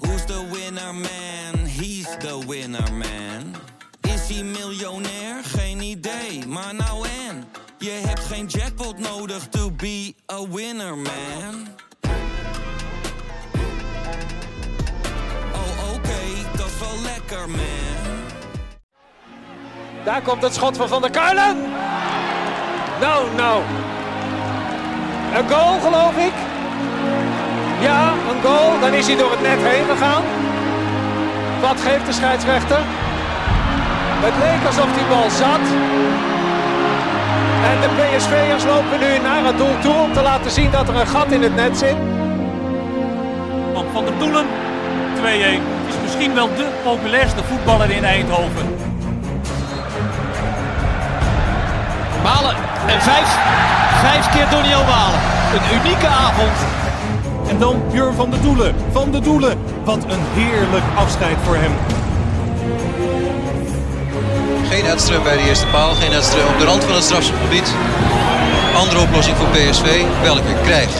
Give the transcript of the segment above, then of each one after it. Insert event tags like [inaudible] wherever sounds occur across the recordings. Who's the winner man? He's the winner man. Is hij miljonair? Geen idee, maar nou en. Je hebt geen jackpot nodig to be a winner man. Oh oké, dat is wel lekker man. Daar komt het schot van Van der Kuilen. Nou, nou. Een goal, geloof ik. Ja, een goal. Dan is hij door het net heen gegaan. Wat geeft de scheidsrechter? Het leek alsof die bal zat. En de PSV'ers lopen nu naar het doel toe om te laten zien dat er een gat in het net zit. Want Van der Doelen, 2-1, is misschien wel de populairste voetballer in Eindhoven. Malen en vijf, vijf keer Doniel Malen. Een unieke avond. En dan Jur van de Doelen. Van de Doelen. Wat een heerlijk afscheid voor hem. Geen Edström bij de eerste paal, geen Edström op de rand van het strafschopgebied. Andere oplossing voor PSV, welke krijgt?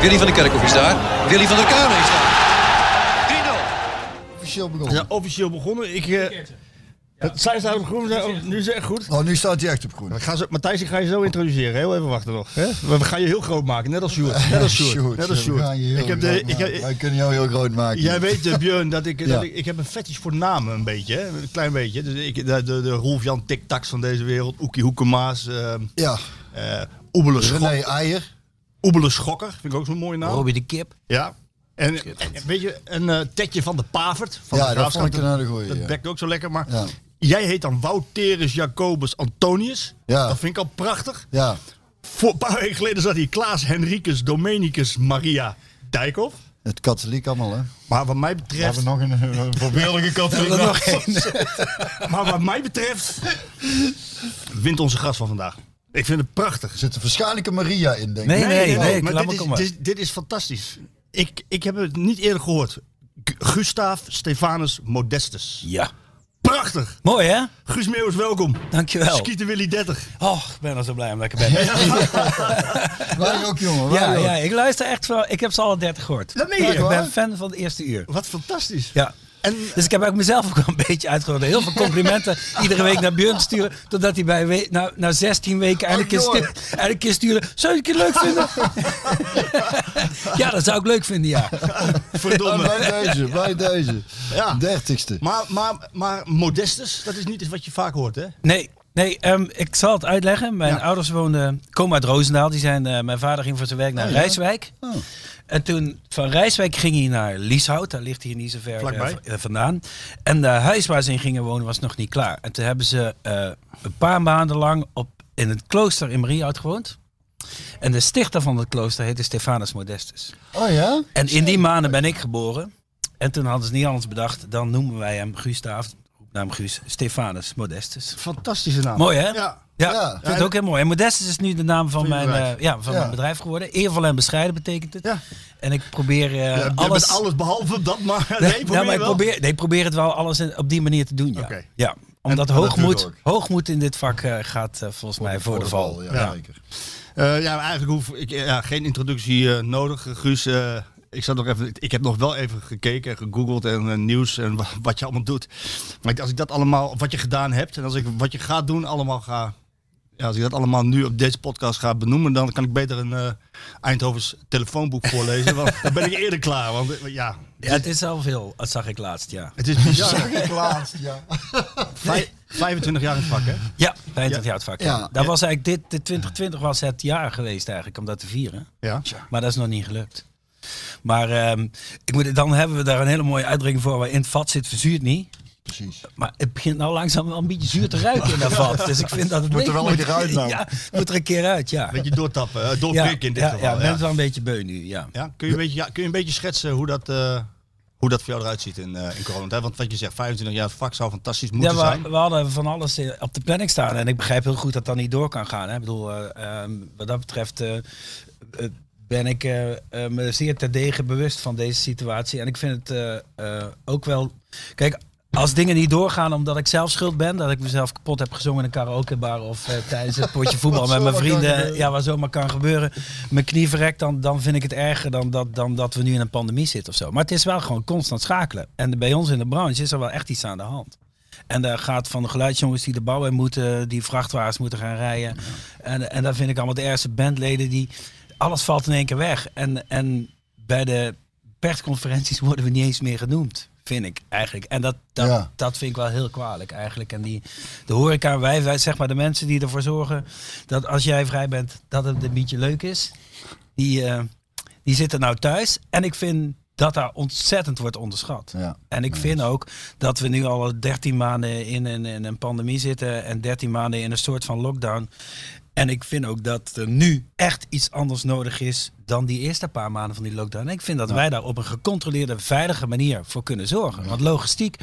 Willy van der Kerkhoff is daar, Willy van der Kamer is daar. Officieel begonnen. Ja, officieel begonnen. Ik, eh, het, zij staan op groen, zijn- nu is het echt goed. Oh, nu staat hij echt op groen. Dan gaan ze, Matthijs, ik ga je zo introduceren. Heel even wachten nog. Hè? We we gaan je heel groot maken, net als Sjoerd. Net als Sjoerd. Net als we Sjoerd. gaan je heel Ik heb de, groot ik maken. heb, nou, Wij kunnen jou heel groot maken. jij weet, eh, Björn, dat, ik, Ja. dat ik, ik heb een fetish voor namen, een beetje. Hè? Een klein beetje. Dus ik, de, de, de Rolf-Jan Tiktaks van deze wereld. Oekie Hoekemaas. eh Ja, eh Oebele Schok- René Eier. Oebele Schokker. Vind ik ook zo'n mooie naam. Robbie de Kip. Ja. En, en- en weet je, een eh tetje van de Pavert. Van Ja, de dat Graafschap, vond ik een hele goeie, Dat ja. bekt ook zo lekker. Maar Ja. jij heet dan Wouterus Jacobus Antonius. Ja. Dat vind ik al prachtig. Ja, Voor een paar weken geleden zat hier Klaas Henricus Domenicus Maria Dijkhoff. het katholiek allemaal, hè? Maar wat mij We betreft, hebben nog een, een voorbeeldige katholiek. hebben er nog naam. [laughs] maar wat mij betreft wint onze gast van vandaag. Ik vind het prachtig. Er zit een waarschijnlijk een Maria in, denk ik. Nee, nee, nee. maar laat dit, maar is, komen. dit, is- dit is fantastisch. Ik, ik heb het niet eerder gehoord. G- Gustav Stefanus Modestus. Ja. Prachtig. Mooi hè? Guus Meeuwis, welkom. Dankjewel. Skieten Willy 30. Oh, ik ben al zo blij om lekker ben. Ja, Wij ook, jongen. Wij ja, ook. ik luister echt wel. Ik heb ze alle 30 gehoord. Dat meen je ik echt, ben waar? fan van het eerste uur. Wat fantastisch. Ja. En Dus ik heb ook mezelf ook wel een beetje uitgehoord. Heel veel complimenten iedere week naar Björn sturen. Totdat hij bij we- na, na 16 weken eindelijk een keer stip- eindelijk een keer sturen. Zou je het een keer leuk vinden? ja, dat zou ik leuk vinden, ja. [laughs] Ja, verdomme. Oh, bij deze, bij deze. Ja. Dertigste. Maar, maar, maar Modestus, dat is niet eens wat je vaak hoort, hè? Nee, nee ehm, ik zal het uitleggen. Mijn Ja. ouders woonden, komen uit Roosendaal. Die zijn, eh, mijn vader ging voor zijn werk Oh, naar Rijswijk. En toen van Rijswijk ging hij naar Lieshout. Daar ligt hier niet zo ver Vlakbij. eh, v- eh, vandaan. En de huis waar ze in gingen wonen was nog niet klaar. En toen hebben ze eh, een paar maanden lang op, in het klooster in Mariehout gewoond. En de stichter van het klooster heette Stefanus Modestus. Oh ja? En in die maanden ben ik geboren. En toen hadden ze niet anders bedacht. Dan noemen wij hem Gustaaf, naam Guus, Stefanus Modestus. Fantastische naam. Mooi hè? Ja. Ja, Ja. ik vind het ook heel mooi. En Modestus is nu de naam van, Van je mijn, bedrijf. eh, ja, van Ja. mijn bedrijf geworden. Eervol en bescheiden betekent het. Ja. En ik probeer eh, Ja, je alles... bent alles behalve dat, maar [laughs] nee, Nee, probeer nou, maar ik wel. probeer, nee, ik probeer het wel alles in- op die manier te doen. Ja, Oké. ja omdat dat hoogmoed, doe ik hoogmoed in dit vak eh, gaat eh, volgens mij voor de val. Ja, Ja. zeker. Eh, ja, maar eigenlijk hoef ik eh, ja, geen introductie eh, nodig, Eh, Guus. eh, ik, zat nog even, ik heb nog wel even gekeken en gegoogeld en eh, nieuws en wa- wat je allemaal doet. Maar ik- als ik dat allemaal, wat je gedaan hebt en als ik wat je gaat doen allemaal ga... Ja, als ik dat allemaal nu op deze podcast ga benoemen, dan kan ik beter een eh Eindhovens telefoonboek voorlezen. want dan ben ik eerder klaar. Want eh, ja, Ja, het is al veel, dat zag ik laatst, ja. het is bizar. [laughs] Zag ik laatst, ja. Vij- 25 jaar in het vak, hè? Ja, 25 jaar het vak. Ja. Ja. Daar was eigenlijk dit, dit 2020 was het jaar geweest eigenlijk om dat te vieren. Ja. Maar dat is nog niet gelukt. Maar ehm, ik moet, dan hebben we daar een hele mooie uitdrukking voor. Waar in het vat zit, verzuurt niet. Precies. Maar het begint nou langzaam wel een beetje zuur te ruiken in dat vat. Dus ik vind dat het Moet er leeg wel een keer uit [laughs] nou. Ja, moet er een keer uit, ja. Beetje doortappen, eh, ja, doorprikken in dit ja, geval. Ja, ja. bent wel een beetje beu nu, ja. Ja, kun, je een beetje, ja, kun je een beetje schetsen hoe dat, eh, hoe dat voor jou eruit ziet in, eh in coronatijd? Want wat je zegt, 25 jaar vak zou fantastisch moeten ja, zijn. we, we hadden van alles eh, op de planning staan. En ik begrijp heel goed dat dat niet door kan gaan. Hè. Ik bedoel, eh, ehm, wat dat betreft eh, eh, ben ik eh, eh, me zeer terdege bewust van deze situatie. En ik vind het eh, eh, ook wel... Kijk, Als dingen niet doorgaan omdat ik zelf schuld ben, dat ik mezelf kapot heb gezongen in een karaokebar of eh, tijdens het [laughs] potje voetbal Wat met mijn zomaar kan vrienden, eh, gebeuren. ja, waar zomaar kan gebeuren, mijn knie verrekt, dan, dan vind ik het erger dan dat, dan dat we nu in een pandemie zitten of zo. Maar het is wel gewoon constant schakelen. En bij ons in de branche is er wel echt iets aan de hand. En daar gaat van de geluidsjongens die de bouw in moeten, die vrachtwagens moeten gaan rijden. En, en daar vind ik allemaal de eerste bandleden die. Alles valt in één keer weg. En, en bij de persconferenties [laughs] worden we niet eens meer genoemd, vind ik eigenlijk. En dat, dat, Ja. dat vind ik wel heel kwalijk eigenlijk. En die, de horeca, wij, wij, zeg maar de mensen die ervoor zorgen dat als jij vrij bent, dat het een beetje leuk is. Die, eh, die zitten nou thuis. En ik vind dat daar ontzettend wordt onderschat. Ja. En ik vind ook dat we nu al 13 maanden in een, in een pandemie zitten en 13 maanden in een soort van lockdown. En ik vind ook dat er nu echt iets anders nodig is dan die eerste paar maanden van die lockdown. En ik vind dat wij daar op een gecontroleerde, veilige manier voor kunnen zorgen. Want logistiek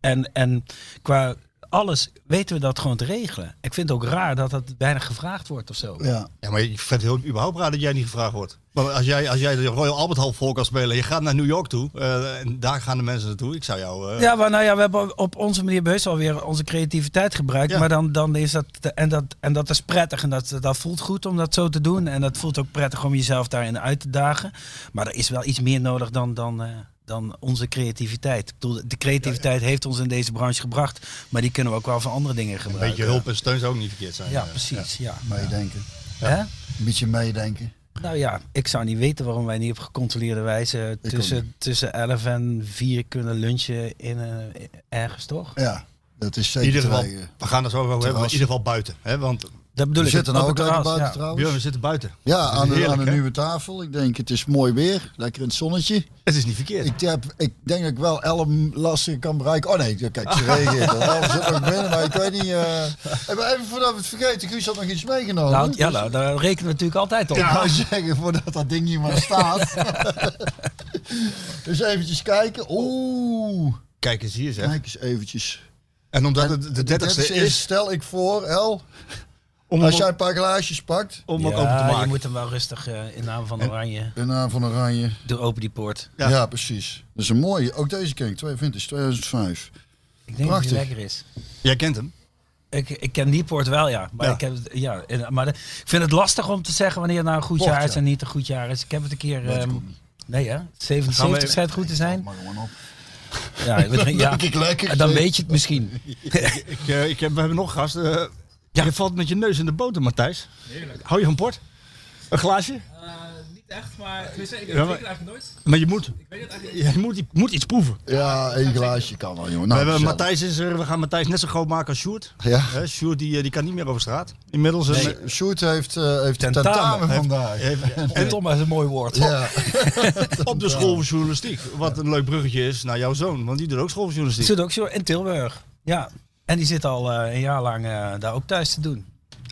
en, en qua alles weten we dat gewoon te regelen. Ik vind het ook raar dat dat weinig gevraagd wordt of zo. Ja. Ja, maar ik vind het heel, überhaupt raar dat jij niet gevraagd wordt. Want als jij, als jij de Royal Albert Hall vol kan spelen, je gaat naar New York toe eh, en daar gaan de mensen naartoe. Ik zou jou... eh, Ja, maar nou ja, we hebben op onze manier bewust alweer onze creativiteit gebruikt. Ja. Maar dan, dan is dat, en dat, en dat is prettig. En dat, dat voelt goed om dat zo te doen. En dat voelt ook prettig om jezelf daarin uit te dagen. Maar er is wel iets meer nodig dan, dan, eh, dan onze creativiteit. Ik bedoel, de creativiteit heeft ons in deze branche gebracht. Maar die kunnen we ook wel voor andere dingen Een gebruiken. beetje hulp en steun zou ook niet verkeerd zijn. Ja, eh. precies. Ja. Meedenken. Hè? Een beetje meedenken. Nou ja, ik zou niet weten waarom wij niet op gecontroleerde wijze ook tussen, tussen 11 en 4 kunnen lunchen in, eh, ergens, toch? Ja, dat is In zeker ieder te geval, regelen. we gaan er zo over hebben, maar in Terras. ieder geval buiten. Hè? Want Dat bedoel We ik. zitten nou op ook het lekker terras, buiten ja. Björn, we trouwens. zitten buiten. Ja, Dat is aan de, heerlijk, aan de hè? nieuwe tafel. Ik denk, het is mooi weer. Lekker in het zonnetje. Het is niet verkeerd. Ik, heb, ik denk dat ik wel Elm lastig kan bereiken. Oh nee, kijk, ze reageert. al. Elm zit nog binnen, maar ik weet niet. eh. Hey, maar Even voordat we het vergeten, Guus had nog iets meegenomen. Nou, ja, nou, daar rekenen we natuurlijk altijd op. Ik wou zeggen, voordat dat ding hier maar [laughs] staat. dus eventjes kijken. Oeh, Kijk eens hier zeg. kijk eens eventjes. En omdat En het de 30ste is, stel ik voor, El, om, als jij om, een paar glaasjes pakt. om Ja, het open te je maken. moet hem wel rustig eh, in naam van Oranje. De naam eh, van Oranje. Doe open die poort. Ja. Ja, precies. Dat is een mooie. Ook deze ken ik, twee vintage, 2005. Ik denk Prachtig. dat die lekker is. Jij kent hem. Ik, ik ken die poort wel, ja. Maar, Ja. Ik, heb, het- ja, en- maar de- ik vind het lastig om te zeggen wanneer het nou een goed Poort, jaar is ja. en niet een goed jaar is. Ik heb het een keer... dat ehm, komt niet. nee, hè? Gaan we 77 even- schijnt goed te zijn. Maar gewoon op. Ja, ja, [laughs] Denk ik lekker. dan zeg. weet je het misschien. [laughs] Ik, eh, ik heb, we hebben nog een gast. eh, Ja. Je valt met je neus in de boter, Matthijs. Hou je van port? Een glaasje? Eh, niet echt, maar ik drink Ja, maar- het eigenlijk nooit. Maar je moet, Ik weet het eigenlijk je moet, je moet iets proeven. Ja, één glaasje kan wel, jongen. we, Nou, hebben gezellig. Matthijs is er, we gaan Matthijs net zo groot maken als Sjoerd. Ja. Hè, Sjoerd die, eh, die kan niet meer over straat. Inmiddels. eh, [laughs] met- Sjoerd heeft, eh heeft Tentamen. tentamen, vandaag. heeft- En Tom is een mooi woord. ja. [laughs] op de school voor journalistiek. Wat een leuk bruggetje is naar jouw zoon. Want die doet ook school voor Ik journalistiek. zit ook zo in Tilburg. Ja. En die zit al eh, een jaar lang eh, daar ook thuis te doen.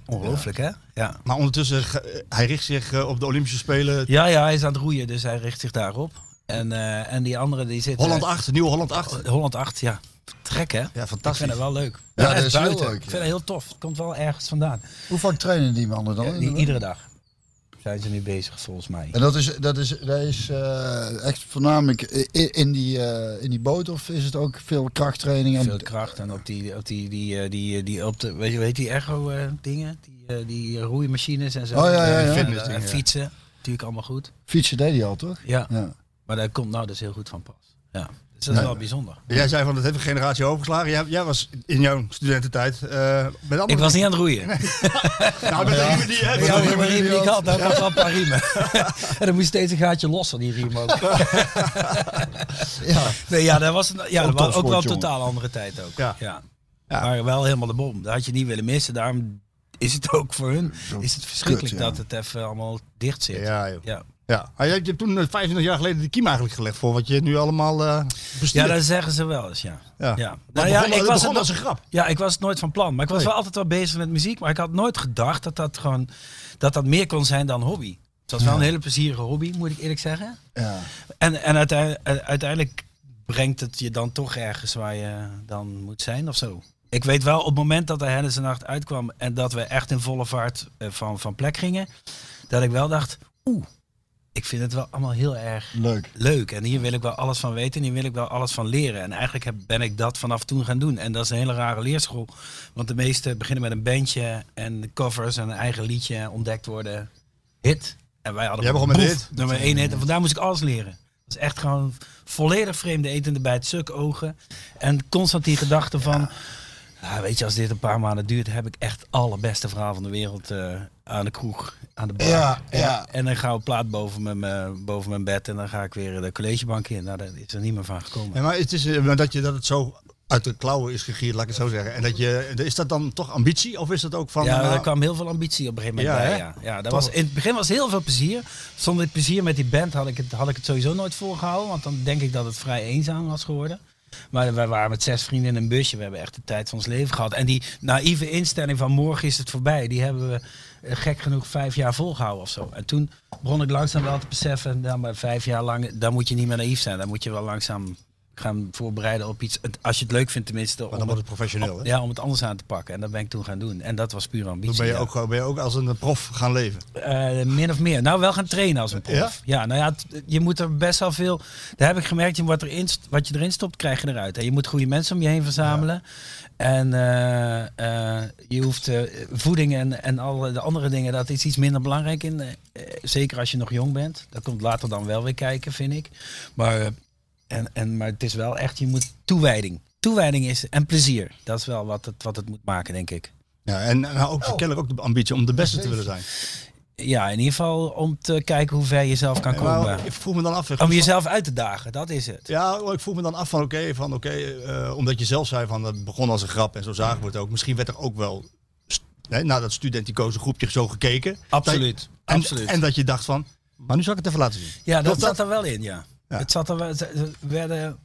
Ongelooflijk, hè? Ja. Maar ondertussen, ge- hij richt zich eh, op de Olympische Spelen. Ja, ja, hij is aan het roeien, dus hij richt zich daarop. En, eh, en die andere die zit... Holland 8, nieuw Holland 8. 8. Holland 8, ja. Trek, hè? Ja, Ik vind fantastisch. het wel leuk. Ja, dat echt is heel buiten. leuk, Ik ja. Oh, vind het heel tof. Het komt wel ergens vandaan. Hoe vaak trainen die mannen dan? Ja, i- iedere dag zijn ze nu bezig, volgens mij. En dat is, dat is, dat is eh, echt voornamelijk i- i- in die, eh, in die boot of is het ook veel krachttraining? En, Veel kracht en op die, op die, die, eh, die, eh, die op de, weet je, weet die echo eh, dingen? Die, eh, die roeimachines en zo. Oh, ja, ja, ja. En, eh, Fitnessdingen, en ja. fietsen. Natuurlijk allemaal goed. Fietsen deed hij al, toch? Ja. Ja. Maar daar komt nou dus heel goed van pas. Ja. Dus dat is wel bijzonder. Jij zei van, dat heeft een generatie overgeslagen. Jij, jij was in jouw studententijd eh met andere... Ik was niet aan het roeien. Nou, met Ja. die- die- die- Ja, Ja, maar maar riem die ik die had, nou had wel een paar riemen. en dan moest steeds een gaatje los van die riem [laughs] ook. ja. Nee, ja, dat was, een, ja, dat was ook wel een topsport, totaal andere tijd ook. Ja. Maar wel helemaal de bom. Dat had je niet willen missen. Daarom is het ook voor hun is het verschrikkelijk kut, ja. dat het even allemaal dicht zit. Ja, joh. Ja. Ja. Maar jij- je hebt toen eh, 25 jaar geleden de kiem eigenlijk gelegd voor wat je nu allemaal eh Ja, bestuurt. dat zeggen ze wel eens, ja. Ja. ja. Dat Nou ja, begon- ik dat was begon het als een grap. Ja, ik was het nooit van plan. Maar ik was Nee. wel altijd wel bezig met muziek. Maar ik had nooit gedacht dat dat gewoon dat dat meer kon zijn dan hobby. Het was wel een hele plezierige hobby, moet ik eerlijk zeggen. ja. En, en uite- eh, uiteindelijk brengt het je dan toch ergens waar je dan moet zijn of zo. Ik weet wel, op het moment dat de Hennis Nacht uitkwam en dat we echt in volle vaart eh, van, van plek gingen, dat ik wel dacht, oeh, ik vind het wel allemaal heel erg Leuk. leuk. En hier wil ik wel alles van weten en hier wil ik wel alles van leren. En eigenlijk heb, ben ik dat vanaf toen gaan doen. En dat is een hele rare leerschool. Want de meesten beginnen met een bandje en de covers en een eigen liedje ontdekt worden. Hit. En wij hadden Jij begon boef, met hit. nummer één hit. En vandaar moest ik alles leren. Dat is echt gewoon volledig vreemde etende bij het suk ogen. En constant die gedachte van... "Ah, weet je, als dit een paar maanden duurt, heb ik echt het allerbeste verhaal van de wereld eh, aan de kroeg, aan de bar. Ja, ja. En dan gaan we plaat boven mijn, eh, boven mijn bed en dan ga ik weer eh, de collegebank in. Nou, daar is er niet meer van gekomen. Ja, maar het is eh, maar dat je dat het zo uit de klauwen is gegierd, laat ik het zo zeggen. En dat je, is dat dan toch ambitie of is dat ook van? Ja, nou, daar kwam heel veel ambitie op een gegeven moment Ja, bij. hè? Ja. Ja, dat Toch. was, in het begin was heel veel plezier. Zonder dit plezier met die band had ik, het, had ik het sowieso nooit volgehouden. Want dan denk ik dat het vrij eenzaam was geworden. Maar wij waren met zes vrienden in een busje. We hebben echt de tijd van ons leven gehad. En die naïeve instelling van morgen is het voorbij. Die hebben we eh, gek genoeg vijf jaar volgehouden of zo. En toen begon ik langzaam wel te beseffen. Nou, maar vijf jaar lang, daar moet je niet meer naïef zijn. Daar moet je wel langzaam gaan voorbereiden op iets. Het- Als je het leuk vindt tenminste. maar om dan wordt het- het professioneel. Hè? ja, om het anders aan te pakken. En dat ben ik toen gaan doen. En dat was puur ambitie. Toen ben je, ja. ook, gewoon- ben je ook als een prof gaan leven. Eh, min of meer. Nou, wel gaan trainen als een prof. Ja, Ja? nou ja, t- je moet er best wel veel... Daar heb ik gemerkt, je wat, erin, st- wat je erin stopt, krijg je eruit. En je moet goede mensen om je heen verzamelen. En eh, eh, je hoeft eh, voeding en, en alle de andere dingen, dat is iets minder belangrijk in. Eh, eh, zeker als je nog jong bent. Dat komt later dan wel weer kijken, vind ik. Maar, eh, en, en, maar het is wel echt, je moet toewijding. Toewijding is en plezier. Dat is wel wat het, wat het moet maken, denk ik. Ja, en en nou, ook Oh. kennelijk ook de ambitie om de beste te willen zijn. Ja, in ieder geval om te kijken hoe ver jezelf kan komen. Maar ik vroeg me dan af. Om jezelf uit te dagen, dat is het. eh. Ja, oh, ik vroeg me dan af van oké, van oké, eh, omdat je zelf zei van het begon als een grap en zo zagen we het ook. Misschien werd er ook wel st- hè, naar dat studenticoze groepje zo gekeken. Absoluut, Dat je- en, absoluut. En dat je dacht van, maar nu zal ik het even laten zien. Ja, dat, Dat- zat er wel in, ja. Ja. Het zat er wel, ze- ze werden,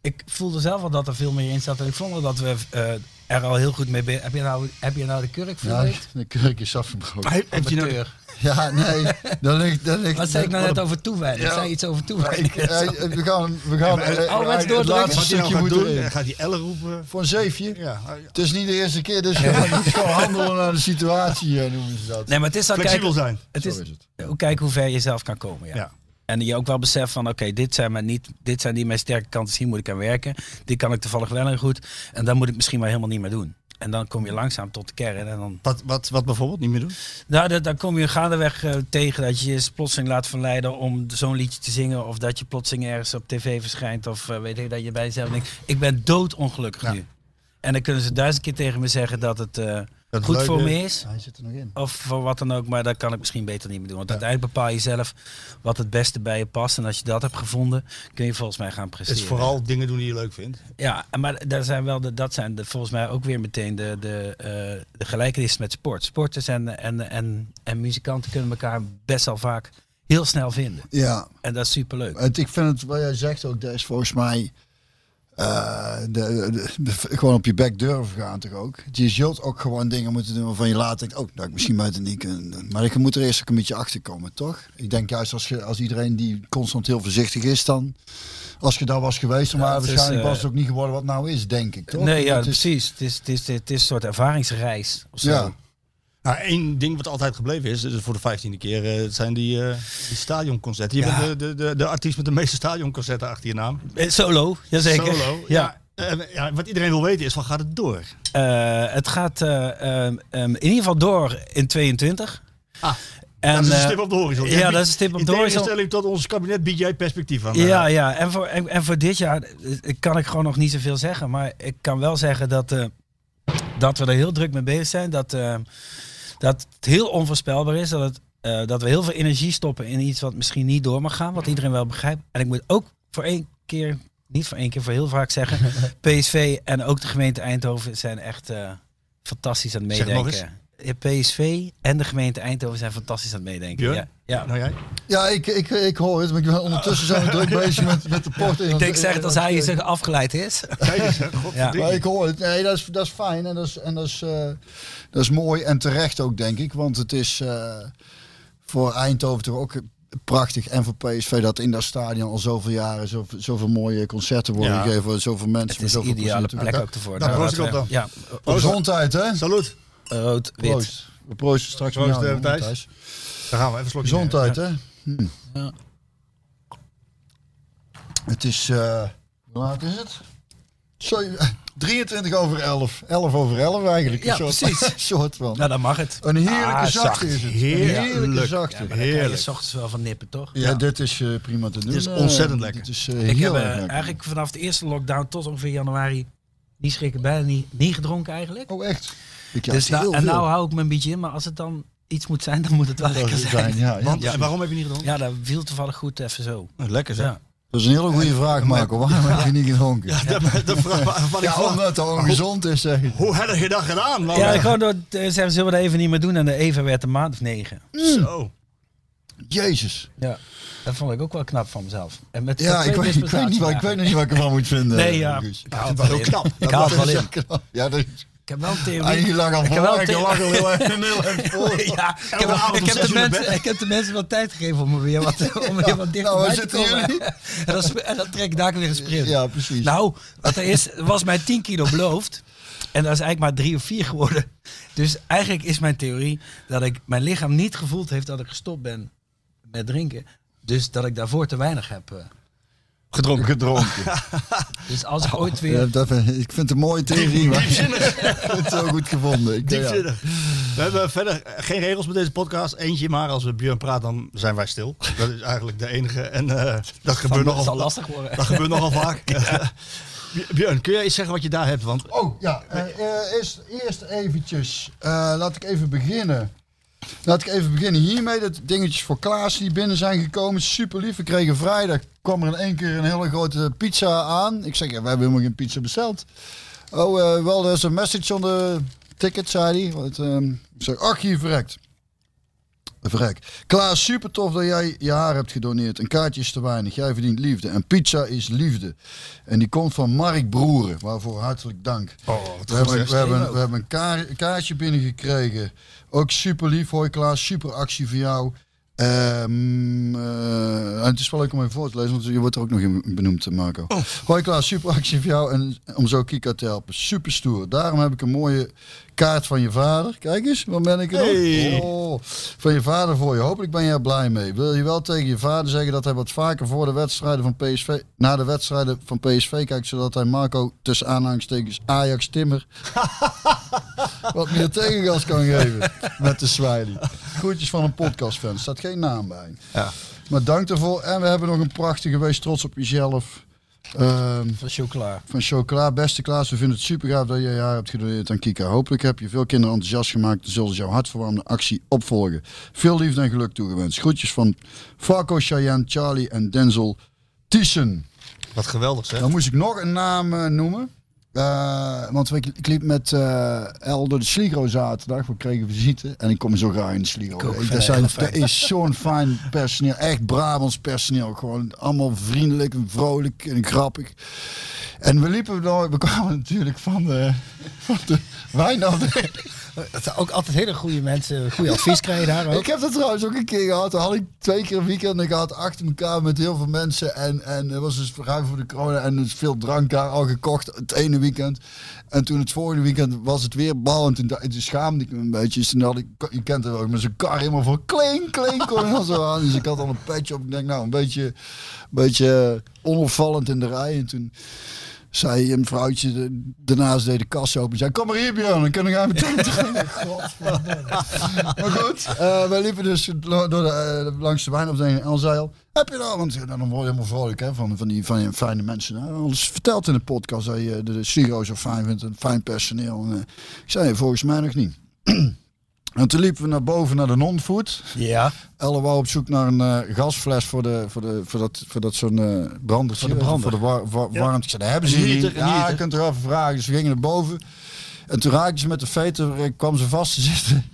ik voelde zelf al dat er veel meer in zat. En ik vond wel dat we eh, er al heel goed mee bezig Heb je nou, heb je nou de kurk Ja, verlicht? de kurk is afgebroken. Heb- heb je nou- Ja, nee. Dan ligt, dan ligt, Wat zei ik nou net [laughs] dan- over toewijding? Ik Ja. zei iets over toewijding. Eh, eh, we gaan, we gaan eh, eh, ouderwets het doordrukken. laatste Wat hij nou stukje gaat moeten doen, erin. eh, gaat hij Ellen roepen. Voor een zeefje. Ja, Het is niet de eerste keer, dus we gaan- we gaan handelen naar de situatie, eh, noemen ze dat. [laughs] Nee, maar het is al flexibel kijken, zijn. het is, Zo is het. eh, hoe- kijken hoe ver je zelf kan komen. Ja. Ja. En je ook wel beseft van, oké, dit zijn mijn niet, dit zijn niet mijn sterke kanten, dus hier moet ik aan werken. Dit kan ik toevallig wel en goed. En dan moet ik misschien wel helemaal niet meer doen. En dan kom je langzaam tot de kern en dan Wat, wat, wat bijvoorbeeld niet meer doen? Nou, dat, dan kom je gaandeweg eh, tegen dat je je plotseling laat verleiden om zo'n liedje te zingen. Of dat je plotseling ergens op tv verschijnt. Of eh, weet ik dat je bij jezelf denkt, ik ben doodongelukkig Ja. nu. En dan kunnen ze duizend keer tegen me zeggen dat het eh, het goed leuk voor is. me is. Hij zit er nog in. Of voor wat dan ook, maar dat kan ik misschien beter niet meer doen. Want uiteindelijk bepaal je zelf wat het beste bij je past. En als je dat hebt gevonden, kun je volgens mij gaan Het presteren. is vooral dingen doen die je leuk vindt. Ja, maar daar zijn wel de, dat zijn de, volgens mij ook weer meteen de, de, eh, de gelijkenissen met sport. Sporters en, en, en, en muzikanten kunnen elkaar best wel vaak heel snel vinden. Ja, En dat is superleuk. het, ik vind het, wat jij zegt ook, dat is volgens mij... eh, de, de- de- gewoon op je bek durven gaan toch ook. Je zult ook gewoon dingen moeten doen waarvan je later denkt, oh, dat had ik misschien buiten niet kunnen doen. Maar ik moet er eerst ook een beetje achter komen, toch? Ik denk juist als, je, als iedereen die constant heel voorzichtig is, dan als je daar was geweest, dan Ja, waren het is, waarschijnlijk eh, was het ook niet geworden wat nou is, denk ik, toch? nee, ja, Het is- precies. Het is, het, is, het is een soort ervaringsreis. Of zo. Ja. Nou, één ding wat altijd gebleven is, dus voor de vijftiende keer, eh, het zijn die, eh, die stadionconcerten. Je Ja. bent de, de, de, de artiest met de meeste stadionconcerten achter je naam. Eh, Solo, jazeker. Solo. [laughs] Ja. Ja. eh, ja, wat iedereen wil weten is, van gaat het door? Eh, het gaat eh, ehm, ehm, in ieder geval door in 22. Ah, en, dat is een eh, stip op de horizon. ja, dat is een stip op de horizon. In tegenstelling tot ons kabinet bied jij perspectief aan. Ja, Eh, ja. En voor, en, en voor dit jaar eh, kan ik gewoon nog niet zoveel zeggen. Maar ik kan wel zeggen dat, eh, dat we er heel druk mee bezig zijn. Dat, eh, dat het heel onvoorspelbaar is. Dat, het, eh, dat we heel veel energie stoppen in iets wat misschien niet door mag gaan. Wat iedereen wel begrijpt. En ik moet ook voor één keer, niet voor één keer, voor heel vaak zeggen. [laughs] PSV en ook de gemeente Eindhoven zijn echt eh, fantastisch aan het Zeg het nog meedenken. Ja, PSV en de gemeente Eindhoven zijn fantastisch aan het meedenken. Björn? Ja, ja. Nou jij? Ja, ik, ik, ik hoor het, maar ik ben [laughs] ondertussen zijn we druk bezig met, met de port. Ik denk zeg dat hij zich afgeleid is. Kijk eens, [laughs] dus, hè, godverdikke. Maar ik hoor het. Nee, dat is, dat is fijn en, dat is, en dat, is, eh, dat is mooi en terecht ook, denk ik. Want het is eh, voor Eindhoven toch ook prachtig. En voor PSV dat in dat stadion al zoveel jaren zoveel, zoveel mooie concerten worden Ja. gegeven. Zoveel Het mensen. is met een zoveel ideale plezier. plek ook ervoor. nou, Nou, proost laten ik we- Ja, Op Gezondheid, hè? Salut. rood, wit. Proost. We proosten straks Proost, met jou, eh, Thijs. Thijs. Daar gaan we even een slokje Gezondheid, hè? Hm. Het is, eh, hoe laat is het? Zeven- [laughs] 23 over 11. 11 over 11 eigenlijk. Ja, een soort, precies. [laughs] soort van. Nou, dan mag het. Een heerlijke Ah, zachte zacht. is het. Een Oh, Heerlijk. heerlijke Ja, zachte. maar daar Ja, kan je Heerlijk. s ochtends wel van nippen, toch? dit is eh, prima te doen. is Eh, ontzettend lekker. Dit is eh, Ik heb heel eh, erg lekker. eigenlijk vanaf de eerste lockdown tot ongeveer januari die schrik ik bijna niet, niet gedronken eigenlijk. Oh, echt? Ik dus had nou- heel en veel. nou hou ik mijn beetje in, maar als het dan iets moet zijn, dan moet het wel Dat lekker is zijn. fijn, ja, ja. Want, En waarom heb je niet gedronken? Ja, dat viel toevallig goed even zo. Lekker zeg. [laughs] Ja. Dat is een hele goede vraag, Marco. Waarom heb je niet gedronken? Ja, De, de vraag waar- waarvan ik vraag, omdat het ongezond is, zeg ik. hoe heb je dat gedaan? man? eh, Oh, Ja, gewoon door te zeggen, zullen we dat even niet meer doen? En de Eva werd een maand of negen. Zo. Jezus. Ja, dat vond ik ook wel knap van mezelf. En met Ja, twee ik weet, ik, weet niet, wat- ik mispresentaties weet nog niet wat ik ervan moet vinden. Nee, ja. Guus. Ik haal het wel in. Ik haal het Dat wel is in. echt knap. Ja, dat is... Ik heb wel een Ah, theorie. je lag al Ik heb voor, wel ik lag al heel erg [laughs] heel erg voor. Ja, ik heb, Elke avond ik, om heb zes de uur naar mensen, bed. ik heb de mensen wel tijd gegeven om er weer [laughs] wat, om er weer wat Nou, dichterbij waar te zitten komen. jullie? [laughs] En dan, sp- en dan trek ik daar weer een sprint. Ja, precies. Nou, wat er is, was mijn 10 kilo beloofd. En dat is eigenlijk maar 3 of 4 geworden. Dus eigenlijk is mijn theorie dat ik mijn lichaam niet gevoeld heeft dat ik gestopt ben met drinken. Dus dat ik daarvoor te weinig heb. eh. Gedronken. Gedronken. Dus als ik ooit Ja, weer. dat, vind- ik vind het een mooie theorie, maar [laughs] ik heb het zo goed gevonden. Ik, denk, ja. Diepzinnig. We hebben verder geen regels met deze podcast. Eentje maar, als we Björn praat, dan zijn wij stil. Dat is eigenlijk de enige. En eh, dat, gebeurt Dat zal nogal, lastig worden. dat gebeurt nogal [laughs] vaak. Eh, [laughs] Björn, kun jij eens zeggen wat je daar hebt? Want Oh ja, eh, eh, eerst, eerst eventjes. eh, laat ik even beginnen. Laat ik even beginnen hiermee. Dat dingetjes voor Klaas die binnen zijn gekomen. Super lief. We kregen vrijdag. kwam er in één keer een hele grote pizza aan. Ik zeg, ja, we hebben helemaal geen pizza besteld. Oh, eh, wel, er is een message on the ticket, zei hij. Want, ehm, ik zeg, ach, hier verrekt. Verrek. Klaas, super tof dat jij je haar hebt gedoneerd. Een kaartje is te weinig. Jij verdient liefde. En pizza is liefde. En die komt van Mark Broeren. Waarvoor hartelijk dank. we, hebben, we, hebben, we hebben een kaar- kaartje binnengekregen. Ook super lief. Hoi Klaas, super actie voor jou. Ehm, eh, en het is wel leuk om even voor te lezen, want je wordt er ook nog in benoemd, eh, Marco. Hoi Klaas, super actie voor jou en om zo Kika te helpen. Super stoer. Daarom heb ik een mooie kaart van je vader. Kijk eens, waar ben ik er Hey. nog? Oh, van je vader voor je. Hopelijk ben jij er blij mee. Wil je wel tegen je vader zeggen dat hij wat vaker voor de wedstrijden van PSV, na de wedstrijden van PSV kijkt, zodat hij Marco tussen aanhalingstekens Ajax Timmer wat meer tegengas kan geven met de Swiley. Groetjes van een podcastfan. Er staat geen naam bij. Maar dank daarvoor. En we hebben nog een prachtige wees trots op jezelf. Ehm, Van chocola. van Chocola, beste Klaas, we vinden het super gaaf dat je je haar hebt gedoneerd aan Kika. Hopelijk heb je veel kinderen enthousiast gemaakt en zullen ze jouw hartverwarmende actie opvolgen. Veel liefde en geluk toegewenst. Groetjes van Falco, Cheyenne, Charlie en Denzel Thyssen. wat geweldig zeg. Dan moest ik nog een naam eh, noemen. Eh, want ik, ik liep met eh El door de Sligro zaterdag. We kregen visite. En ik kom zo graag in de Sligro. ook, Ik- vind Dat ik zijn- heel dat is zo'n fijn personeel. Echt Brabants personeel. Gewoon allemaal vriendelijk en vrolijk en grappig. En we liepen dan, we kwamen natuurlijk van de, van de wijnafdeling. Dat zijn ook altijd hele goede mensen. Goede advies krijg je daar Ik heb dat trouwens ook een keer gehad. Dan had ik twee keer een weekend. En ik had achter elkaar met heel veel mensen. En, en er was dus ruim voor de corona. En dus veel drank daar al gekocht. Het ene weekend. En toen het volgende weekend was het weer bal. En toen, da- toen schaamde ik me een beetje. Dus toen had ik, je kent het ook, met zo'n kar helemaal voor kling, kling. Kon je dan zo aan. Dus ik had al een petje op. Ik denk, nou, een beetje, een beetje eh, onopvallend in de rij. En toen zei een vrouwtje, de- daarnaast deed de kassa open. zei, kom maar hier Björn, dan kunnen we gaan meteen terug. Godverdomme. maar goed, eh, wij liepen dus lo- door de, eh, langs de wijnopdeling en zei al, heb je nou, want ja, dan word je helemaal vrolijk hè, van, van, die, van die fijne mensen. Nou, alles verteld in de podcast dat je de Siro zo fijn vindt en fijn personeel. En, eh, ik zei, volgens mij nog niet. [clears throat] En toen liepen we naar boven naar de non-food. Ja. Elle wou op zoek naar een eh, gasfles voor, de, voor, de, voor dat, voor dat zo'n eh brandertje. Voor de war- war- warmte. Ik zei, dat hebben ze Een hier heater, niet. een Ja, heater. je kunt er even vragen. Dus we gingen naar boven. En toen raakte ze met de veter, eh, kwam ze vast te [laughs] zitten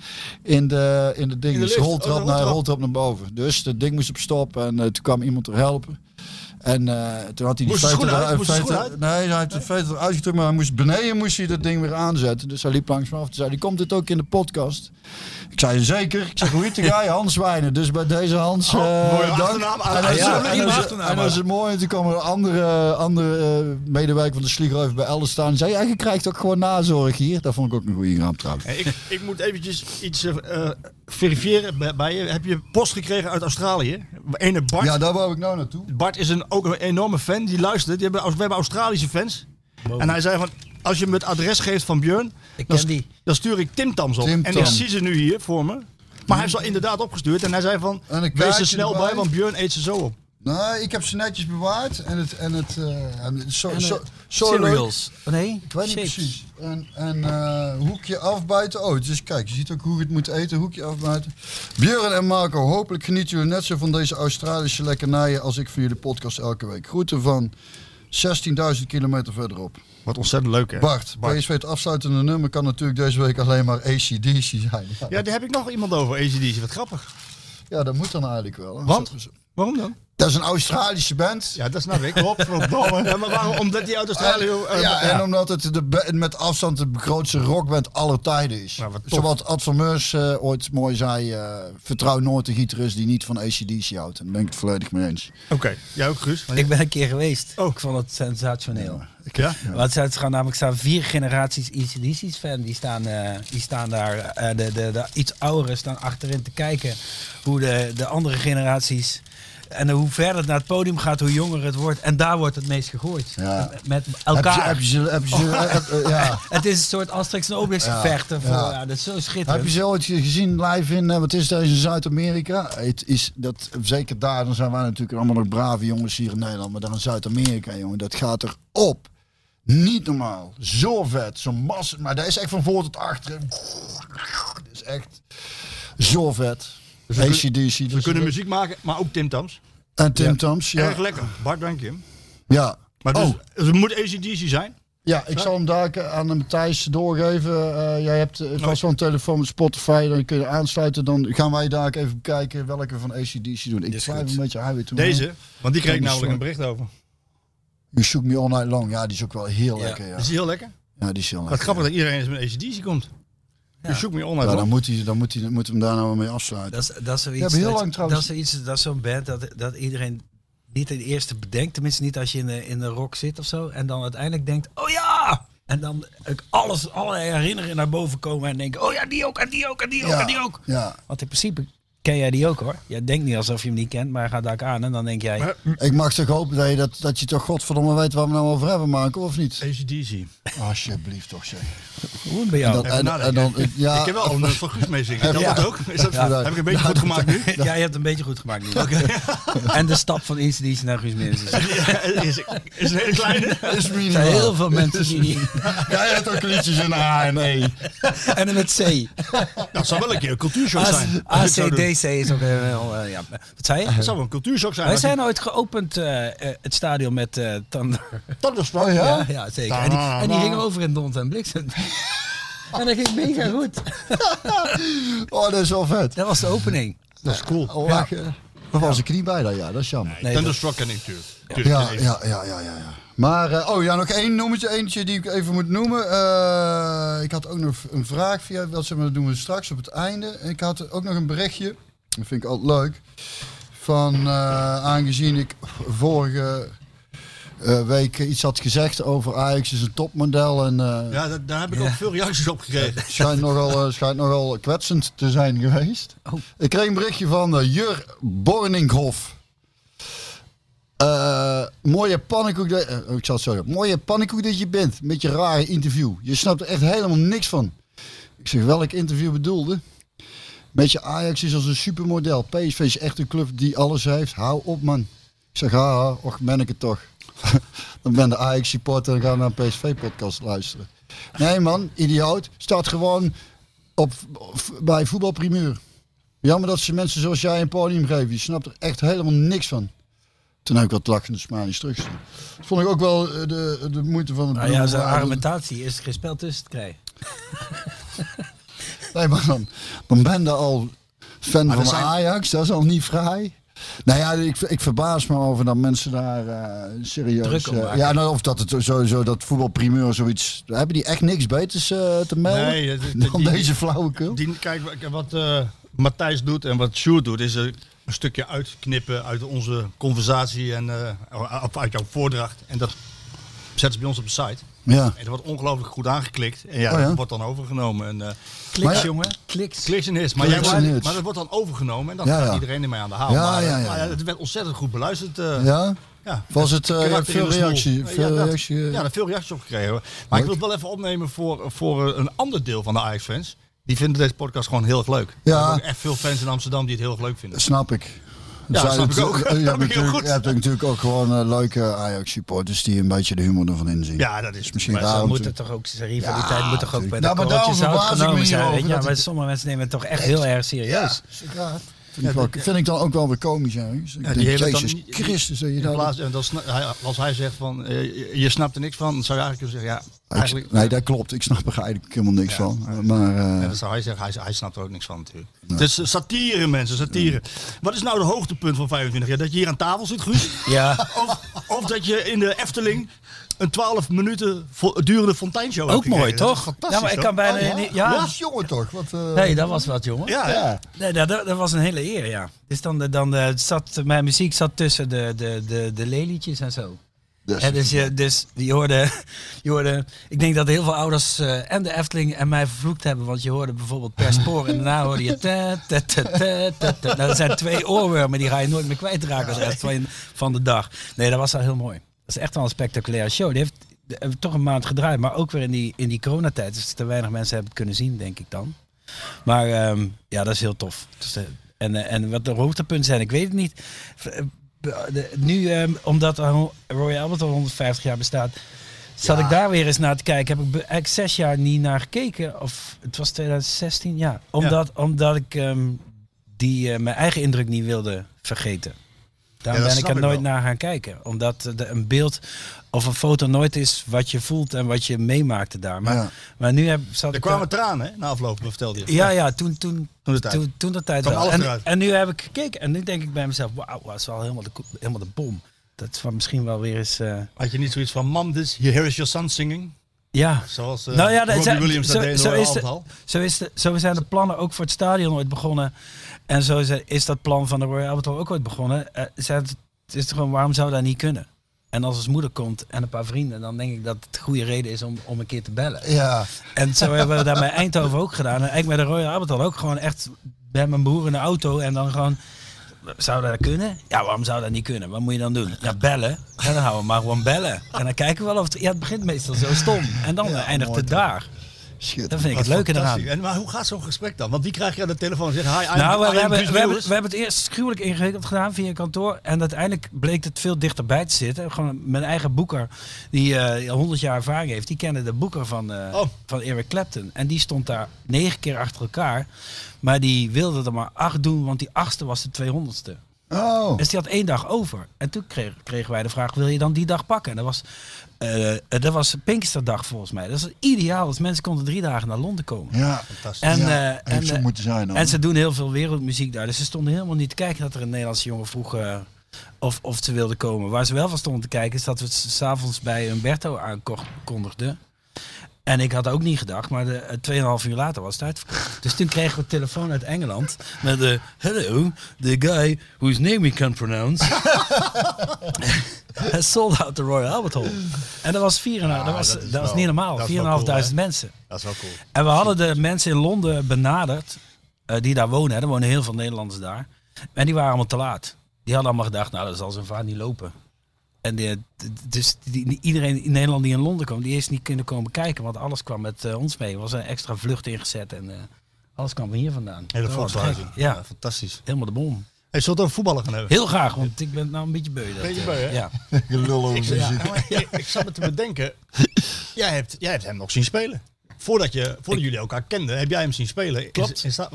in de, in de ding. de dus lift. roltrap, Oh, de naar, roltrap. roltrap naar boven. Dus het ding moest op stop en eh, toen kwam iemand er helpen. En eh, toen had hij die Moest de veter... schoenen eruit- uit? Moest de veter- schoenen Nee, hij heeft de veter eruit getrokken, maar hij moest, beneden moest hij dat ding weer aanzetten. Dus hij liep langs me af. Toen zei hij, komt dit ook in de podcast? Ik zei, zeker. Ik zeg, hoe [laughs] heet die guy? Hans Wijnen. Dus bij deze Hans, eh Oh, mooie dank. achternaam. Ah, En ja, dat is- ja, [laughs] en prima dat is- achternaam, En dat is mooi. En toen kwam er een andere, andere eh, medewerker van de Slieger even bij Elder staan. En zei, ja, je krijgt ook gewoon nazorg hier. Dat vond ik ook een goede grap trouwens. Hey, ik, ik moet eventjes iets eh, eh, verifiëren bij- bij je. Heb je post gekregen uit Australië? Ene Bart. Ja, daar wou ik nou naartoe. Bart is een, ook een enorme fan. Die luistert. Die hebben, we hebben Australische fans. En hij zei van... Als je me het adres geeft van Björn, Ik dan, ken stu- die. dan stuur ik Timtams op. Tim en Tam. ik zie ze nu hier voor me. Maar hij heeft ze al inderdaad opgestuurd. En hij zei van, En een wees kaartje er snel erbij. bij, want Björn eet ze zo op. Nou, ik heb ze netjes bewaard. En het... En het eh, en zo, zo, zo leuk. Cereals. Oh, nee, Ik weet niet shakes. precies. En, en eh, hoekje afbuiten. Oh, dus kijk, je ziet ook hoe je het moet eten. Hoekje afbuiten. Björn en Marco, hopelijk genieten jullie net zo van deze Australische lekkernijen als ik van jullie podcast elke week. Groeten van 16.000 kilometer verderop. Wat ontzettend leuk, hè? Bart, PSV het afsluitende nummer kan natuurlijk deze week alleen maar ACDC zijn. Ja, Ja, daar heb ik nog iemand over, ACDC. Wat grappig. ja, dat moet dan eigenlijk wel. hè. Want? Waarom dan? Dat is een Australische band. Ja, dat snap ik. Godverdomme. Ja, maar waarom? Omdat die uit Australië... ja, eh, ja. en omdat het de, be- met afstand de grootste rockband aller tijden is. Nou, wat tof. Zoals Ad van Meurs eh, ooit mooi zei, eh, vertrouw nooit de gitarist die niet van ACDC houdt. En daar ben ik het volledig mee eens. Oké, jij ook, Guus? Ik ben een keer geweest. Oh. Ik vond het sensationeel. Ja? Want ze gaan namelijk staan vier generaties ECDC's fan. Die staan, eh, die staan daar, eh, de, de, de iets ouderen staan achterin te kijken hoe de, de andere generaties. En hoe verder het naar het podium gaat, hoe jonger het wordt. En daar wordt het meest gegooid. Ja. Met elkaar. Heb je, heb je, ze- heb je, ze- heb- eh, ja. Het is een soort Asterix en Obelix Ja, gevechten. Voor, ja. ja, dat is zo heb schitterend. je ze ooit gezien live in, eh, wat is dat, in Zuid-Amerika? Het is, dat, zeker daar, dan zijn wij natuurlijk allemaal nog brave jongens hier in Nederland. Maar daar in Zuid-Amerika, jongen, dat gaat erop. Niet normaal. Zo vet. Zo'n massa. Maar dat is echt van voor tot achter. Dat is echt zo vet. Dus we ACDC. We kunnen muziek maken, maar ook Tim Tams. En Tim Tams. Ja. Erg lekker. Bart, dank je. ja. Maar dus, Oh. dus het moet ACDC zijn. Ja, ik zal hem daar aan een Thijs doorgeven. Eh, jij hebt eh, vast wel een telefoon met Spotify, dan kun je aansluiten. Dan gaan wij daar even bekijken welke van ACDC doen. Ik schrijf een beetje Highway to Deze. Hell. Want die kreeg ik Ja, namelijk een sorry. bericht over. You Shook Me All Night Long. Ja, die is ook wel heel lekker. Ja. Is die heel lekker? ja, die is heel Wat lekker. grappig dat iedereen eens met ACDC komt. Je zoekt me Ja, online. dan moet hij, dan moet hij, moet hem daar nou mee afsluiten. Dat is, dat is zoiets. hebben heel dat, lang trouwens- Dat is, zoiets, dat is zo'n band dat, dat iedereen niet het eerste bedenkt. Tenminste, niet als je in de, in de rock zit of zo. En dan uiteindelijk denkt: oh ja! En dan ik alles, alle herinneringen naar boven komen en denken: oh ja, die ook, en die ook, en die ook, en die ook. Ja, Want in principe ken jij die ook hoor. Jij denkt niet alsof je hem niet kent, maar gaat daar aan en dan denk jij: Maar- ik mag toch hopen dat je, dat, dat je toch godverdomme weet waar we nou over hebben, Marco, of niet? ACDC. Alsjeblieft toch, zeg. hoe bij jou? [laughs] Dat- Even en, en nadenken. dan, ja, Ik heb wel een van Guus mee zingen. Dat Ja. dat ook? Is dat, Ja. Heb ik een beetje goed [laughs] gemaakt nu? Jij hebt het een beetje goed gemaakt nu. En de stap van Insidies naar Guus Meeuwis. Er Ja, is, is een hele kleine. is zijn minimaal. heel veel mensen die die... [laughs] Jij hebt ook liedjes in de A en E. Oh, En met C. Dat zou wel een keer een cultuurshock AC zijn. als je het zou doen. ACDC is ook heel... eh, ja. Wat zei je? Dat zou wel een cultuurshock zijn. Wij als je- zijn ooit geopend, eh, eh, het stadion met eh Thunder. Oh ja? Ja, ja zeker. En die, en die gingen over in Dont en Bliksem. [laughs] En dat ging mega goed. Oh, dat is wel vet. Dat was de opening. Dat is cool. Oh, lachen. Daar was ik niet bij dan, ja, dat is jammer. Nee, dat- Thunderstruck ken ik natuurlijk. Tuurlijk, Ja, nee. ja, ja, ja, ja. ja. Maar, eh, oh ja, nog één nummertje, eentje die ik even moet noemen. Eh, ik had ook nog een vraag via, dat zeg maar, dat doen we straks op het einde. En ik had ook nog een berichtje, dat vind ik altijd leuk. Van, eh, aangezien ik vorige eh, week iets had gezegd over Ajax is een topmodel. En eh Ja, dat- daar heb ik ook veel reacties op gekregen. schijnt, nogal, eh, schijnt nogal kwetsend te zijn geweest. Oh. Ik kreeg een berichtje van eh, Jur Borninghof. Eh, mooie pannenkoek dat, eh, ik zal het zo zeggen. Mooie pannenkoek dat je bent. Met je rare interview. Je snapt er echt helemaal niks van. Ik zeg welk interview bedoelde. Met je Ajax is als een supermodel. PSV is echt een club die alles heeft. Hou op man. Ik zeg haha, och ben ik het toch. [laughs] dan ben de Ajax supporter en gaan naar een PSV podcast luisteren. Nee man, idioot. Staat gewoon op, op- bij voetbalprimeur. Jammer dat ze mensen zoals jij een podium geven. Je snapt er echt helemaal niks van. Toen heb ik wat lachende smaaijes terugsturen. Dat vond ik ook wel eh, de, de moeite van het Nou ja, zijn bedoelen. argumentatie is er geen spel tussen te krijgen. Nee, maar dan, dan ben je al fan van zijn- Ajax. Dat is al niet vrij. Nou ja, ik, ik verbaas me over dat mensen daar eh, serieus... Druk om eh, maken. ja, nou, of dat het sowieso dat voetbalprimeur zoiets... Hebben die echt niks beters eh, te melden Nee, dat- dat- dan die- deze flauwekul? Die, kijk, wa- wat eh, Matthijs doet en wat Sjoerd doet, is er een stukje uitknippen uit onze conversatie en eh, of uit jouw voordracht. En dat zetten ze bij ons op de site. Ja. En dat wordt ongelooflijk goed aangeklikt. En ja, Oh ja? dat wordt dan overgenomen. En, eh, Kliks, Maar- jongen. Kliks. Kliks en hits. Maar, Kliks jij- en maar- hits. maar dat wordt dan overgenomen en dan Ja, gaat ja. iedereen ermee aan de haal. Ja, maar, eh, ja, ja, maar ja. het werd ontzettend goed beluisterd. eh, Ja? ja. Was het eh, je hebt Karakter in veel de smoel. reactie? Ja, Veel dat- reactie eh, Ja, daar veel reacties op gekregen. hoor. Leuk. Maar ik wil het wel even opnemen voor, voor eh, een ander deel van de Ajax-fans. Die vinden deze podcast gewoon heel erg leuk. Ja. Er zijn ook echt veel fans in Amsterdam die het heel erg leuk vinden. Snap ik. Ja, Zij- snap ik ook. Je [laughs] Snap ik hebt, heel natuurlijk, goed. je hebt natuurlijk ook gewoon eh, leuke Ajax-supporters die een beetje de humor ervan inzien. Ja, dat is Misschien Maar zo daarom moet toe. het toch ook, zijn rivaliteit moet toch ook bij de Nou, maar daarom korreltjes zout verbaas ik me genomen hier zijn. over weet je. dat Ja, maar het- sommige mensen nemen het toch echt heel erg serieus. Vind, ik wel- vind ik dan ook wel weer komisch. Hè? Dus ik Ja, denk, hele Jezus dan- Christus, dat je in daar... plaats- en dan sna- hij- als hij zegt van eh, je, je snapt er niks van, dan zou je eigenlijk kunnen zeggen ja, Ah, ik- eigenlijk. nee, dat klopt. Ik snap er eigenlijk helemaal niks Ja. van. Maar eh, Ja, dat zou hij zeggen, hij, hij snapt er ook niks van natuurlijk. Het is eh, satire mensen, satire. Wat is nou de hoogtepunt van 25 jaar? Dat je hier aan tafel zit, Guus? Ja, Of, of dat je in de Efteling een 12 minuten vo- durende fonteinshow hebt ook mooi, gekregen. Dat is toch? Fantastisch, Ja, maar ik kan hoor. bijna ja? niet... Ja, dat is jongen toch? Wat, eh, nee, dat was wat, jongen. Ja, ja. ja. Nee, dat, dat, dat was een hele eer, ja. Dus dan, eh, dan eh, zat mijn muziek zat tussen de, de, de, de lelietjes en zo. Dus- Hè, dus, je, dus je, hoorde, [laughs] je hoorde, ik denk dat heel veel ouders eh, en de Efteling en mij vervloekt hebben. Want je hoorde bijvoorbeeld per spoor en daarna hoorde je... ta, ta, ta, ta, ta, ta. Nou, dat zijn twee oorwormen, die ga je nooit meer kwijtraken als rest van, je- van de dag. Nee, dat was wel heel mooi. Dat is echt wel een spectaculaire show. Die heeft die hebben we toch een maand gedraaid, maar ook weer in die, in die coronatijd. Dus te weinig mensen hebben het kunnen zien, denk ik dan. Maar ehm, ja, dat is heel tof. Dus, eh, en, eh, en wat de hoogtepunten zijn, ik weet het niet. V- eh, b- de- Nu, ehm, omdat Ho- Royal Albert al 150 jaar bestaat, zat ik daar weer eens naar te kijken. Heb ik be- eigenlijk zes jaar niet naar gekeken. Of het was 2016, ja. Omdat, omdat ik ehm, die, eh, mijn eigen indruk niet wilde vergeten. Daarom Ja, dat ben ik snap er ik nooit wel. naar gaan kijken. Omdat eh, de- een beeld of een foto nooit is wat je voelt en wat je meemaakte daar. Maar, Ja. maar nu heb, zat Er ik kwamen daar- tranen hè, na afloop, dat vertelde je. ja, ja, toen, toen, Toen de tijd. Toen, toen de tijd Kwam wel. alles En, eruit. en nu heb ik gekeken en nu denk ik bij mezelf, wauw, dat is wel helemaal de, ko- helemaal de bom. Dat is wel misschien wel weer eens... eh, Had je niet zoiets van, mam, this, here is your son singing? ja, Zoals eh Nou ja, dat- Robbie zo- Williams dat zo- deed in zo Royal is de- Albert Hall. zo, is de, zo zijn de plannen ook voor het stadion ooit begonnen. En zo is, is dat plan van de Royal Albert Hall ook ooit begonnen. Eh, zijn het, het is gewoon, waarom zou dat niet kunnen? En als ons moeder komt en een paar vrienden, dan denk ik dat het goede reden is om, om een keer te bellen. ja. En zo hebben we dat bij Eindhoven ook gedaan. En eigenlijk met de Royal Albert Hall ook gewoon echt bij mijn broer in de auto. En dan gewoon, zou dat kunnen? Ja, waarom zou dat niet kunnen? Wat moet je dan doen? Ja, bellen. En dan houden we maar gewoon bellen. En dan kijken we wel of het... Ja, het begint meestal zo stom. En dan eh, eindigt het daar. Dat Schitterend. vind ik het leuke eraan. Fantastisch. En, maar hoe gaat zo'n gesprek dan? Want die krijg je aan de telefoon en zegt, hi, I'm, Nou, we, I'm we, hebben, Guus we, hebben, Meeuwis. we hebben het eerst gruwelijk ingewikkeld gedaan via een kantoor. En uiteindelijk bleek het veel dichterbij te zitten. Gewoon mijn eigen boeker, die eh, 100 jaar ervaring heeft, die kende de boeker van, eh Oh. van Eric Clapton. En die stond daar negen keer achter elkaar. Maar die wilde er maar acht doen, want die achtste was de 200ste. Oh, Dus die had één dag over. En toen kreeg, kregen wij de vraag, wil je dan die dag pakken? En dat was, eh, eh, dat was Pinksterdag volgens mij. Dat is ideaal, want mensen konden drie dagen naar Londen komen. ja. Fantastisch. En, Ja, eh, heeft en, zo eh, moeten zijn dan. en [laughs] ze doen heel veel wereldmuziek daar. Dus ze stonden helemaal niet te kijken dat er een Nederlandse jongen vroeg eh, of, of ze wilden komen. Waar ze wel van stonden te kijken is dat we het s'avonds bij Humberto aankondigden. En ik had ook niet gedacht, maar de, eh, 2,5 uur later was het uitverkocht. Dus toen kregen we een telefoon uit Engeland met de hello, the guy whose name we can't pronounce. [laughs] has sold out the Royal Albert Hall. En dat was, vier en, dat was, dat dat was is wel- niet dat normaal, is wel 4.500 cool, mensen. Dat is wel cool. En we hadden de mensen in Londen benaderd, eh, die daar wonen. hè. Er wonen heel veel Nederlanders daar. En die waren allemaal te laat. Die hadden allemaal gedacht, nou, dat zal zijn vaart niet lopen. En die- d- dus die, iedereen in Nederland die in Londen kwam, die is niet kunnen komen kijken. Want alles kwam met eh, ons mee. Er was een extra vlucht ingezet en eh, alles kwam hier vandaan. Hele Dat was volkshuizing. gek. Ja, fantastisch. helemaal de bom. Hey, zullen we het over voetballen gaan hebben? Heel graag, want ik ben nou een beetje beu. Dat, Beetje eh, beu, hè? Ja. gelul over muziek. Ja, Nou, maar ik- ik zat me te bedenken. Jij hebt, jij hebt hem nog zien spelen. Voordat, je, voordat jullie elkaar kenden, heb jij hem zien spelen. Is- Klopt. is dat-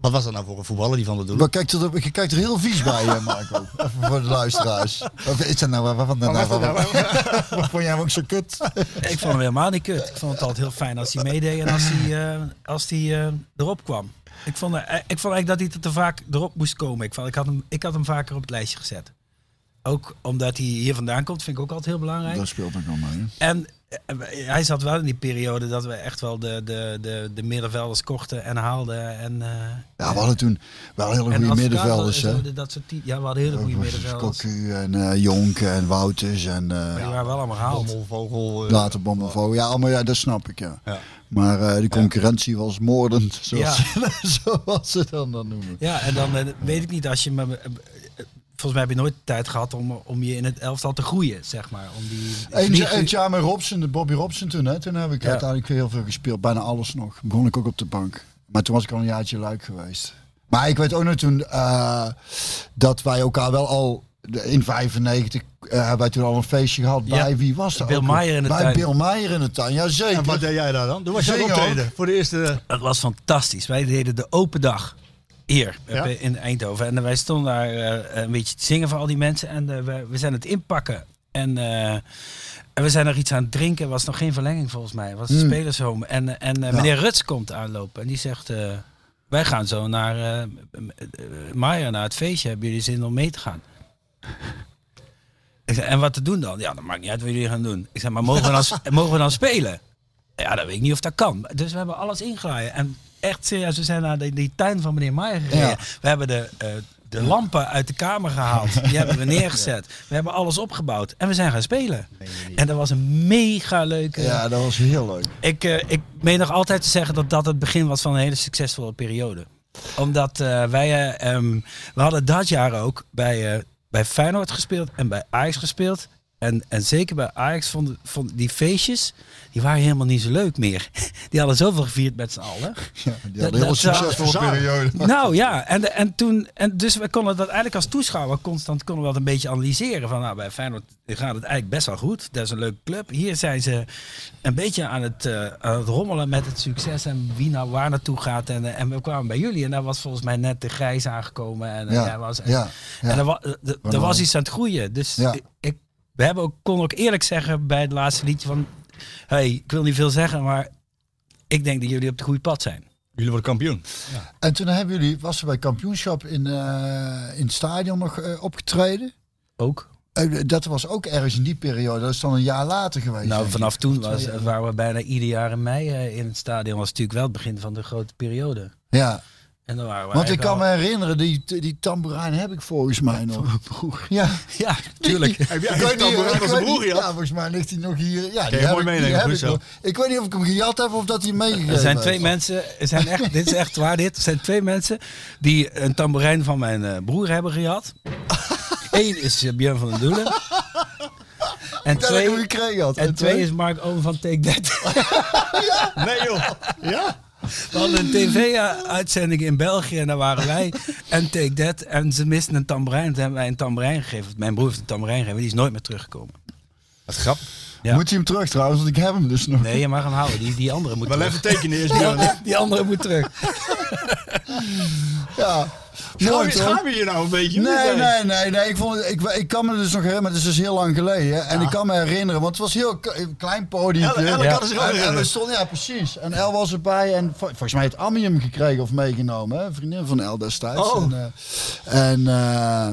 wat was dat nou voor een voetballer die van de doel? Maar kijk er, je kijkt er heel vies bij, hè, Marco. Even voor de luisteraars. Of is dat nou wat? Wat, nou, wat, nou? [laughs] vond jij hem ook zo kut? Ik vond hem helemaal niet kut. Ik vond het altijd heel fijn als hij meedeed en als hij, eh, als hij eh, erop kwam. Ik vond, eh, ik vond eigenlijk dat hij er te vaak erop moest komen. Ik, vond, ik, had hem, ik had hem vaker op het lijstje gezet. ook omdat hij hier vandaan komt, vind ik ook altijd heel belangrijk. Dat speelt ook allemaal. hè. En eh, hij zat wel in die periode dat we echt wel de, de, de, de middenvelders korten en haalden. En, eh, Ja, we hadden toen wel hele en goede Advocaat middenvelders. en hè. zo, dat soort ty- ja, we hadden hele goede middenvelders. Die Cocu en eh, Jonk en Wouters en eh, waren wel allemaal gehaald. Bommelvogel. eh, later Bommelvo. Ja, oh, maar ja, dat snap ik, ja. Ja. Maar eh die concurrentie was moordend, [laughs] zoals, zoals ze dan dat noemen. Ja, en dan eh, weet ik niet als je. Maar, eh, eh, volgens mij heb je nooit tijd gehad om, om je in het elftal te groeien, zeg maar. Om die Eén vlieg- ja, het jaar met Robson, de Bobby Robson toen, hè, toen heb ik Ja. uiteindelijk weer heel veel gespeeld, bijna alles nog. Begon ik ook op de bank. Maar toen was ik al een jaartje luik geweest. Maar ik weet ook nog toen eh, dat wij elkaar wel al de- in 95 eh, hebben wij toen al een feestje gehad. Ja. Bij wie was dat? Bill ook? Meijer in de bij tuin. Bill Meijer in de tuin, ja zeker. En wat deed jij daar dan? Toen was jij Zingen optreden voor de eerste... Het was fantastisch. Wij deden de open dag hier Ja? eh, in Eindhoven. En wij stonden daar eh, een beetje te zingen voor al die mensen. En eh, we, we zijn het inpakken. En, eh, en we zijn nog iets aan het drinken. Er was nog geen verlenging volgens mij. Het was een Hmm. spelershome. En, eh, en eh, meneer Ruts komt aanlopen. En die zegt... eh, wij gaan zo naar eh, eh, Meijer, naar het feestje. Hebben jullie zin om mee te gaan? Ik zei, en wat te doen dan? Ja, dat maakt niet uit wat jullie gaan doen. Ik zei, maar mogen we dan, [laughs] s- mogen we dan spelen? Ja, dat weet ik niet of dat kan. Dus we hebben alles ingelaaien. En echt serieus, we zijn naar die, die tuin van meneer Meijer gereden. Ja. We hebben de, eh, de lampen uit de kamer gehaald. Die hebben we neergezet. We hebben alles opgebouwd. En we zijn gaan spelen. En dat was een mega leuke... Ja, dat was heel leuk. Ik, eh, ik meen nog altijd te zeggen dat dat het begin was van een hele succesvolle periode. Omdat eh, wij, eh, ehm, we hadden dat jaar ook bij, eh, bij Feyenoord gespeeld en bij Ajax gespeeld. En, en zeker bij Ajax vonden vond die feestjes, die waren helemaal niet zo leuk meer. [laughs] Die hadden zoveel gevierd met z'n allen. Ja, die Dat- had een hele dat zou- succesvolle periode. Nou ja, en, en toen, en dus we konden dat eigenlijk als toeschouwer constant konden we dat een beetje analyseren. Van nou, bij Feyenoord gaat het eigenlijk best wel goed. Dat is een leuke club. Hier zijn ze een beetje aan het, eh, aan het rommelen met het succes en wie nou waar naartoe gaat. En, eh, en we kwamen bij jullie en daar was volgens mij net de grijs aangekomen. En, eh, Ja, hij was, ja, ja. en er, wa- eh, er- er Waarom? was iets aan het groeien. Dus Ja. ik, ik- we hebben ook, kon ook eerlijk zeggen bij het laatste liedje van... hey, ik wil niet veel zeggen, maar ik denk dat jullie op het goede pad zijn. Jullie worden [laughs] kampioen. En toen hebben jullie, was er bij kampioenschap in, eh, in het stadion nog eh, opgetreden. Ook. Eh, dat was ook ergens in die periode. Dat is dan een jaar later geweest. denk Nou, ik. vanaf toen Twee was, jaar. waren we bijna ieder jaar in mei eh, in het stadion. was natuurlijk wel het begin van de grote periode. Ja, En dan waren we want ik eigenlijk kan me al- herinneren, die, die tamboerijn heb ik volgens mij nog. Ja, [laughs] Ja, [laughs] tuurlijk. Ik weet niet- tamboerijn ik van zijn weet broer niet- had? Ja, volgens mij ligt hij nog hier. Ja, je die heb mooi ik- die meenemen, heb ik Brussel. nog. Ik weet niet of ik hem gejat heb of dat hij hem meegegeven Er zijn heeft. twee mensen, er zijn echt, dit is echt waar dit, er zijn twee mensen die een tamboerijn van mijn eh, broer hebben [laughs] gehad. Eén is eh, Björn van den Doelen. En Dat ik hem twee, gekregen had. en twee is Mark Oom van Take That. Nee joh. Ja? We hadden een tv-uitzending in België en daar waren wij en Take That. En ze misten een tamboerijn. Toen hebben wij een tamboerijn gegeven. Mijn broer heeft een tamboerijn gegeven. Die is nooit meer teruggekomen. Wat grappig. Ja. Moet je hem terug trouwens, want ik heb hem dus nog. Nee, je mag hem houden. Die, die andere moet Maar terug. even tekenen eerst. Björn. [laughs] Die andere moet terug. Ja. Schaam Mooi, je- toch? Schaam je je nou een beetje? Nee, nee, nee, nee. Ik, vond, het- ik, ik kan me dus nog herinneren, maar het is dus heel lang geleden. En ik kan me herinneren, want het was heel k- een klein podium. Elle- Elle kan zich ook en, en herinneren. we stonden, ja, precies. En El was erbij en vol- volgens mij het Amium gekregen of meegenomen. Hè? Een vriendin van El destijds. Oh. En, eh, en eh,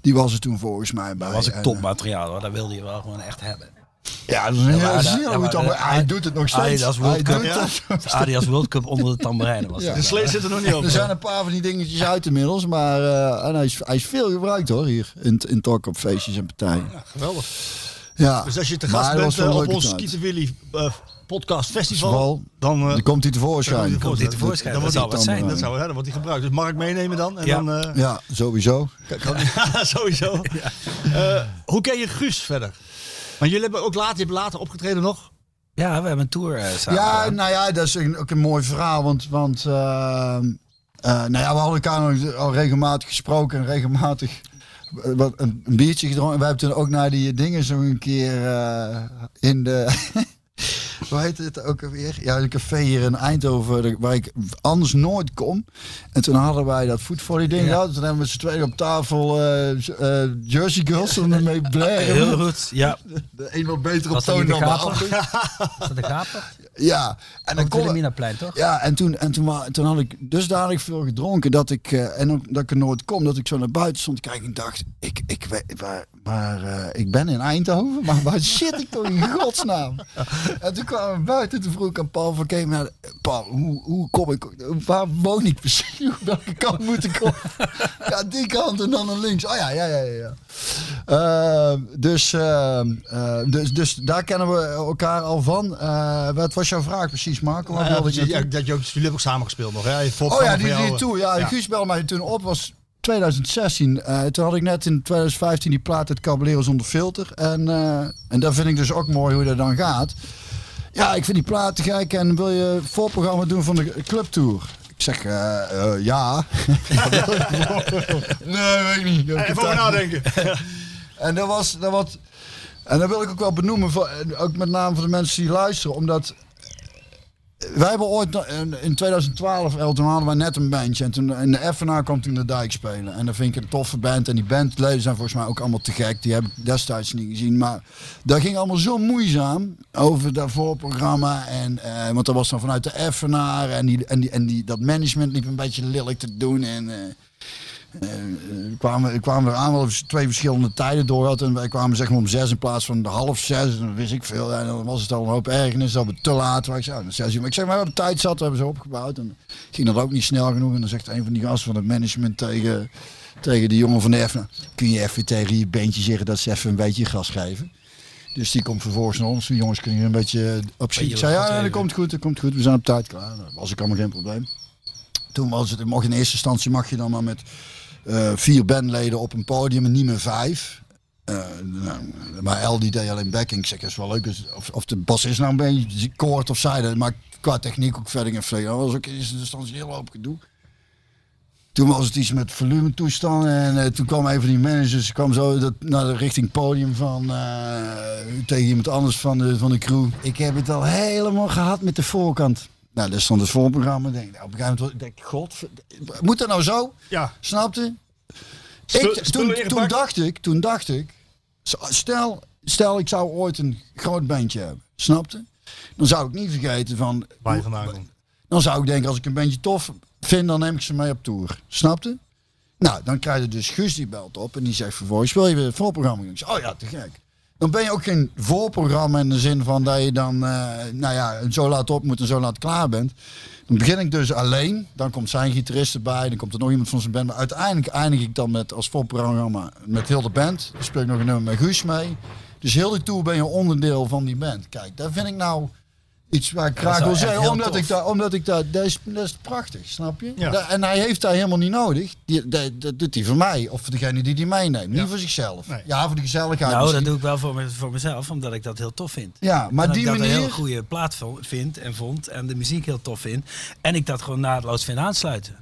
die was er toen volgens mij bij. Dat was ook En, topmateriaal hoor. Dat wilde je wel gewoon echt hebben. eh, Ja, dat is een heel waren- zeer daar goed waren- allemaal. daar- Hij doet het nog Adidas steeds. World Hij Cup, doet ja. het. De Adidas World Cup onder de tamboerijnen was Ja. De dat. slee zit er nog niet op. Er zijn een paar van die dingetjes uit inmiddels, maar eh, en hij, is, hij is veel gebruikt hoor hier in, t- in talk op feestjes en partijen. Geweldig. Ja. Dus als je te Maar gast dat was bent wel eh, een op leuke ons tijd. Skieten Willy eh, podcast festival, Festival, dan... eh, Dan komt hij tevoorschijn. dan komt hij tevoorschijn. Dat- Dat zou wat zijn. dan, dat eh, zou ja, dat wordt die gebruikt. Dus mag ik meenemen dan? En Ja. dan eh, Ja, sowieso. kan- ja, [laughs] sowieso. Eh, hoe ken je Guus verder? Want jullie hebben ook later, je hebt later opgetreden nog. Ja, we hebben een tour eh, samen. Ja, gedaan. nou ja, dat is een- ook een mooi verhaal. Want, want eh, eh, nou ja, we hadden elkaar nog al regelmatig gesproken en regelmatig eh, wat- een, een biertje gedronken. En wij hebben toen ook naar die dingen zo een keer eh, in de. [laughs] Hoe heet het ook alweer? Ja, een café hier in Eindhoven, de- waar ik anders nooit kom. En toen hadden wij dat Food for ding gehad. Toen hebben we met z'n tweeën op tafel eh, z- eh, Jersey Girls en ermee blaren. Heel goed. Ja. De een wat beter op Was dat toon niet de [laughs] dan de gaper? ander. Is dat de gaper? Ja, en dan het kon, Wilhelminaplein, toch? Ja, en toen, en toen, wa- toen had ik dusdanig veel gedronken dat ik, eh, en ook dat ik er nooit kom, dat ik zo naar buiten stond te kijken en dacht, ik, ik, weet- waar, waar, eh, ik ben in Eindhoven, maar waar [laughs] zit ik toch in godsnaam? En toen kwamen we buiten, toen vroeg ik aan Paul van Kemen, Paul, hoe, hoe kom ik, waar woon ik precies, [laughs] Op welke kant moet ik op? Ja, die kant en dan naar links. Oh ja, ja, ja, ja. ja. Ehm, dus, ehm, eh, dus, dus daar kennen we elkaar al van. Eh, wat was jouw vraag precies, Marco? Waar Nou Ja, wilde dat, je je, Eh, ja, naartoe? dat je ook, jullie hebben ook samen gespeeld nog, hè? Je volgt Oh ja, allemaal die, van die jou, eh, toe. Ja, ja. Guus belde mij toen op. was 2016. Eh, toen had ik net in 2015 die plaat uit Caballero zonder filter. En, eh, en dat vind ik dus ook mooi hoe dat dan gaat. Ja, ik vind die plaat te gek. En wil je voorprogramma doen van de clubtour? Ik zeg, eh, eh, ja. [laughs] nee, weet ik niet. Even over nadenken. En dat was, dat was. En dat wil ik ook wel benoemen, voor- en ook met name voor de mensen die luisteren, omdat. Wij hebben ooit no- in- in 2012, El, toen hadden wij net een bandje. En toen in de FNA kwam toen de Dijk spelen. En dat vind ik een toffe band. En die bandleden zijn volgens mij ook allemaal te gek. Die heb ik destijds niet gezien. Maar dat ging allemaal zo moeizaam over dat voorprogramma. En, eh, want dat was dan vanuit de FNA. En, die, en, die, en die, dat management liep een beetje lelijk te doen. En, eh, eh, kwamen, kwamen we aan, wel twee verschillende tijden door had. En wij kwamen zeg maar om zes in plaats van de half zes. En dan wist ik veel. En dan was het al een hoop ergernis. Dat we te laat waren. Ik zei, ja, dan zes uur. Maar ik zeg, maar we hebben tijd zat. We hebben ze opgebouwd. En ging dat ook niet snel genoeg. En dan zegt een van die gasten van het management tegen, tegen die jongen van de EFNA. Kun je even tegen je beentje zeggen dat ze even een beetje gas geven? Dus die komt vervolgens naar ons. Die jongens kunnen hier een beetje eh, op schieten. Ik zei, ja, ja, dat komt goed, dat komt goed. We zijn op tijd klaar. Nou, Dat was ook allemaal geen probleem. Toen was het, mag in eerste instantie mag je dan maar met eh, vier bandleden op een podium en niet meer vijf. Eh, nou, maar El die deed alleen backing. Ik zeg, dat is wel leuk. Dus Of, of de bassist nou een beetje koord of zij, dat maakt qua techniek ook verder geen flikker. Dat was ook in eerste instantie heel hoop gedoe. Toen was het iets met volume toestanden en eh, toen kwam een van die managers kwam zo dat, naar de richting podium van eh, tegen iemand anders van de, van de crew. Ik heb het al helemaal gehad met de voorkant. Nou, daar stond het voorprogramma. Ik Denk, nou, op een gegeven moment denk ik, god, moet dat nou zo? Ja. Snapte? Spul- Ik, spullen toen, toen ingepakt? dacht ik, toen dacht ik, s- stel, stel ik zou ooit een groot bandje hebben, snapte? Dan zou ik niet vergeten van, Waar je vandaan komt. dan zou ik denken als ik een bandje tof vind, dan neem ik ze mee op tour, snapte? Nou, dan krijg je dus Guus die belt op en die zegt vervolgens, wil je weer een voorprogramma? doen?" Ik zeg, oh ja, te gek. Dan ben je ook geen voorprogramma in de zin van dat je dan, eh, nou ja, zo laat op moet en zo laat klaar bent. Dan begin ik dus alleen. Dan komt zijn gitarist erbij. Dan komt er nog iemand van zijn band. Maar uiteindelijk eindig ik dan met als voorprogramma met heel de band. Dan speel ik nog een nummer met Guus mee. Dus heel de tour ben je onderdeel van die band. Kijk, daar vind ik nou iets waar ik is graag wel wil echt zeggen. heel Omdat tof. ik daar, omdat ik daar, dat is, dat is prachtig, snap je? Ja. Da- en hij heeft daar helemaal niet nodig. Die, dat, dat doet hij voor mij. Of voor degene die die meeneemt. Niet voor zichzelf. Nee. Ja, voor de gezelligheid. Nou, dat misschien. doe ik wel voor, me- voor mezelf, omdat ik dat heel tof vind. Ja, maar En die dat ik dat manier- een heel goede plaat vo- vind en vond en de muziek heel tof vind. En ik dat gewoon naadloos vind aansluiten.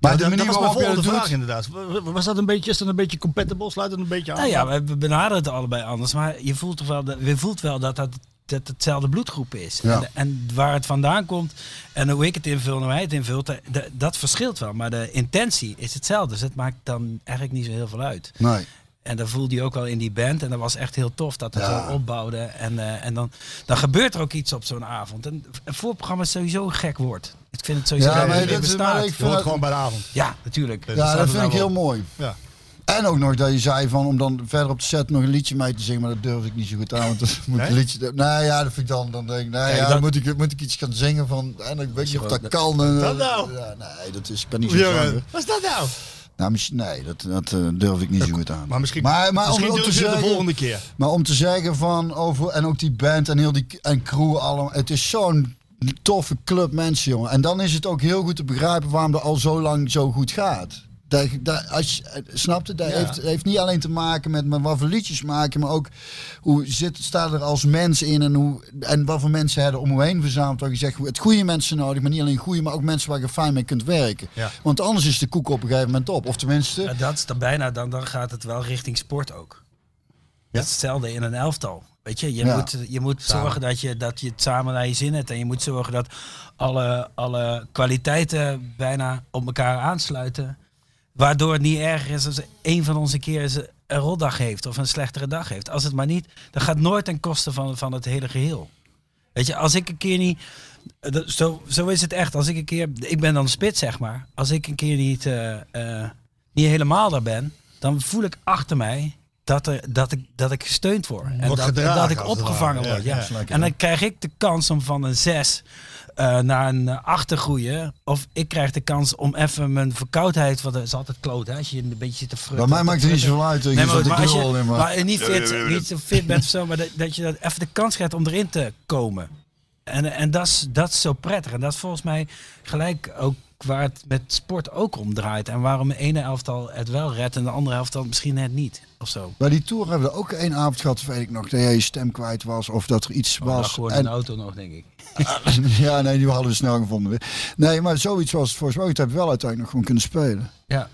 Maar Ja, de dat- manier dat was waarop mijn je volgende dat vraag doet. inderdaad. W- w- Was dat een beetje, is dat een beetje compatible? Sluit het een beetje aan? Nou ja, we benaderen het allebei anders, maar je voelt, toch wel, dat- je voelt wel dat dat, dat hetzelfde bloedgroep is. Ja. En, en waar het vandaan komt en hoe ik het invul en hoe hij het invult, dat, dat- dat verschilt wel. Maar de intentie is hetzelfde, dus het maakt dan eigenlijk niet zo heel veel uit. Nee. En dat voelde hij ook wel in die band. En dat was echt heel tof dat het Ja. zo opbouwde. En, eh, en dan, dan gebeurt er ook iets op zo'n avond. En een voorprogramma is sowieso een gek woord. Ik vind het sowieso Ja, dat maar het dat- bestaat. maar ik Je hoort vind- gewoon bij de avond. Ja, natuurlijk. Dus Ja, Ja, staat dat er vind nou ik heel op. mooi. Ja. En ook nog dat je zei van om dan verder op de set nog een liedje mee te zingen, maar dat durfde ik niet zo goed aan. Want dat [laughs] moet Nee? een liedje. Nou ja, dat vind ik dan. Dan denk ik, nou ja, Kijk, dan dat- moet ik, moet ik iets gaan zingen van. En ik weet niet of dat kan. en, eh, Ja, nee, dat is, ik ben niet zo zanger. Wat is dat nou? Nou, misschien- nee, dat, dat eh, durf ik niet zo goed aan. Maar misschien, maar, maar misschien om, doen om te ze het zeggen, de volgende keer. Maar om te zeggen van over. En ook die band en heel die en crew allemaal. Het is zo'n toffe club mensen, jongen. En dan is het ook heel goed te begrijpen waarom dat al zo lang zo goed gaat. Dat, dat, als, je- eh, snap je? Dat heeft, heeft niet alleen te maken met maar wat voor liedjes maken, maar ook hoe zit, staat er als mens in en, hoe, en wat voor mensen hebben om me heen verzameld. Waar je zegt, het goede mensen nodig, maar niet alleen goede, maar ook mensen waar je fijn mee kunt werken. Ja. Want anders is de koek op een gegeven moment op. Of tenminste, Ja, dat is dan bijna, dan, dan gaat het wel richting sport ook. Dat is hetzelfde in een elftal. Weet je, je Ja. moet, je moet zorgen dat je, dat je het samen naar je zin hebt. En je moet zorgen dat alle, alle kwaliteiten bijna op elkaar aansluiten. Waardoor het niet erg is als een van ons een keer eens een rotdag heeft of een slechtere dag heeft. Als het maar niet, dat gaat nooit ten koste van, van het hele geheel. Weet je, als ik een keer niet. eh, dat- Zo, zo is het echt. Als ik een keer. Ik ben dan spits, zeg maar. Als ik een keer niet, eh, eh, niet helemaal daar ben, dan voel ik achter mij dat, er, dat, ik, dat ik gesteund word. En Wordt dat, en gedragen, dat als ik het opgevangen ware. Ja, word. Ja, ja, is lekker, En dan krijg ik de kans om van een 6 naar een 8 te groeien. Of ik krijg de kans om even mijn verkoudheid. Want dat is altijd kloot, hè? Als je een beetje te frutten. Bij mij te maakt het niet frutten. zoveel uit. Nee, Ik maar, zat maar ik als lul je in, maar... maar niet, fit, niet zo fit bent of zo, maar dat, dat je dat even de kans krijgt om erin te komen. En, en dat, is, dat is zo prettig. En dat is volgens mij gelijk ook waar het met sport ook om draait. En waarom de ene elftal het wel redt en de andere helft dan misschien net niet. Of zo. Bij die tour hebben we ook één avond gehad, weet ik nog, dat jij je stem kwijt was of dat er iets Was, was. Oh, gewoon En- een auto nog, denk ik. [laughs] ja, nee, die hadden we snel gevonden. weer. Nee, maar zoiets was het volgens mij. Ik heb wel uiteindelijk nog gewoon kunnen spelen. Ja.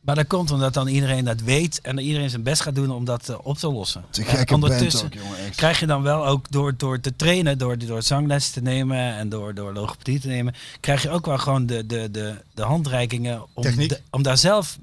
Maar dat komt omdat dan iedereen dat weet en dat iedereen zijn best gaat doen om dat eh, op te lossen. Het is een En gekke band ook, jongen. Echt. krijg je dan wel ook door, door te trainen, door, door zanglessen te nemen en door, door logopedie te nemen, krijg je ook wel gewoon de, de, de, de handreikingen om, Techniek. de- om daar zelf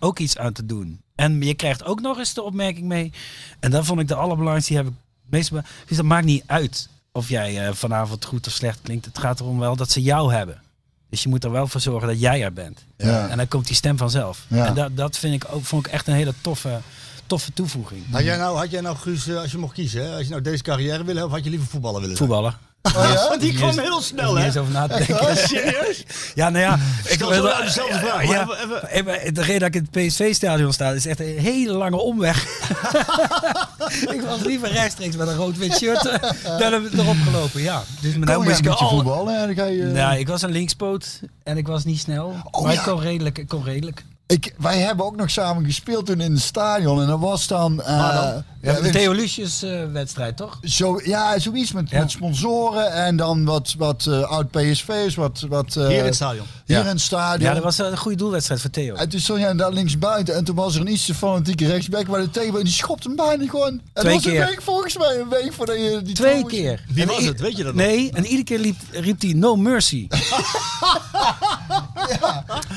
ook iets aan te doen. En je krijgt ook nog eens de opmerking mee. En dat vond ik de allerbelangrijkste. Die heb ik het meest be- dus dat maakt niet uit of jij eh, vanavond goed of slecht klinkt. Het gaat erom wel dat ze jou hebben. Dus je moet er wel voor zorgen dat jij er bent. Ja. En dan komt die stem vanzelf. Ja. En dat, dat vind ik ook, vond ik echt een hele toffe, toffe toevoeging. Had jij nou, had jij nou Guus, eh, als je mocht kiezen, hè, als je nou deze carrière wil hebben, of had je liever voetballer willen zijn? Voetballen. Oh Want die kwam heel snel, hè? Oh, Niet eens over na te denken. Serieus? Ja, nou ja. Ik stel zo aan dezelfde vraag, maar Ja, even- even- eh, maar De reden dat ik in het PSV-stadion sta, is echt een hele lange [laughs] omweg. ik was liever rechtstreeks met een rood-wit shirt eh, dan heb ik erop gelopen, ja. Dus mijn Kom naam jij is een beetje al... voetballen en dan ga je... Nou, ik was een linkspoot en ik was niet snel. Oh, maar ja. ik kon redelijk, ik kon redelijk. ik, wij hebben ook nog samen gespeeld toen in het stadion. En dat was dan... eh, ja, de Theo Lucius eh, wedstrijd, toch? zo, ja, zoiets met, Ja. met sponsoren en dan wat, wat eh, oud PSV's, wat... wat eh, Hier in het stadion. hier Ja. in het stadion. Ja, dat was een goede doelwedstrijd voor Theo. En toen stond jij daar links buiten en toen was er een iets te fanatieke rechtsback waar de tegenwoordig die schopte hem bijna gewoon. En dat Twee was keer. een week volgens mij, een week voordat je die Twee trouwens- keer. Wie En was i- het? Weet je dat nog? Nee, en iedere keer liep, riep hij No [laughs] Mercy.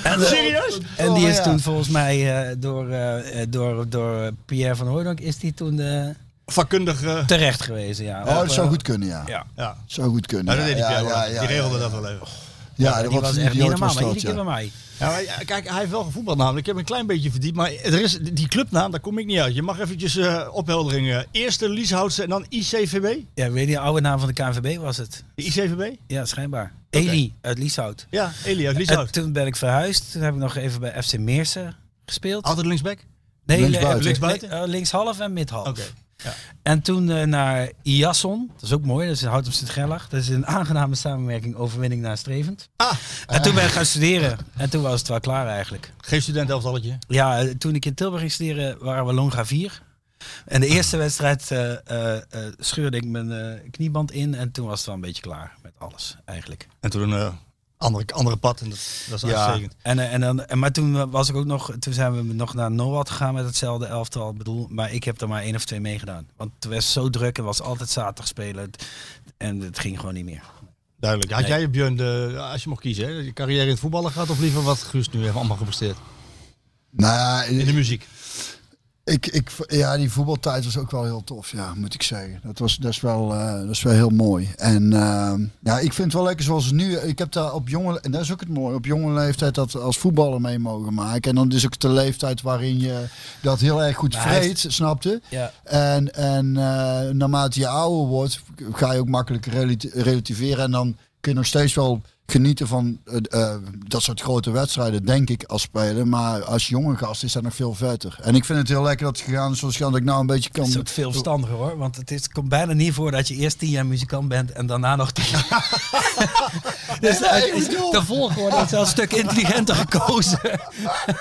En, eh, Serieus? En die Oh, is ja. toen volgens mij eh, door, eh, eh, door, door Pierre van Hooydonk is die toen eh, Vakkundig. eh, terecht gewezen. Ja. Oh, Of, dat zou eh, goed kunnen, ja. Ja. ja. Zou goed Nou, kunnen. dat ja, deed die ja, Pierre ja, wel. ja, Die regelde ja. dat wel even. Ja, die dat was, echt niet normaal, maar iedere dat, keer bij ja. mij. Ja, maar, ja, kijk, hij heeft wel gevoetbald namelijk. Ik heb hem een klein beetje verdiept. Maar er is, die clubnaam, daar kom ik niet uit. Je mag eventjes eh, ophelderingen. Eerste Lieshoutse en dan ICVB. Ja, weet je, de oude naam van de KNVB was het. De ICVB? Ja, schijnbaar. Eli uit Lieshout. Ja, Elia En Lieshout. toen ben ik verhuisd. Toen heb ik nog even bij FC Meersen gespeeld. Altijd linksback? nee, linksbuiten. eh, Linksbuiten? eh, linkshalf en midhalf. Oké. En toen eh, naar Iasson. Dat is ook mooi. Dat is in Houten sint Gerlach. Dat is een aangename samenwerking. Overwinning naar Strevend. Ah, En toen ben ik gaan studeren. En toen was het wel klaar eigenlijk. geen student elftalletje. Ja, eh, toen ik in Tilburg ging studeren waren we Longa 4. En de eerste wedstrijd eh, eh, eh, scheurde ik mijn eh, knieband in. En toen was het wel een beetje klaar met alles eigenlijk. En toen een eh, andere, andere pad. En dat, dat is uitstekend. En, eh, en dan, en, maar toen was ik ook nog, toen zijn we nog naar Noord gegaan met hetzelfde elftal. Ik bedoel, maar ik heb er maar één of twee meegedaan. Want het was zo druk en was altijd zaterdag spelen. En het ging gewoon niet meer. Duidelijk. Had jij Björn, de, als je mocht kiezen, hè, je carrière in het voetballen gaat of liever wat Guus nu heeft allemaal gepresteerd? Nou, In de muziek. Ik, ik, ja, die voetbaltijd was ook wel heel tof, ja, moet ik zeggen. Dat was, dat is, wel, eh, dat is wel heel mooi. En ehm, ja, ik vind het wel lekker zoals het nu. Ik heb daar op jonge, en dat is ook het mooie, op jonge leeftijd dat we als voetballer mee mogen maken. En dan is ook de leeftijd waarin je dat heel erg goed Maar hij vreet, snapte. Ja. En, en eh, naarmate je ouder wordt, ga je ook makkelijker relati- relativeren. En dan kun je nog steeds wel genieten van eh, eh, dat soort grote wedstrijden, denk ik, als speler. Maar als jonge gast is dat nog veel vetter. En ik vind het heel lekker dat het gegaan is zoals gegaan, dat ik nou een beetje Dat kan... is ook veel verstandiger hoor. Want het is, komt bijna niet voor dat je eerst tien jaar muzikant bent en daarna nog tien [laughs] jaar. dus Nee, uit, ik is, bedoel- de volgorde is wel een stuk intelligenter [laughs] gekozen. ik,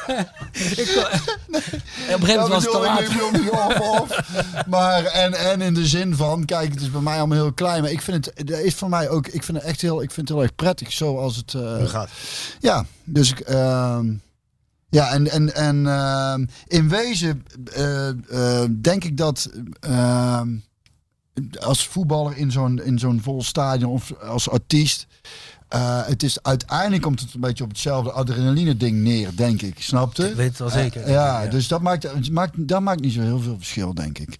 kon- Op een gegeven moment was het te bedoel ik, laat. ik bedoel niet of, of. [laughs] Maar en, en in de zin van, kijk, het is bij mij allemaal heel klein. Maar ik vind het, dat is voor mij ook, ik vind het echt heel, ik vind het heel erg prettig zoals het... eh, Nu gaat. Ja, dus ik. ehm, ja, en, en, en ehm, in wezen eh, eh, denk ik dat ehm, als voetballer in zo'n, in zo'n vol stadion of als artiest. eh, het is uiteindelijk komt het een beetje op hetzelfde adrenaline ding neer, denk ik. Snapte? Ik weet het wel zeker. ja, dus dat maakt, het maakt, dat maakt niet zo heel veel verschil, denk ik.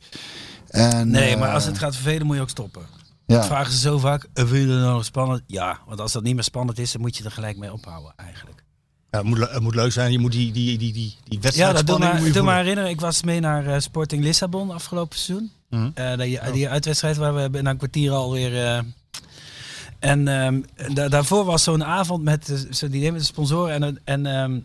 En, Nee, maar eh, als het gaat vervelen moet je ook stoppen. Dat Ja. vragen ze zo vaak. "Eh, Wil je dat nou spannend? Ja, want als dat niet meer spannend is, dan moet je er gelijk mee ophouden eigenlijk. Ja, het, moet, le- het moet leuk zijn. Je moet die, die, die, die, die Ja, dat doe wedstrijdspanning moet maar, je doe maar voelen. herinneren. Ik was mee naar eh, Sporting Lissabon afgelopen seizoen. Mhm. Eh, die, die uitwedstrijd waar we na een kwartier alweer... eh, en ehm, da- daarvoor was zo'n avond met, eh, zo, die met de sponsoren. En, een- en ehm,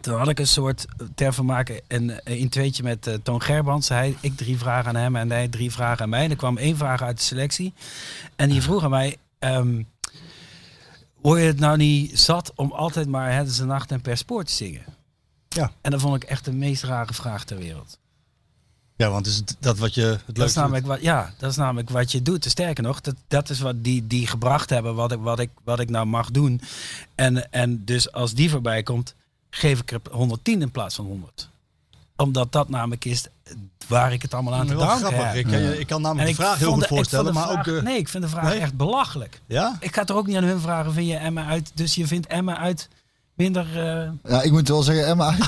toen had ik een soort eh, ter vermaken een, een tweetje met eh, Toon Gerbrands. Hij, ik drie vragen aan hem en hij drie vragen aan mij. En er kwam één vraag uit de selectie. En Ah. die vroeg aan mij... ehm, Hoor je het nou niet zat om altijd maar Het is een nacht en per spoor te zingen? En dat vond ik echt de meest rare vraag ter wereld. Ja, want het is dat wat je het Dat leuk is namelijk wat, ja, dat is namelijk wat je doet. Sterker nog, dat, dat is wat die, die gebracht hebben, wat ik, wat, ik, wat ik nou mag doen. En, en dus als die voorbij komt, geef ik er 110 in plaats van 100. Omdat dat namelijk is waar ik het allemaal aan te Wel danken grappig. heb. Ik, Ja. ik kan namelijk ik de vraag heel vond goed de- ik vond voorstellen, de maar ook vraag- de... Nee, ik vind de vraag Nee? echt belachelijk. Ja? Ik ga er ook niet aan hun vragen, vind je Emma uit? Dus je vindt Emma uit minder... eh, ja, ik moet wel zeggen, Emma. [laughs]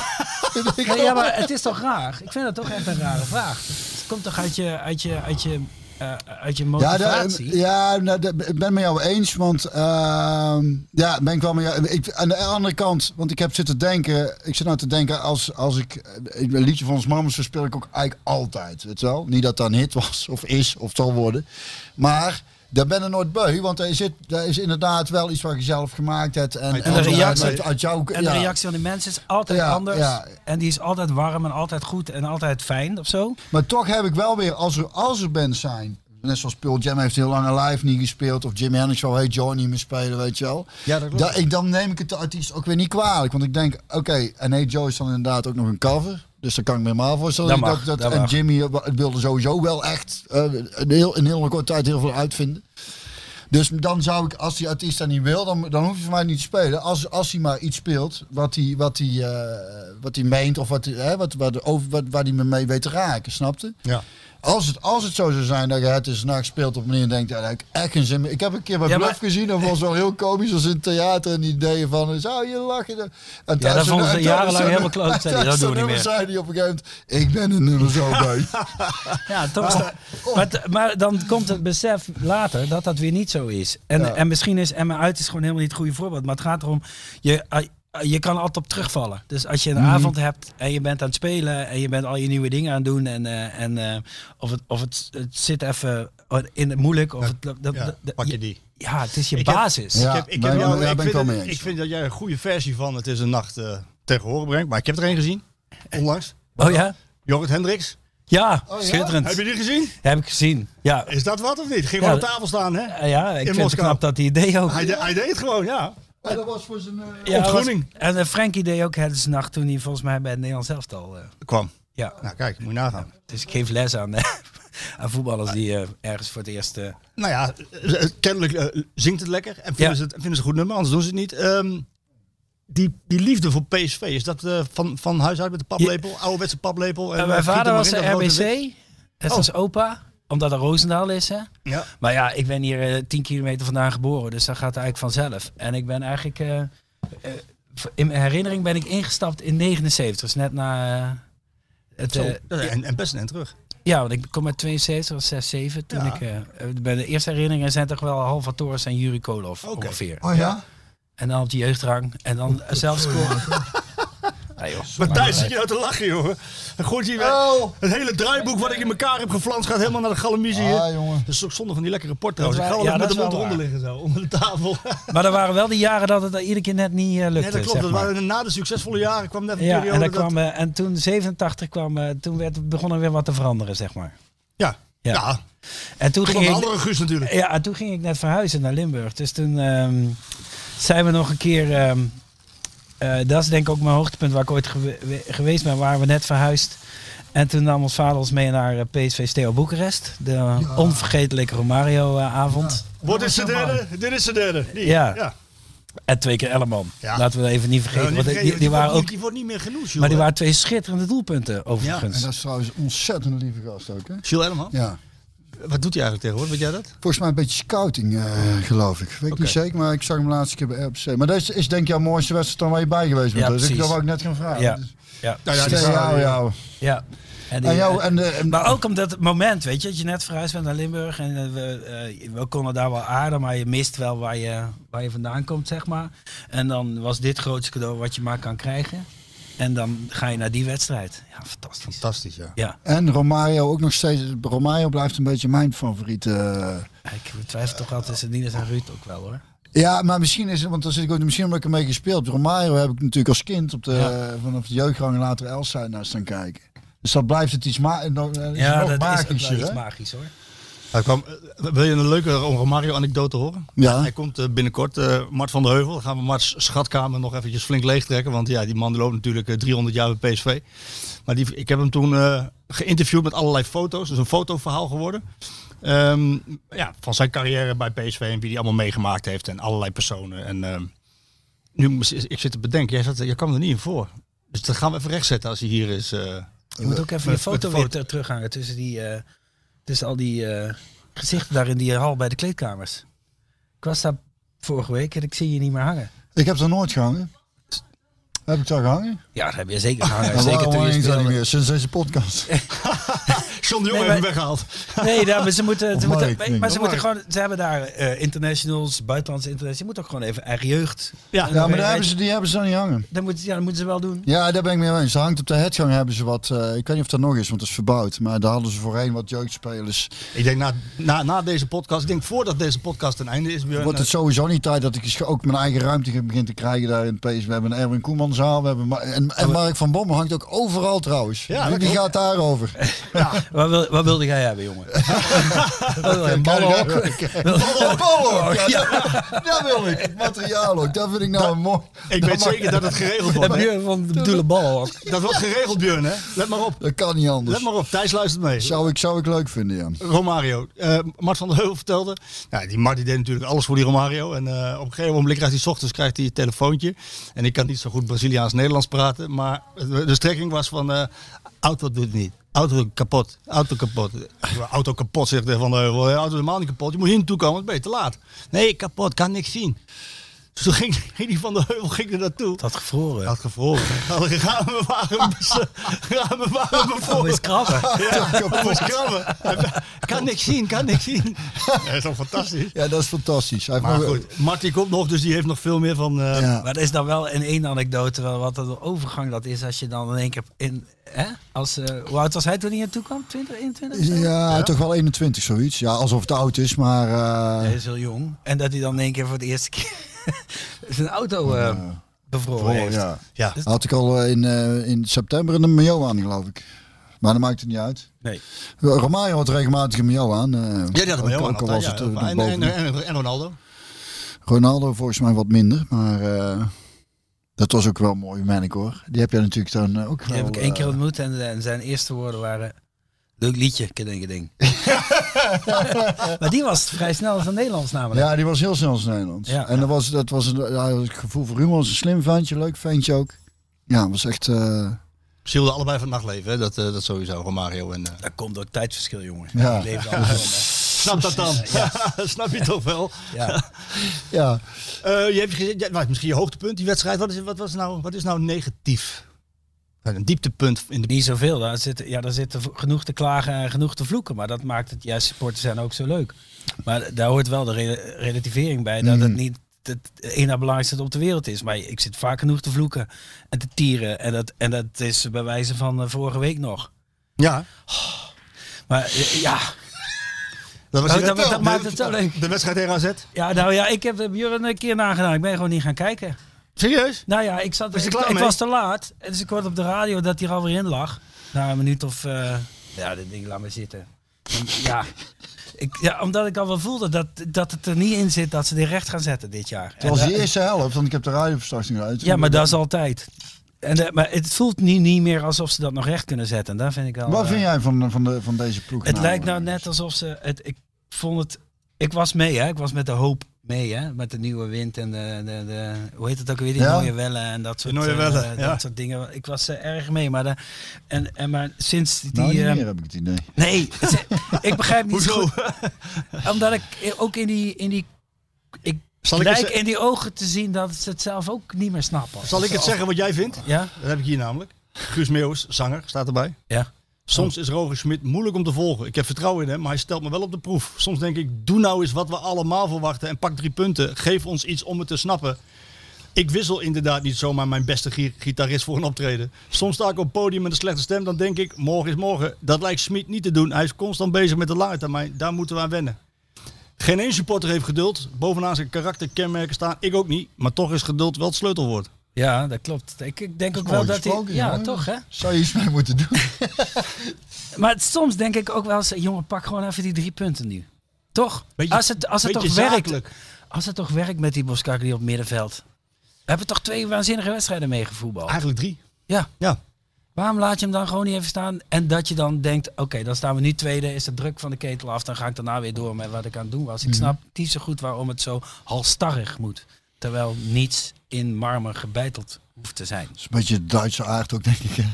[laughs] Nee, ja, maar het is toch raar? Ik vind dat toch echt een rare vraag. Het komt toch uit je, uit je, uit je, eh, uit je Ja, motivatie? daar- ja nou, daar- ik ben het met jou eens, want ehm, ja, ben ik wel met jou. Ik, aan de andere kant, want ik heb zitten denken, ik zit nou te denken als, als ik eh, een liedje van ons mamas speel ik ook eigenlijk altijd, weet je wel? Niet dat dat een hit was of is of zal worden, maar daar ben ik nooit beu, want er zit, daar is inderdaad wel iets wat je zelf gemaakt hebt en, de uit- reactie- uit, uit jouw en ja. de reactie van de mensen is altijd Ja, anders. ja. En die is altijd warm en altijd goed en altijd fijn of zo. Maar toch heb ik wel weer, als er, als er bands zijn. Net zoals Pearl Jam heeft heel lang live niet gespeeld. Of Jim Hendrix wil hey Johnny niet meer spelen, weet je wel. Ja, dat klopt. Da- ik, dan neem ik het de artiest ook weer niet kwalijk. Want ik denk, oké, en Hey Joe is dan inderdaad ook nog een cover. Dus daar kan ik me maar voorstellen. Dat Ik mag, dacht dat, dat en mag. Jimmy eh, wilde sowieso wel echt eh, een, heel, een hele korte tijd heel veel uitvinden. Dus dan zou ik, als die artiest dat niet wil, dan, dan hoef je voor mij niet te spelen. Als, als hij maar iets speelt wat hij, wat hij, eh, wat hij meent of wat, hij- hè, wat, wat, over, wat, waar hij me mee weet te raken, snapte? Ja. Als het, als het zo zou zijn dat je het is nacht speelt op een manier en denkt, ja, daar heb ik echt geen zin meer. Ik heb een keer bij Ja, Bluff maar- gezien, dat was wel heel komisch, als in het theater en die ideeën van, zou je lachen? En thuis- dat vonden ze en thuis- jarenlang en [laughs] helemaal kloot, en zei die, thuis dat doen we nummer niet zei die op een gegeven moment, ik ben een nummer [laughs] zo bij. Ja, toch is dat- maar, t- maar dan komt het besef later dat dat weer niet zo is. En, Ja. en misschien is Emma uit is gewoon helemaal niet het goede voorbeeld. Maar het gaat erom, je, ah, je kan er altijd op terugvallen. Dus als je Mhm. een avond hebt en je bent aan het spelen en je bent al je nieuwe dingen aan het doen. En, eh, en eh, of, het, of het, het zit even in het moeilijk. Of het, dat- Ja, dat- dat- pak je die. ja, het is je Ik heb- basis. Ja, ik heb, ik maar- heb jou- maar daar ik ben ik vind wel dat- mee eens. Ik vind dat jij een goede versie van Het is een nacht eh tegen horen brengt. Maar ik heb er één gezien, onlangs. Oh ja? Jorrit Hendricks. Ja, ja? schitterend. Oh Heb je die gezien? Heb ik gezien. Ja, Is dat wat of niet? Ging Ja, wel aan dat- tafel staan, hè? Eh, ja ik In vind Moskou. het knap dat hij het deed ook. Hij, de- hij deed het gewoon, ja. Ja, dat was voor zijn... eh, Ja, Op was- Groening. En eh, Frankie deed ook het is nacht toen hij volgens mij bij het Nederlands elftal... eh, Kwam. ja. Nou kijk, moet je nagaan. Dus ik geef les aan, [laughs] aan voetballers die eh, ergens voor het eerst. eh, Nou ja, eh, eh, kennelijk eh, zingt het lekker en vinden, Ja. ze het, vinden ze een goed nummer, anders doen ze het niet. Ehm, die, die liefde voor PSV, is dat eh, van, van huis uit met de paplepel? Ouderwetse paplepel? En eh, mijn giet er vader maar was in, een dat grote wit. RBC, net Oh. als opa, omdat er Roosendaal is. Hè? Ja. Maar ja, ik ben hier eh, 10 kilometer vandaan geboren, dus dat gaat eigenlijk vanzelf. En ik ben eigenlijk, eh, eh, in mijn herinnering ben ik ingestapt in 79, dus net na eh, het... Zo, eh, dat- en, en best een en terug. ja, want ik kom uit 72, was 6, 7. Toen Ja. ik, eh, eh, bij de eerste herinneringen zijn toch wel Halvators en Juri Koloff Oké. ongeveer. Oh ja? En dan op de jeugdrang en dan [laughs] eh, zelf scoren. Ah, joh. Maar Thijs zit je nou te lachen, joh. Dan gooit hij weer- Oh. Het hele draaiboek wat ik in elkaar heb geflanst gaat helemaal naar de galamizie. hè. Ah, jongen. Dat is ook zonde van die lekkere port trouwens. Ik Dat ga wa- wel ja, even met de dat is mond wel eronder liggen zo, onder de tafel. Maar er waren wel de jaren dat het er iedere keer net niet eh, [laughs] lukte. Nee, dat klopt. zeg dat maar. waren, na de succesvolle jaren kwam net een ja, periode en, daar dat- kwam, eh, en toen 87 kwam, eh, toen werd, begon er weer wat te veranderen, zeg maar. Ja, ja. Ja. En toen, Toen kwam ging de ik, andere Guus natuurlijk. ja, en toen ging ik net verhuizen naar Limburg. Dus toen ehm, zijn we nog een keer. ehm, eh, dat is denk ik ook mijn hoogtepunt waar ik ooit gewe- we- geweest ben, waar we net verhuisd. En toen nam ons vader ons mee naar eh, PSV Steo Boekarest. De onvergetelijke eh, Romario-avond. Wordt dit zijn derde? Dit is zijn derde. Die. Ja. ja. En twee keer Elleman. Ja. Laten we dat even niet vergeten. Nou, want die- vergeten, die, die waren wordt ook niet- die wordt niet meer genoemd, joh. Maar die waren twee schitterende doelpunten, En overigens. dat is trouwens een ontzettend lieve gast ook, hè? Gilles Elleman. Ja. Wat doet hij eigenlijk tegenwoordig? Weet jij dat? Volgens mij een beetje scouting, eh, geloof ik. Weet ik niet zeker, maar ik zag hem laatst een keer bij RBC. Maar dat is, is denk ik jouw mooiste wedstrijd dan waar je bij geweest bent. Ja, dus ik, precies. dat wou ik net gaan vragen. Ja. eh, Dus- ja. Nou ja, die Stel, vraag- jou, jou. ja. En die- En jou, en, eh, en- Maar ook omdat het moment, weet je, dat je net verhuisd bent naar Limburg en eh, we, eh, we konden daar wel aarden, maar je mist wel waar je, waar je vandaan komt, zeg maar. En dan was dit grootste cadeau wat je maar kan krijgen. En dan ga je naar die wedstrijd. Ja, fantastisch. Fantastisch, ja. Ja, en Romario ook nog steeds. Romario blijft een beetje mijn favoriete. eh, ik twijfel toch altijd tussen Niels en Ruud ook wel hoor. Ja, maar misschien is het, want dan zit ik ook, misschien omdat ik ermee gespeeld heb. Romario heb ik natuurlijk als kind op de, vanaf de jeugdgang en later Elsa naar staan kijken. Dus dan blijft het iets, ma nog, eh, ja, nog dat is ook magischer. wel iets hè? magisch hoor. Hij kwam, eh, wil je een leuke Romario-anekdote horen? Ja. Hij komt eh, binnenkort, eh, Mart van der Heuvel. Dan gaan we Mart's schatkamer nog eventjes flink leegtrekken. Want ja, die man die loopt natuurlijk eh, 300 jaar bij PSV. Maar die, ik heb hem toen eh, geïnterviewd met allerlei foto's. Dus een fotoverhaal geworden. Ehm, ja, van zijn carrière bij PSV en wie die allemaal meegemaakt heeft. En allerlei personen. En ehm, nu, moest- ik zit te bedenken, jij, zat, jij kwam er niet in voor. Dus dat gaan we even rechtzetten als hij hier is. eh. Je moet ook even Met- je foto met weer foto. ter- terughangen tussen, die, eh, tussen al die eh, gezichten daar in die hal bij de kleedkamers. Ik was daar vorige week en ik zie je niet meer hangen. Ik heb er nooit gehangen. Heb ik daar gehangen? Ja, dat heb je zeker [laughs] gehangen. Maar zeker waarom toen je hang ik daar speelde. niet meer sinds deze [laughs] podcast? John de Jong Nee, heeft hem maar- weggehaald. Nee, daar, maar ze moeten, ze Of moeten- Mike, maar- denk ik. maar ze Of moeten gewoon, ze hebben daar eh, internationals, buitenlandse internationals. Je moet ook gewoon even eigen jeugd. Ja. En Ja, nou, dan maar weet- daar hebben ze, die hebben ze dan niet hangen. dan moeten, ja, dat moeten ze wel doen. Ja, daar ben ik mee eens. Er hangt op de headgang hebben ze wat, eh, ik weet niet of dat nog is, want het is verbouwd. Maar daar hadden ze voorheen wat jeugdspelers. Ik denk na, na, na deze podcast, ik denk voordat deze podcast ten einde is, Björn, eh, Wordt het sowieso niet tijd dat ik eens ook mijn eigen ruimte begin te krijgen daar in het PSV. We hebben een Erwin Koemanzaal, we hebben Ma- en, en Mark van Bommel hangt ook overal trouwens. Ja, die, dat die klopt. gaat daarover. [laughs] Wat, wil, wat wilde jij hebben, [laughs] jongen? Wat wil je, een ballenhok? Oh, Bommel, ook. ja, dat, dat wil ik. Het materiaal ook, dat vind ik nou een mooi. Ik weet zeker dat het geregeld [laughs] wordt. Heb hè? je van de doelen ballenhok? Dat wordt geregeld, Björn, hè? Let maar op. Dat kan niet anders. Let maar op. Thijs luistert mee. Zou ik, zou ik leuk vinden, ja. Romario. Eh, Mart van der Heuvel vertelde. Nou, die Mart die deed natuurlijk alles voor die Romario. En eh, op een gegeven moment krijgt hij 's ochtends krijgt hij een telefoontje. En ik kan niet zo goed Braziliaans-Nederlands praten. Maar de de strekking was van. eh, auto doet het niet. Auto kapot. Auto kapot. Auto kapot, zegt de Van der Heuvel. Ja, Auto is helemaal niet kapot. Je moet hier naartoe komen, want ben je te laat. Nee, kapot. Kan niks zien. Dus toen ging, ging die Van der Heuvel ging er naartoe. Dat had gevroren. Had [laughs] gevroren. Had een ramen Ramen Oh, is [laughs] bevroren. krabben. Ja, kapot. krabben. Hij- Kan niks zien, kan niks zien. Dat is toch fantastisch. Ja, dat is fantastisch. Hij heeft Maar nog- goed, Marty komt nog, dus die heeft nog veel meer van... eh, Ja. Maar dat is dan wel in één anekdote wel wat de overgang dat is als je dan in één keer in, hè? Als, eh, hoe oud was hij toen hij naartoe kwam? 20, 21? of zo? Ja, toch wel 21 zoiets. Ja, alsof het oud is, maar... eh, Hij is heel jong. En dat hij dan in één keer voor het eerste keer [laughs] zijn auto eh, bevroren oh, heeft. ja. ja. Had ik al eh, in, eh, in september een mayo aan, geloof ik. Maar dat maakt het niet uit. Nee. Romario had regelmatig een mayo aan. eh, Ja, die had hem ook- heel aan Ook al altijd, was ja. het eh, nog en, en, boven. en, en Ronaldo. Ronaldo volgens mij wat minder, maar eh, dat was ook wel een mooie merk hoor. Die heb je natuurlijk dan eh, ook Die wel... heb ik één keer eh, ontmoet en, eh, en zijn eerste woorden waren... Leuk liedje, kedinge [laughs] ding. maar die was vrij snel van Nederlands namelijk. ja, die was heel snel als Nederlands. Ja. en dat was, dat was een, ja, het gevoel voor humor. was een slim ventje, leuk ventje ook. Ja, was echt... eh, Zielde allebei van het nachtleven, hè? Dat, eh, dat sowieso, Romario en... eh, Dat komt door het tijdsverschil, jongen. Ja. Die leefden allemaal, hè. snap dat [laughs] dan? snap je toch wel? ja. ja. Eh, je hebt gezien, ja, wat, misschien je hoogtepunt, die wedstrijd. Wat is, wat, was nou, wat is nou negatief? Een dieptepunt in de... Niet zoveel. Daar zitten, ja, daar zitten v- genoeg te klagen en genoeg te vloeken. Maar dat maakt het juist supporters zijn ook zo leuk. Maar daar hoort wel de re- relativering bij. Dat het Mhm. niet het een na belangrijkste op de wereld is. Maar ik zit vaak genoeg te vloeken en te tieren. En dat, en dat is bij wijze van eh, vorige week nog. Ja. Maar eh, ja, Dat, was Oh, die- dat- dat de- maakt het zo leuk. De wedstrijd tegen AZ. ja, nou ja, ik heb eh, Björn een keer nagedaan. Ik ben gewoon niet gaan kijken. Serieus? Nou ja, ik, zat, Was je ik, klaar ik mee? was te laat. Dus ik hoorde op de radio dat hij er alweer in lag. Na een minuut of... eh, ja, dit ding laat maar zitten. En ja, ik, ja, omdat ik al wel voelde dat, dat het er niet in zit dat ze dit recht gaan zetten dit jaar. Het was En, de eh, eerste helft, want ik heb de radioverstrachting uit. ja, maar dat is altijd. En, eh, maar het voelt nu niet meer alsof ze dat nog recht kunnen zetten. Daar vind ik al... Wat eh, vind jij van, van, de, van deze ploeg? Het lijkt nou net alsof ze... Het, ik vond het... Ik was mee, hè. Ik was met de hoop mee, hè. Met de nieuwe wind en de... de, de hoe heet het ook weer? Die Ja. mooie wellen en dat soort, Die mooie eh, wellen, dat ja. soort dingen. Ik was eh, erg mee, maar... De, en, en maar sinds die... Nou, niet eh, meer heb ik het idee. nee, ze- [laughs] ik begrijp niet zo goed. Omdat ik ook in die... In die ik Zal ik lijk eens- in die ogen te zien dat ze het zelf ook niet meer snappen. Zal ik het zeggen wat jij vindt? Ja? Dat heb ik hier namelijk. Guus Meeuwis, zanger, staat erbij. Ja. Soms is Roger Smit moeilijk om te volgen. Ik heb vertrouwen in hem, maar hij stelt me wel op de proef. Soms denk ik, doe nou eens wat we allemaal verwachten en pak drie punten. Geef ons iets om het te snappen. Ik wissel inderdaad niet zomaar mijn beste gi- gitarist voor een optreden. Soms sta ik op het podium met een slechte stem, dan denk ik, morgen is morgen. Dat lijkt Smit niet te doen. Hij is constant bezig met de lange termijn. Daar moeten we aan wennen. Geen één supporter heeft geduld. Bovenaan zijn karakterkenmerken staan, ik ook niet. Maar toch is geduld wel het sleutelwoord. Ja, dat klopt. Ik, ik denk ook Mooi wel dat hij... gesproken, Ja, jongen. toch hè? Zou je iets mee moeten doen? Maar het- soms denk ik ook wel eens, jongen, pak gewoon even die drie punten nu. Toch? Beetje- als het, als het toch beetje zakelijk. werkt. Als het toch werkt met die Boskakker die op het middenveld. We hebben toch twee waanzinnige wedstrijden meegevoetbald. Eigenlijk drie. Ja. Ja. Waarom laat je hem dan gewoon niet even staan? En dat je dan denkt, oké, dan staan we nu tweede. Is de druk van de ketel af. Dan ga ik daarna weer door met wat ik aan het doen was. Mhm. Ik snap niet zo goed waarom het zo halstarrig moet. Terwijl niets in marmer gebeiteld hoeft te zijn. Dat is een beetje de Duitse aard ook, denk ik. Hè?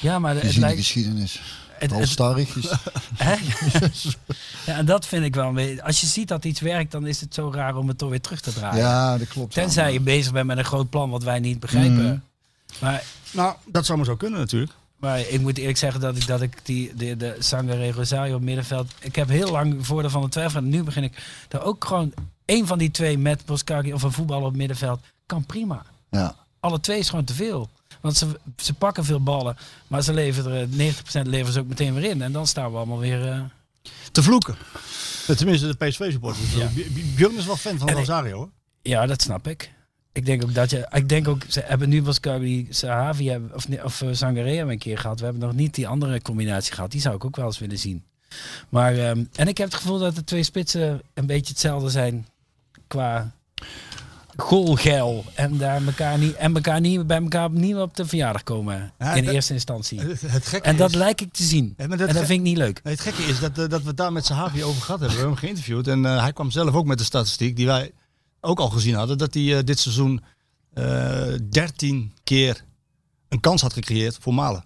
Ja, maar Die het zien de lijkt... geschiedenis. Het, Nou het, Halstarrig [laughs] is Hè? [laughs] ja, en dat vind ik wel een beetje. Als je ziet dat iets werkt, dan is het zo raar om het toch weer terug te draaien. Ja, dat klopt. Tenzij je bezig bent met een groot plan wat wij niet begrijpen. Maar, Nou, dat zou maar zo kunnen natuurlijk. maar ik moet eerlijk zeggen dat ik, dat ik die, de, de Sangare Rosario op middenveld. Ik heb heel lang voordeel van de twijfel. En nu begin ik daar ook gewoon. één van die twee met Boskaki of een voetballer op middenveld kan prima. Ja. Alle twee is gewoon te veel. Want ze, ze pakken veel ballen, maar ze leveren, er- 90% leveren ze ook meteen weer in. En dan staan we allemaal weer. eh, Te vloeken. Tenminste, de PSV-supporters. Björn is wel fan van En ik- Rosario, hoor. Ja, dat snap ik. Ik denk ook dat je. Ik denk ook, ze hebben nu was Sahavi Sahavi hebben- of, nee, of eh, Sangare hebben we een keer gehad. We hebben nog niet die andere combinatie gehad. Die zou ik ook wel eens willen zien. Maar ehm, en ik heb het gevoel dat de twee spitsen een beetje hetzelfde zijn qua goalgeil en daar elkaar niet en elkaar niet bij elkaar opnieuw op de verjaardag komen Ja, in dat- eerste instantie. Het, het gekke En dat is- lijk ik te zien. Ja, En maar dat dat ge- vind ik niet leuk. Nee, het gekke is dat, eh, dat we het daar met Sahavi over gehad hebben. We hebben hem geïnterviewd en eh, hij kwam zelf ook met de statistiek die wij ook al gezien hadden. Dat hij eh, dit seizoen eh 13 keer een kans had gecreëerd voor Malen.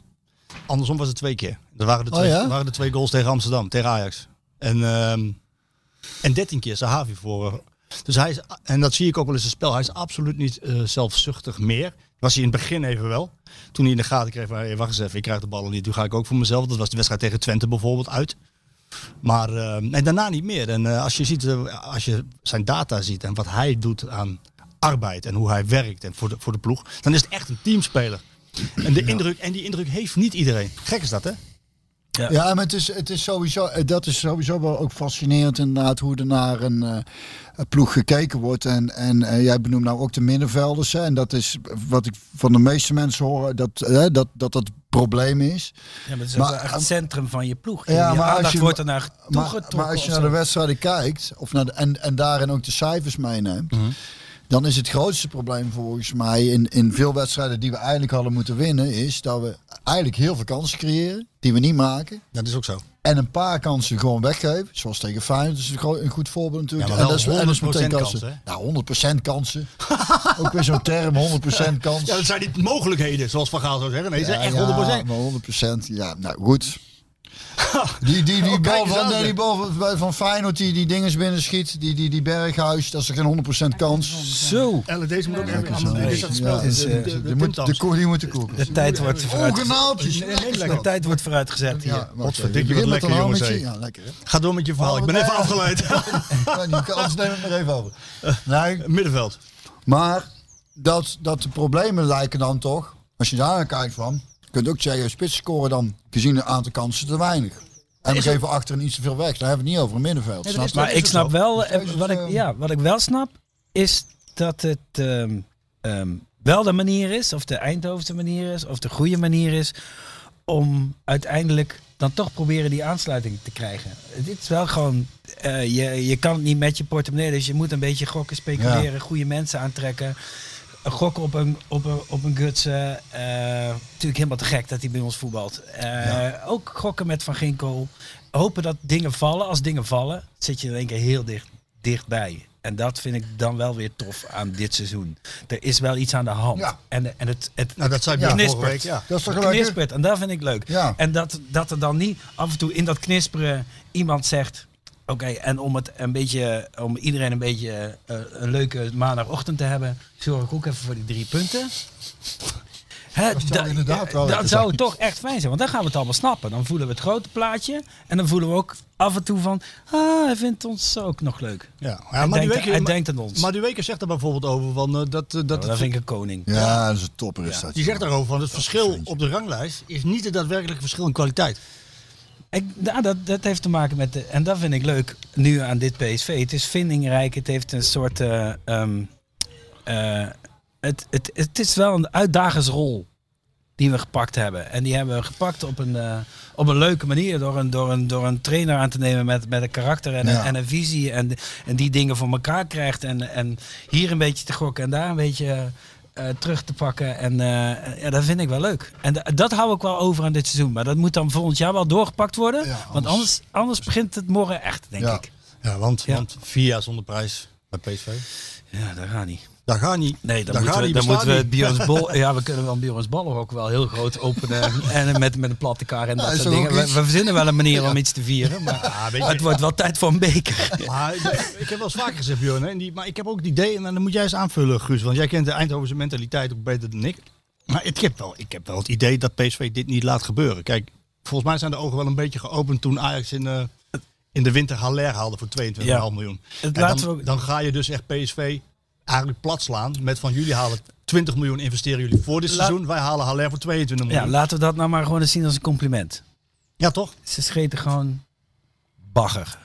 Andersom was het twee keer. Er waren de Oh, twee, ja? waren de twee goals tegen Amsterdam, tegen Ajax. En, ehm, en 13 keer Sahavi voor. eh, Dus hij is, en dat zie ik ook wel eens in het spel. Hij is absoluut niet eh, zelfzuchtig meer. Was hij in het begin even wel. Toen hij in de gaten kreeg van, hey, wacht eens even, ik krijg de ballen niet. Nu ga ik ook voor mezelf. Dat was de wedstrijd tegen Twente bijvoorbeeld uit. Maar eh, nee, daarna niet meer. En eh, als, je ziet, eh, als je zijn data ziet en wat hij doet aan arbeid en hoe hij werkt en voor, de, voor de ploeg, dan is het echt een teamspeler. En, de indruk, en die indruk heeft niet iedereen. Gek is dat, hè? Ja, maar het is, het is sowieso, eh, dat is sowieso wel ook fascinerend inderdaad hoe er naar een eh, een ploeg gekeken wordt. En, en eh, jij benoemt nou ook de middenvelders. Hè? En dat is wat ik van de meeste mensen hoor, dat eh, dat, dat, dat het probleem is. Ja, maar het is maar- ook wel echt het centrum van je ploeg. Ja, je maar als aandacht je- wordt er naar Maar, toegetrokken. maar als je of naar de zo. wedstrijden kijkt, of naar de, en, en daarin ook de cijfers meeneemt, Mhm. dan is het grootste probleem volgens mij in, in veel wedstrijden die we eigenlijk hadden moeten winnen, is dat we eigenlijk heel veel kansen creëren die we niet maken. Dat is ook zo. En een paar kansen gewoon weggeven. Zoals tegen Feyenoord is een, gro- een goed voorbeeld natuurlijk. Ja, maar wel en en 100% kansen. kansen, Nou, 100% [laughs] kansen. Ook weer zo'n term, 100% kans. Ja, dat zijn niet mogelijkheden, zoals Van Gaal zou zeggen. Nee, ze Ja, zijn echt ja, 100%. maar 100%, ja, nou [laughs] goed. Die, die, die, Oh, kijk bal eens van, aan, nee, zeg. die bal van, van Feyenoord die, die dinges binnen schiet, die, die, die Berghuis, dat is er geen 100% kans. Zo. Ellen, deze moet ook Lekker even zo. anders. Dit Ja, is dat spel. het is, De- eh, de- de- de die moet- De puntafstand. koe die moet de koeken. De tijd wordt vooruit. Ongenaaltjes. De tijd wordt vooruitgezet hier. Ja, wat Godverdikke, wat lekker, jongens, hé. Ja, lekker hè. Ga door met je verhaal, ik ben even [laughs] afgeleid. Ja, die kans neem ik maar even [laughs] over. Nee, Middenveld. Maar dat, dat de problemen lijken dan toch, als je daar naar kijkt van, je kunt ook zeggen, spits scoren dan gezien een aantal kansen te weinig. En we geven achterin iets te veel weg. Daar hebben we het niet over een middenveld. snap je? Maar ik snap wel, eh, is het, wat ik, ehm, ja, wat ik wel snap, is dat het ehm, ehm, wel de manier is, of de Eindhovense manier is, of de goede manier is, om uiteindelijk dan toch proberen die aansluiting te krijgen. Dit is wel gewoon, eh, je, je kan het niet met je portemonnee, dus je moet een beetje gokken, speculeren, goede mensen aantrekken. Gokken op een, op een, op een Gutsen. eh, natuurlijk helemaal te gek dat hij bij ons voetbalt. Eh, Ook gokken met Van Ginkel. Hopen dat dingen vallen. Als dingen vallen, zit je in één keer heel dicht, dichtbij. En dat vind ik dan wel weer tof aan dit seizoen. Er is wel iets aan de hand. Ja. En, en het, het, Nou, dat zei Ja, ik vorige knispert. week. Ja. Dat is toch lekker? knispert. En dat vind ik leuk. Ja. En dat, dat er dan niet af en toe in dat knisperen iemand zegt. Oké, en om het een beetje, om iedereen een beetje eh, een leuke maandagochtend te hebben, zorg ik ook even voor die drie punten. Hè, Dat zou da- eh, inderdaad wel dat lekker zou zijn. toch echt fijn zijn, want dan gaan we het allemaal snappen. Dan voelen we het grote plaatje en dan voelen we ook af en toe van, ah, hij vindt ons ook nog leuk. Ja, ja, hij, denkt, Madueke- hij Ma- denkt aan ons. Madueke zegt er bijvoorbeeld over van eh, dat... eh, dat Nou, dat vind ik een koning. Ja, dat is een topper is dat. die zegt daarover van het verschil op de ranglijst is niet het daadwerkelijke verschil in kwaliteit. Ik, ja, dat, dat heeft te maken met, de, en dat vind ik leuk nu aan dit PSV. Het is vindingrijk, het heeft een soort, eh, ehm, eh, het, het, het is wel een uitdagersrol die we gepakt hebben. En die hebben we gepakt op een, eh, op een leuke manier door een, door, een, door een trainer aan te nemen met, met een karakter en, een- Ja. en een visie en, en die dingen voor elkaar krijgt en, en hier een beetje te gokken en daar een beetje... eh, terug te pakken. En eh, ja, dat vind ik wel leuk. En da- dat hou ik wel over aan dit seizoen. Maar dat moet dan volgend jaar wel doorgepakt worden. Ja, want anders- anders, anders begint het morgen echt, denk Ja. ik. Ja, want, Ja. want vier jaar zonder prijs bij PSV. Ja, dat gaat niet. Daar gaat niet. Nee, dan Daar moeten gaat we, dan niet, bestaat moeten we het niet. Bjorns Bol. Ja, we kunnen wel Bjorns Ballen ook wel heel groot openen. en met, met een platte kar en dat is soort toch dingen. ook We, we iets? verzinnen wel een manier om iets te vieren. Maar Ja, Ah, [laughs] weet maar het je, wordt wel tijd voor een beker. maar, eh, ik- ik heb wel eens vaker gezegd, Bjorn, hè, en die, maar ik heb ook het idee, en dan moet jij eens aanvullen, Guus, want jij kent de Eindhovense mentaliteit ook beter dan ik. Maar ik heb, wel, ik heb wel het idee dat PSV dit niet laat gebeuren. Kijk, volgens mij zijn de ogen wel een beetje geopend toen Ajax in, eh, in de winter Haller haalde voor 22,5 Ja. miljoen. En Het laten we dan, ook- dan ga je dus echt PSV eigenlijk plat slaan met van jullie halen 20 miljoen investeren jullie voor dit Laat- seizoen, wij halen Haller voor 22 Ja, miljoen. Ja, laten we dat nou maar gewoon eens zien als een compliment. toch? Ze scheten gewoon bagger.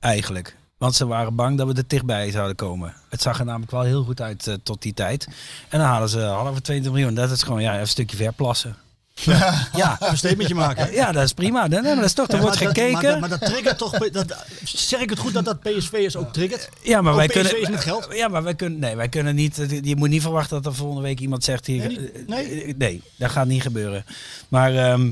Eigenlijk. Want ze waren bang dat we er dichtbij zouden komen. Het zag er namelijk wel heel goed uit eh, tot die tijd. En dan halen ze halve 20 miljoen. Dat is gewoon ja, een stukje verplassen. Ja, ja. Even een statementje [laughs] maken. dat is prima. Nee, nee, maar dat is toch, er Ja, wordt maar dat- gekeken. maar dat- Maar, dat triggert toch. Dat, zeg ik het goed dat dat PSV'ers ook triggert? ja, maar Ook wij PSV kunnen. is met geld. Ja, maar wij kunnen. Nee, wij kunnen niet. eh, Je moet niet verwachten dat er volgende week iemand zegt hier. Nee, niet- nee. eh, eh, nee, dat gaat niet gebeuren. Maar ehm,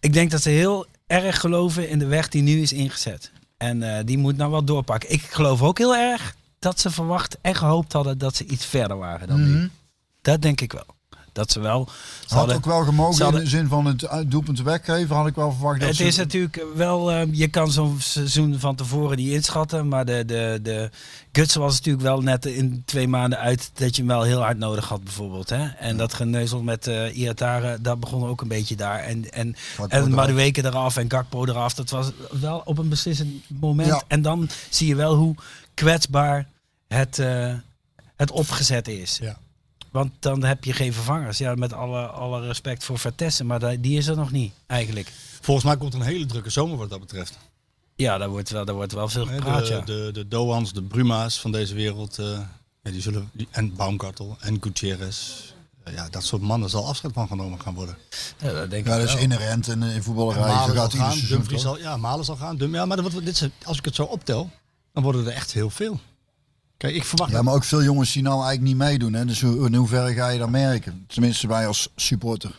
ik denk dat ze heel erg geloven in de weg die nu is ingezet. En eh, die moet nou wel doorpakken. Ik geloof ook heel erg dat ze verwacht en gehoopt hadden dat ze iets verder waren dan Mhm. nu. Dat denk ik wel. Dat ze wel. ze Had hadden- ook wel gemogen ze hadden- in de zin van het uit- doelpunt weggeven, had ik wel verwacht dat het ze- is natuurlijk wel, ehm, je kan zo'n seizoen van tevoren niet inschatten, maar de, de, de guts was natuurlijk wel net in twee maanden uit dat je hem wel heel hard nodig had bijvoorbeeld. Hè? En dat geneuzel met eh Iatare, dat begon ook een beetje daar. En, en, Gakpo en eraf. Madueke eraf en Gakpo eraf, dat was wel op een beslissend moment. Ja. En dan zie je wel hoe kwetsbaar het, eh, het opgezet is. Ja. Want dan heb je geen vervangers. Ja, met alle, alle respect voor Vertessen, maar die- die is er nog niet eigenlijk. Volgens mij komt er een hele drukke zomer wat dat betreft. Ja, daar wordt wel, daar wordt wel veel Hè, gepraat, de, ja. de, de Doans, de Bruma's van deze wereld. eh, ja, die zullen, die- en Baumgartel en Gutierrez. Eh, ja, dat soort mannen zal afscheid van genomen gaan worden. Ja, dat denk Ja, ik dat is wel. inherent en eh, in voetballerij. Malen Zo zal gaat ieder gaan, seizoen, Dumfries toch? zal, ja, Malen zal gaan. Dum, ja, maar dat, wordt- dit, is- als ik het zo optel, dan worden er echt heel veel. Kijk, ik verwacht Ja, maar ook veel jongens die nou eigenlijk niet meedoen. Hè? Dus hoe- in hoeverre ga je dat merken? Tenminste, wij als supporter.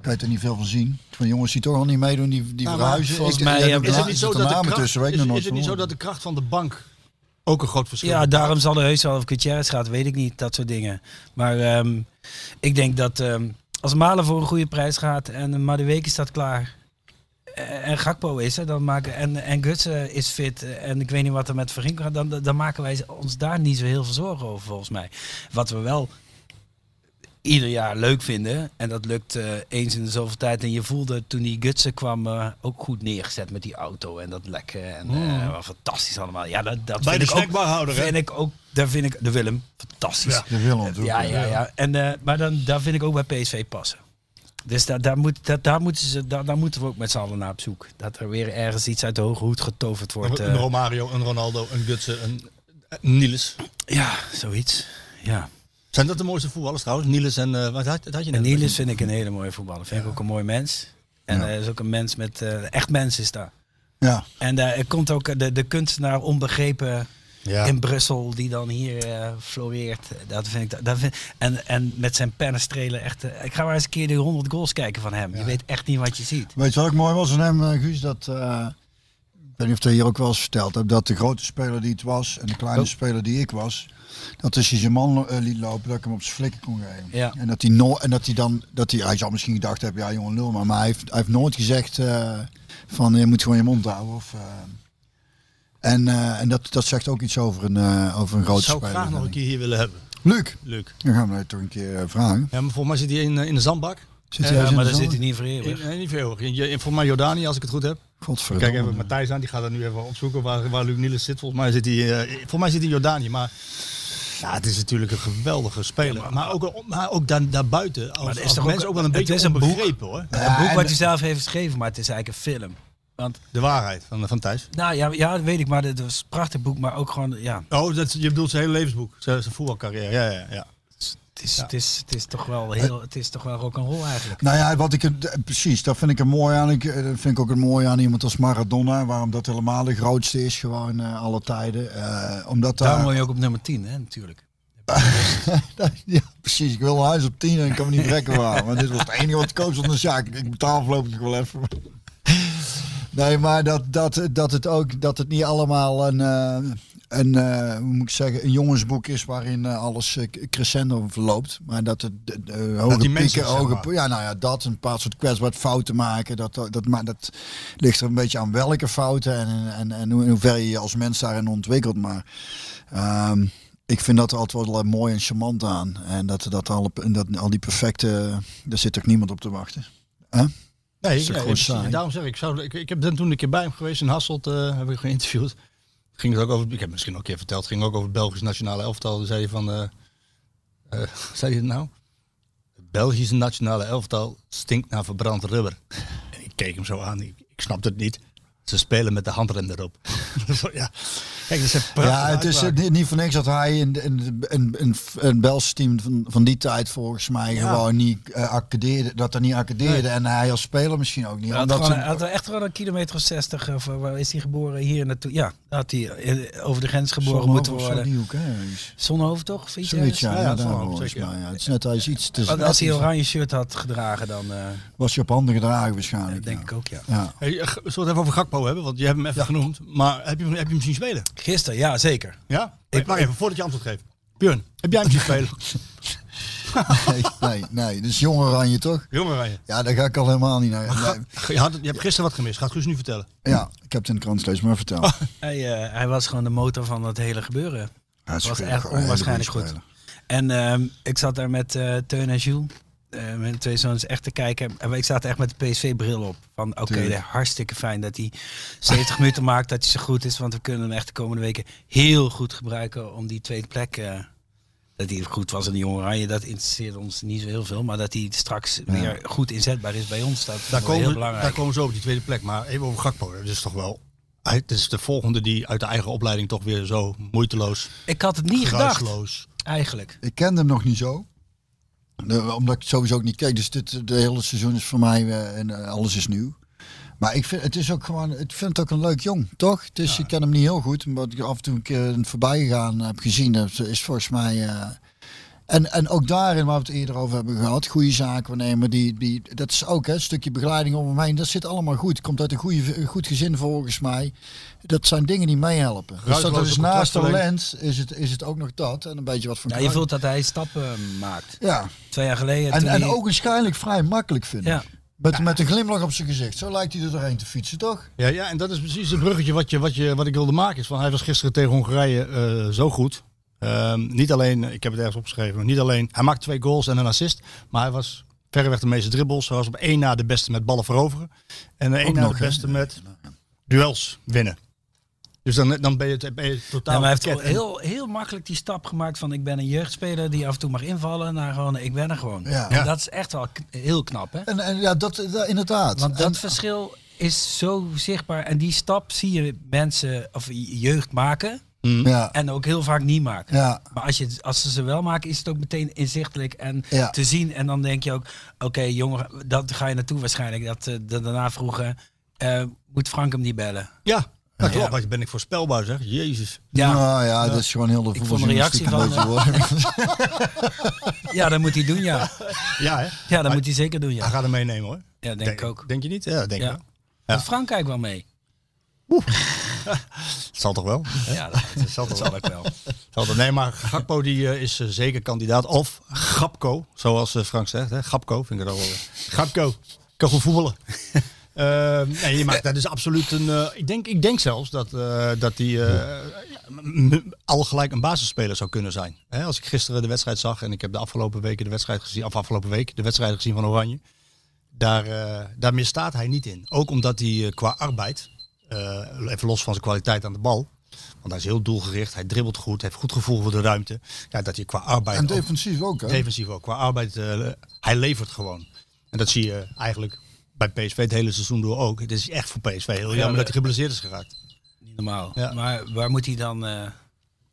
Kan je er niet veel van zien. Van jongens die toch al niet meedoen, die, die Nou, maar verhuizen. volgens Ik- mij ik heb hebben- er Is het na- niet zit zo er dat de namen kracht, tussen, weet ik is- nog is het niet zo nooit dat de kracht van de bank ook een groot verschil Ja, maakt? daarom zal de heus wel of Gutierrez gaat, weet ik niet, dat soort dingen. Maar ehm, ik denk dat ehm, als Malen voor een goede prijs gaat en Madueke staat klaar eh, en Gakpo is er, dan maken, en, en Gutsen is fit eh, en ik weet niet wat er met Verginkel gaat, dan, dan maken wij ons daar niet zo heel veel zorgen over volgens mij. Wat we wel ieder jaar leuk vinden. En dat lukt eh, eens in de zoveel tijd. En je voelde toen die Gutsen kwam eh, ook goed neergezet met die auto en dat lekken. En eh, wat fantastisch allemaal. Ja, dat, dat Hmm. Bij vind ik de ook- snackbarhouder, hè? Vind ik ook, daar vind ik de Willem fantastisch. Ja, De Willem, toch? ja, ja. En, eh, maar dan, daar vind ik ook bij PSV passen. Dus daar, daar, moet, daar, daar, moeten ze, daar, daar moeten we ook met z'n allen naar op zoek. Dat er weer ergens iets uit de hoge hoed getoverd wordt. Een, eh. een Romario, een Ronaldo, een Gutsen, een, een Niels. ja, zoiets. Ja. Zijn dat de mooiste voetballers trouwens? Niels en... eh, wat had, dat had je En net? Niels vind ik een hele mooie voetballer. Vind ik ook een mooi mens. En Ja. hij is ook een mens met... eh, echt mens is daar. Ja. En daar er komt ook eh, de, de kunstenaar onbegrepen in Brussel, die dan hier eh, floreert. Dat vind ik, dat vind, en, en met zijn pennenstrelen echt. eh, ik ga maar eens een keer die 100 goals kijken van hem. Je weet echt niet wat je ziet. Weet je wat ook mooi was aan hem, eh, Guus? Dat, eh, ik weet niet of dat hier ook wel eens verteld hebt. Dat de grote speler die het was en de kleine Oh. speler die ik was. Dat als hij zijn man lo- eh, liet lopen, dat ik hem op zijn flikken kon geven. Ja. En dat hij, no en dat hij dan, dat hij, hij zal misschien gedacht hebben, ja jongen lul, maar, maar hij, heeft, hij heeft nooit gezegd eh, van je moet gewoon je mond houden. Of, eh. en eh, en dat, dat zegt ook iets over een, eh, over een grote Zou ik speler. graag nog vind een ik. keer hier willen hebben. Luc, Luc. dan gaan we dat toch een keer eh, vragen. Ja, maar volgens mij zit hij in, eh, in de zandbak. Zit Ja, hij maar in Maar de daar zit zand? hij niet voor In, eeuwig. eh, niet veel. In, in, volgens mij Jordanië, als ik het goed heb. Kijk Godverdomme. even Matthijs aan, die gaat er nu even opzoeken waar, waar Luc Niels zit. Volgens mij zit hij, eh, volgens mij zit hij in Jordanië, maar... Ja, het is natuurlijk een geweldige speler. maar, ook, eh, maar ook daar, daarbuiten. Als, er is als toch ook- mensen ook wel een het beetje is een boek. onbegrepen hoor. een boek en- wat hij zelf heeft geschreven, maar het is eigenlijk een film. Want, De waarheid van, van Thijs. nou ja, ja, dat weet ik, maar het was een prachtig boek, maar ook gewoon, ja, Oh, dat, je bedoelt zijn hele levensboek. Zijn, zijn voetbalcarrière. Ja, ja, ja. het is, het is, het is toch wel heel, het is toch wel rock'n'roll eigenlijk. Nou ja, wat ik, eh, precies, dat vind ik een mooi aan. Ik, eh, dat vind ik ook een mooi aan iemand als Maradona. Waarom dat helemaal de grootste is, gewoon eh, alle tijden. Eh, omdat daar, Daarom wil je ook op nummer 10, hè, natuurlijk. [laughs] ja, precies. Ik wil een huis op 10 en ik kan me niet rekken waar. Want dit was het enige wat ik koos van de zaak. Ik betaal voorlopig wel even. Nee, maar dat, dat, dat het ook dat het niet allemaal een, eh, een, eh, hoe moet ik zeggen, een jongensboek is waarin eh, alles eh, crescendo verloopt. Maar dat het de, de hoge die pieken, mensen, zeg hoge, maar. ja, nou ja, dat een paar soort kwetsbaar fouten maken. Dat, dat, maar dat ligt er een beetje aan welke fouten en, en, en hoe- in hoeverre je je als mens daarin ontwikkelt. Maar ehm, ik vind dat er altijd wel eh, mooi en charmant aan. En dat, dat, alle, dat al die perfecte, daar zit ook niemand op te wachten. Nee, is toch nee, gewoon precies. saai. En daarom zeg ik, ik zou, ik, ik heb ben toen een keer bij hem geweest in Hasselt, eh, heb ik geïnterviewd. Ging het ook over, ik heb het misschien ook een keer verteld, het ging ook over het Belgisch nationale elftal. Toen zei hij van, eh, eh, [laughs] zei hij het nou? Het Belgische nationale elftal stinkt naar verbrand rubber. [laughs] En ik keek hem zo aan, ik, ik snapte het niet. Ze spelen met de handrem erop. [laughs] Zo, ja. Kijk, dat is een prachtige Ja, het is eh, uitspraak. niet, niet voor niks dat hij in, in, in, in, in Bels team van, van die tijd volgens mij gewoon niet eh, accadeerde, dat er niet accadeerde en hij als speler misschien ook niet. Hij had, omdat gewoon, ze- hij had wel echt wel een kilometer of 60, of eh, waar is hij geboren? Hier naartoe. Ja, had hij eh, over de grens geboren Zonhoven moeten of zo, worden. die hoek, hè, ergens. Zonhoofd toch? Vind je? Zoiets, ja, ja, ja, daar Zonhoven, volgens zeker. mij, ja. Het is net als iets tussen. Want als hij een oranje shirt had gedragen, dan eh, was je op handen gedragen waarschijnlijk. denk ja. ik ook ja. Ja. [laughs] Hey, eh, zullen we het even over Gakpo hebben? Want je hebt hem even genoemd. Maar heb je, hem- heb je hem zien spelen? Gisteren, ja zeker. Ja? Ik, wacht even, voordat je antwoord geeft. Björn, heb jij hem zien spelen? [laughs] Nee, nee, nee, dus jong oranje toch? Jongen, Ryan. Ja, daar ga ik al helemaal niet [laughs] naar. Nee, Je, had, het- je hebt gisteren wat gemist. Gaat Guus nu vertellen. ja, ik heb het in de krant steeds [laughs] maar verteld. Hij, eh, hij was gewoon de motor van dat hele gebeuren. Ja, het is was een echt hele goede onwaarschijnlijk goed. speler. En ehm, ik zat daar met eh, Teun en Jules, eh, mijn twee zoons, echt te kijken. En ik zat echt met de PSV-bril op. Van oké, Tuurlijk. dat- hartstikke fijn dat hij 70 minuten maakt, dat hij zo goed is. Want we kunnen hem echt de komende weken heel goed gebruiken om die tweede plek... eh, dat hij goed was in de Jong Oranje, dat interesseert ons niet zo heel veel. Maar dat hij straks weer goed inzetbaar is bij ons, dat Daar is wel heel komen, we, daar belangrijk. komen we zo op die tweede plek. Maar even over Gakpo. Dat is toch wel... Hij- Het is de volgende die uit de eigen opleiding toch weer zo moeiteloos, Ik had het niet gedacht, geruisloos... eigenlijk. Ik kende hem nog niet zo. De- omdat ik het sowieso ook niet keek. Dus dit de hele seizoen is voor mij eh, en eh, alles is nieuw. Maar ik vind het is ook gewoon, ik vind het ook een leuk jong, toch? Dus je kent hem niet heel goed. Maar wat ik af en toe een keer in het voorbij gegaan heb gezien, dat is volgens mij. eh, en, en ook daarin waar we het eerder over hebben gehad, goede zaken nemen, die, die, dat is ook hè, een stukje begeleiding om hem heen, dat zit allemaal goed. Komt uit een goede, goed gezin volgens mij. Dat zijn dingen die meehelpen. Dus dat, dat is Ruisloze naast contrastverlenging. talent, is het, is het ook nog dat. En een beetje wat van Ja, je karakter. voelt dat hij stappen maakt. Ja, Twee jaar geleden. en, toen en hij- ook waarschijnlijk vrij makkelijk vind ik. Ja. Met, met een glimlach op zijn gezicht. Zo lijkt hij er doorheen te fietsen, toch? Ja, ja, en dat is precies het bruggetje wat, je, wat, je, wat ik wilde maken. Is van, hij was gisteren tegen Hongarije eh, zo goed. Ehm, niet alleen, ik heb het ergens opgeschreven, maar niet alleen. Hij maakte twee goals en een assist. Maar hij was verreweg de meeste dribbles. Hij was op één na de beste met ballen veroveren. En eh, één na nog, de hè? beste met duels winnen. Dus dan, dan ben, je, het- ben je totaal Ja, maar Nou, hij heeft pakket. heel, heel makkelijk die stap gemaakt van ik ben een jeugdspeler die af en toe mag invallen naar gewoon ik ben er gewoon. Ja. En dat is echt wel k- heel knap hè. En, en ja, dat, eh, dat- inderdaad. Want dat En- verschil is zo zichtbaar en die stap zie je mensen of je- jeugd maken ja, en ook heel vaak niet maken. ja, Maar als, je, het- als ze ze wel maken, is het ook meteen inzichtelijk en Ja. te zien. En dan denk je ook, oké jongen, dat ga je naartoe waarschijnlijk. Dat, eh, dat daarna vroegen, eh, moet Frank hem niet bellen? Ja, dat klopt. Wat ben ik voorspelbaar zeg. Jezus. Ja, Nou ja, dat is gewoon heel de Ik vond de reactie van, eh, [laughs] ja dat moet hij doen ja. Ja, hè? Ja, dat Hij- moet hij zeker doen, ja. Hij gaat hem meenemen hoor. Ja, denk ik ook. Denk je niet? Ja, denk ik Ja. wel. Doet Frankrijk wel mee. Het zal toch wel? Ja, dat, [laughs] Dat zal toch wel. wel. Nee, maar Gakpo die, eh, is eh, zeker kandidaat. Of Gapko, zoals eh, Frank zegt. Hè? Gapko vind ik het al wel. Gapko, kan goed voetballen. [laughs] Ehm, dus Eh, nee, maar dat is absoluut een... eh, ik, denk, ik denk zelfs dat, eh, dat die... eh, m- al gelijk een basisspeler zou kunnen zijn. Hè, als ik gisteren de wedstrijd zag en ik heb de afgelopen weken de wedstrijd gezien, of afgelopen week de wedstrijd gezien van Oranje, daar, eh, daar misstaat hij niet in. Ook omdat hij eh, qua arbeid, eh, even los van zijn kwaliteit aan de bal, want hij is heel doelgericht, hij dribbelt goed, heeft goed gevoel voor de ruimte, ja, dat hij qua arbeid En ook- defensief ook, hè? Defensief ook. Qua arbeid, eh, hij levert gewoon. En dat zie je eigenlijk bij PSV het hele seizoen door ook. Het is echt voor PSV heel jammer maar- dat hij geblesseerd is geraakt. Niet normaal. Ja. Maar waar moet hij dan... eh,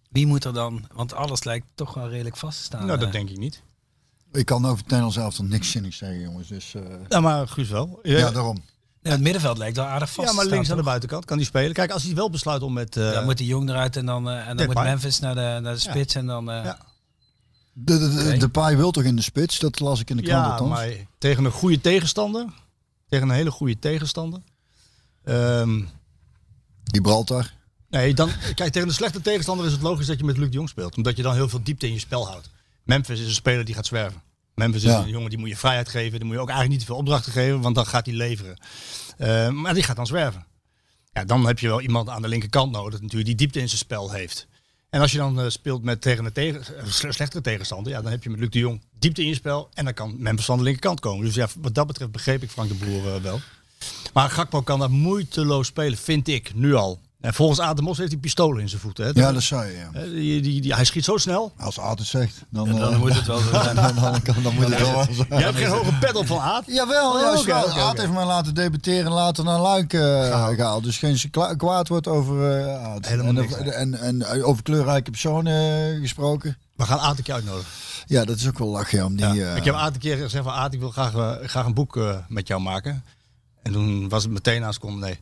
wie moet er dan... Want alles lijkt toch wel redelijk vast te staan. nou, dat eh. denk ik niet. Ik kan over het Nederlands elftal niks zinnigs zeggen, jongens. Dus, eh, Ja, Nou, maar Guus wel. Eh, ja. Ja, ja, daarom. Ja, het middenveld lijkt wel aardig vast te maar staan, links aan de toch? buitenkant kan hij spelen. Kijk, als hij wel besluit om met... eh, Dan moet de Jong eruit en dan, eh, en dan Depay. moet Memphis naar de, naar de spits. En dan, eh, Ja. De, de, de, Oké. de paai wil toch in de spits? Dat las ik in de krant ja, althans. maar tegen een goede tegenstander. Tegen een hele goede tegenstander. Ehm, Gibraltar. Nee, dan, [laughs] kijk, tegen een slechte tegenstander is het logisch dat je met Luc de Jong speelt. Omdat je dan heel veel diepte in je spel houdt. Memphis is een speler die gaat zwerven. Memphis is Ja. een jongen die moet je vrijheid geven. Die moet je ook eigenlijk niet te veel opdrachten geven, want dan gaat hij leveren. Eh, maar die gaat dan zwerven. Ja, dan heb je wel iemand aan de linkerkant nodig natuurlijk die diepte in zijn spel heeft. En als je dan eh, speelt met tegen een tegen, eh, sle- slechtere tegenstander, ja, dan heb je met Luc de Jong diepte in je spel. En dan kan Memphis aan de linkerkant komen. Dus ja, wat dat betreft begreep ik Frank de Boer eh, wel. Maar Gakpo kan dat moeiteloos spelen, vind ik, nu al. En volgens Ademos heeft hij pistolen in zijn voeten. Hè? Ja, dat zei je. ja. Hè, die, die, die- hij schiet zo snel. Als Aad het zegt, dan, dan eh, moet het wel zo zijn. [laughs] dan, dan, kan- dan moet het wel wel zijn. Jij hebt geen hoge pet op van Aad. Jawel, Oh, juist oké, wel. oké, Aad oké. heeft mij laten debatteren en later naar Luik eh, gehaald. Dus geen sekla- kwaad wordt over eh Aad. Helemaal en, niks, over- hè? en, en, eh, over kleurrijke personen eh, gesproken. We gaan Aad een keer uitnodigen. Ja, dat is ook wel lachen. ja, Om die, Ja. eh, Ik heb Aad een keer gezegd van Aad, ik wil graag, eh, graag een boek eh, met jou maken. En toen was het meteen naast kom, nee.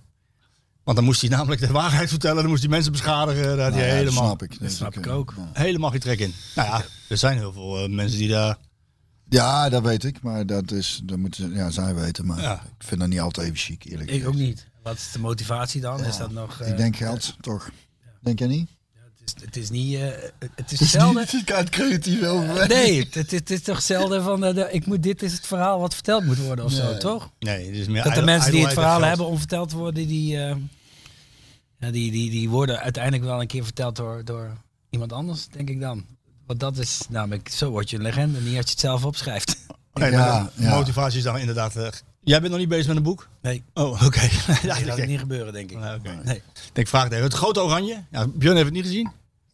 Want dan moest hij namelijk de waarheid vertellen. Dan moest hij mensen beschadigen. Daar had nou hij ja, dat helemaal, snap ik. Dat snap ik eh, ook. ja. helemaal geen trek in. Nou ja, er zijn heel veel eh, mensen die daar... Ja, dat weet ik. Maar dat is, dat moeten ja, zij weten. Maar Ja. ik vind dat niet altijd even chic, eerlijk Ik ook gezegd. niet. Wat is de motivatie dan? Is dat nog... eh, Ik denk geld, toch? Denk jij niet? Het is, het is niet... eh, het is [laughs] hetzelfde... Ik kan het creatief over. Nee, het, het is toch zelden van, eh, de- ik moet, dit is het verhaal wat verteld moet worden of zo, Nee. toch? Nee, het is meer Dat de idle- mensen die het idleheid en verhaal geld. hebben om verteld te worden, die, eh, ja, die, die, die worden uiteindelijk wel een keer verteld door, door iemand anders, denk ik dan. Want dat is namelijk, zo word je een legende, niet als je het zelf opschrijft. [laughs] Nee, Ja, maar de ja. motivatie is dan inderdaad... eh, jij bent nog niet bezig met een boek? Nee, Oh, oké. [laughs] Ja, dat ik gaat denk- niet gebeuren, denk ik. Ah, oké. Nee. Ik denk, vraag het even. Het grote oranje. Ja, Björn heeft het niet gezien. Het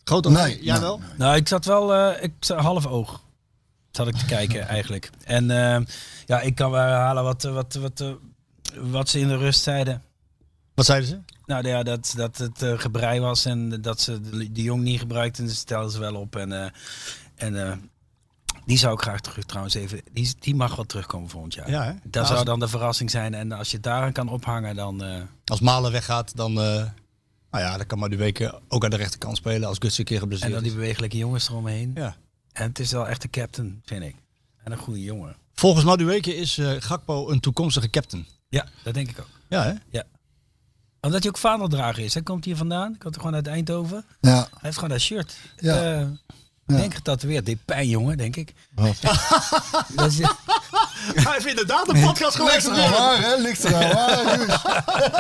grote oranje. Nee, Jij nee, wel? nee. Nou, ik zat wel, eh, ik zat half oog. Zat ik te kijken [laughs] eigenlijk. En eh, ja, ik kan wel herhalen wat, eh, wat, wat, eh, wat ze in de rust zeiden. Wat zeiden ze? Nou ja, dat, dat het eh, gebrei was en dat ze de, de jong niet gebruikten. Ze stelden ze wel op. En, eh, en eh, die zou ik graag terug trouwens even. Die, die mag wel terugkomen volgend jaar. Ja, hè? Dat Nou, zou als, dan de verrassing zijn. En als je het daaraan kan ophangen, dan. eh, als Malen weggaat, dan... eh, nou ja, dan kan maar de weken ook aan de rechterkant spelen als Guts een keer en geblesseerd dan die is. bewegelijke jongens eromheen. Ja. En het is wel echt de captain, vind ik. En een goede jongen. Volgens Madueke is eh, Gakpo een toekomstige captain. Ja, dat denk ik ook. Ja, hè? Omdat hij ook vaandeldrager is. Hij komt hier vandaan. Komt er gewoon uit Eindhoven. Ja, Hij heeft gewoon dat shirt. Ja. Eh, Ja. Denk getatoeëerd. Dit pijn, jongen, denk ik. Wat? [laughs] dat is, Hij heeft inderdaad een podcast Ligt er aan waar, hè? Ligt er aan waar, Guus?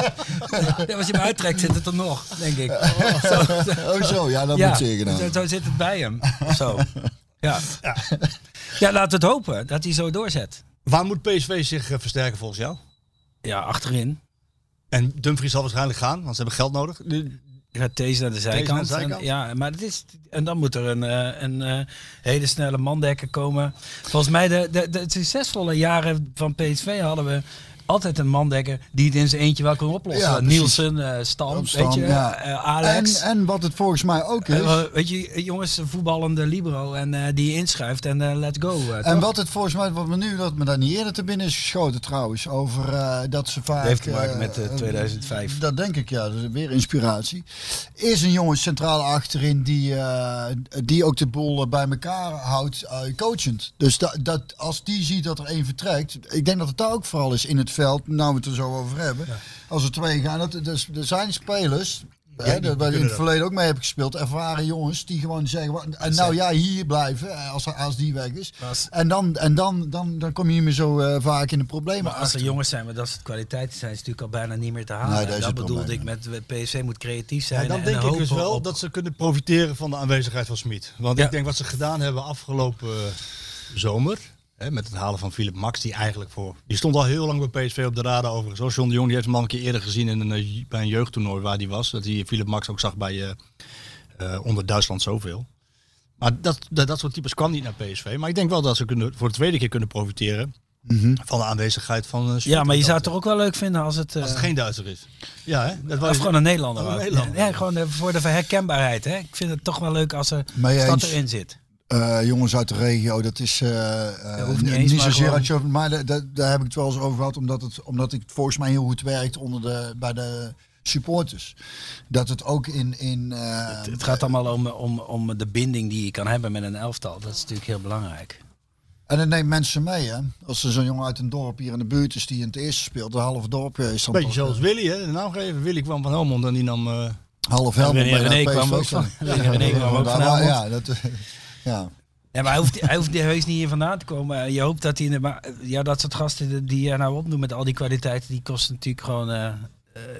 Ja, als je hem uittrekt, zit het er nog, denk ik. Oh zo, ja, dat ja, moet zeker dan. zo, zo zit het bij hem. of Zo. Ja. Ja. laten we het hopen dat hij zo doorzet. Waar moet PSV zich eh, versterken volgens jou? Ja, achterin. En Dumfries zal waarschijnlijk gaan, want ze hebben geld nodig. De- Je gaat deze naar de zijkant. naar de zijkant. En, ja, maar het is, en dan moet er een, eh, een eh, hele snelle mandekker komen. Volgens mij, de, de, de succesvolle jaren van PSV hadden we altijd een mandekker die het in zijn eentje wel kon oplossen. Ja, precies. Nielsen, eh, Stam, Stam, weet je, ja. eh, En, Alex. en wat het volgens mij ook is. Eh, weet je, jongens, een voetballende libero en eh, die je inschrijft en eh, let's go. eh, En toch? wat het volgens mij, wat me nu, dat me daar niet eerder te binnen is geschoten trouwens, over eh, dat ze vaak... Dat heeft te maken eh, met, eh, eh, 2005. Dat denk ik, ja. Dat is weer inspiratie. Is een jongen centraal achterin die, eh, die ook de boel eh, bij elkaar houdt, eh, coachend. Dus da- dat, als die ziet dat er één vertrekt, ik denk dat het daar ook vooral is in het veld, nou we het er zo over hebben. Als er twee gaan, dat, dus, er zijn spelers... Hè, die dat- waar je in het kunnen verleden ook mee hebt gespeeld. Ervaren jongens die gewoon zeggen, "Wa- en nou ja, hier blijven eh, als, als die weg is. Als- En, dan, en dan, dan, dan kom je niet meer zo eh, vaak in de problemen Maar als er achter. jongens zijn, maar dat soort kwaliteiten zijn, is natuurlijk al bijna niet meer te halen. Nee, daar en is dat het bedoelde ik probleem, met eh, PSV moet creatief zijn. Ja, dan en denk ik hopen dus wel op- dat ze kunnen profiteren van de aanwezigheid van Smit. Want Ja. ik denk wat ze gedaan hebben afgelopen eh, zomer. Hè, met het halen van Philip Max, die eigenlijk voor. Die stond al heel lang bij PSV op de radar overigens. Zoals John de Jong, die heeft hem al een keer eerder gezien in een, eh, bij een jeugdtoernooi waar hij was. Dat hij Philip Max ook zag bij eh, eh, onder Duitsland zoveel. Maar dat, dat, dat soort types kwam niet naar PSV. Maar ik denk wel dat ze kunnen, voor de tweede keer kunnen profiteren van de aanwezigheid van eh, Smit. Mhm. Ja, maar je zou het Dat- toch ook wel leuk vinden als het... eh, Als het geen Duitser is. Ja, hè? Dat of was, gewoon een Nederlander. Een ook. Nederlander. Ja, gewoon eh, voor de herkenbaarheid. Hè? Ik vind het toch wel leuk als er Mee stad eens. erin zit. Eh, jongens uit de regio, dat is eh, eh, hoeft niet n- eens, niet maar zozeer gewoon- uit je... Maar da- da- daar heb ik het wel eens over gehad, omdat, het, omdat het volgens mij heel goed werkt onder de, bij de supporters. Dat het ook in... in eh, Het gaat allemaal om, om, om de binding die je kan hebben met een elftal. Dat is natuurlijk heel belangrijk. En dat neemt mensen mee, hè. Als er zo'n jongen uit een dorp hier in de buurt is die in het eerste speelt, de halve dorp eh, is dan Beetje toch, zoals Willy, hè? De naam geven. Willy kwam van Helmond en die nam. eh, eh, half helemaal René- bij René PSV kwam ook van- Ja, René kwam ook van ja, Helmond. ja, dat, eh, ja. Ja, maar hij hoeft, hij hoeft heus niet hier vandaan te komen. Eh, Je hoopt dat hij... in de ma- Ja, dat soort gasten die je nou opnoemt met al die kwaliteiten... die kosten natuurlijk gewoon... eh, eh,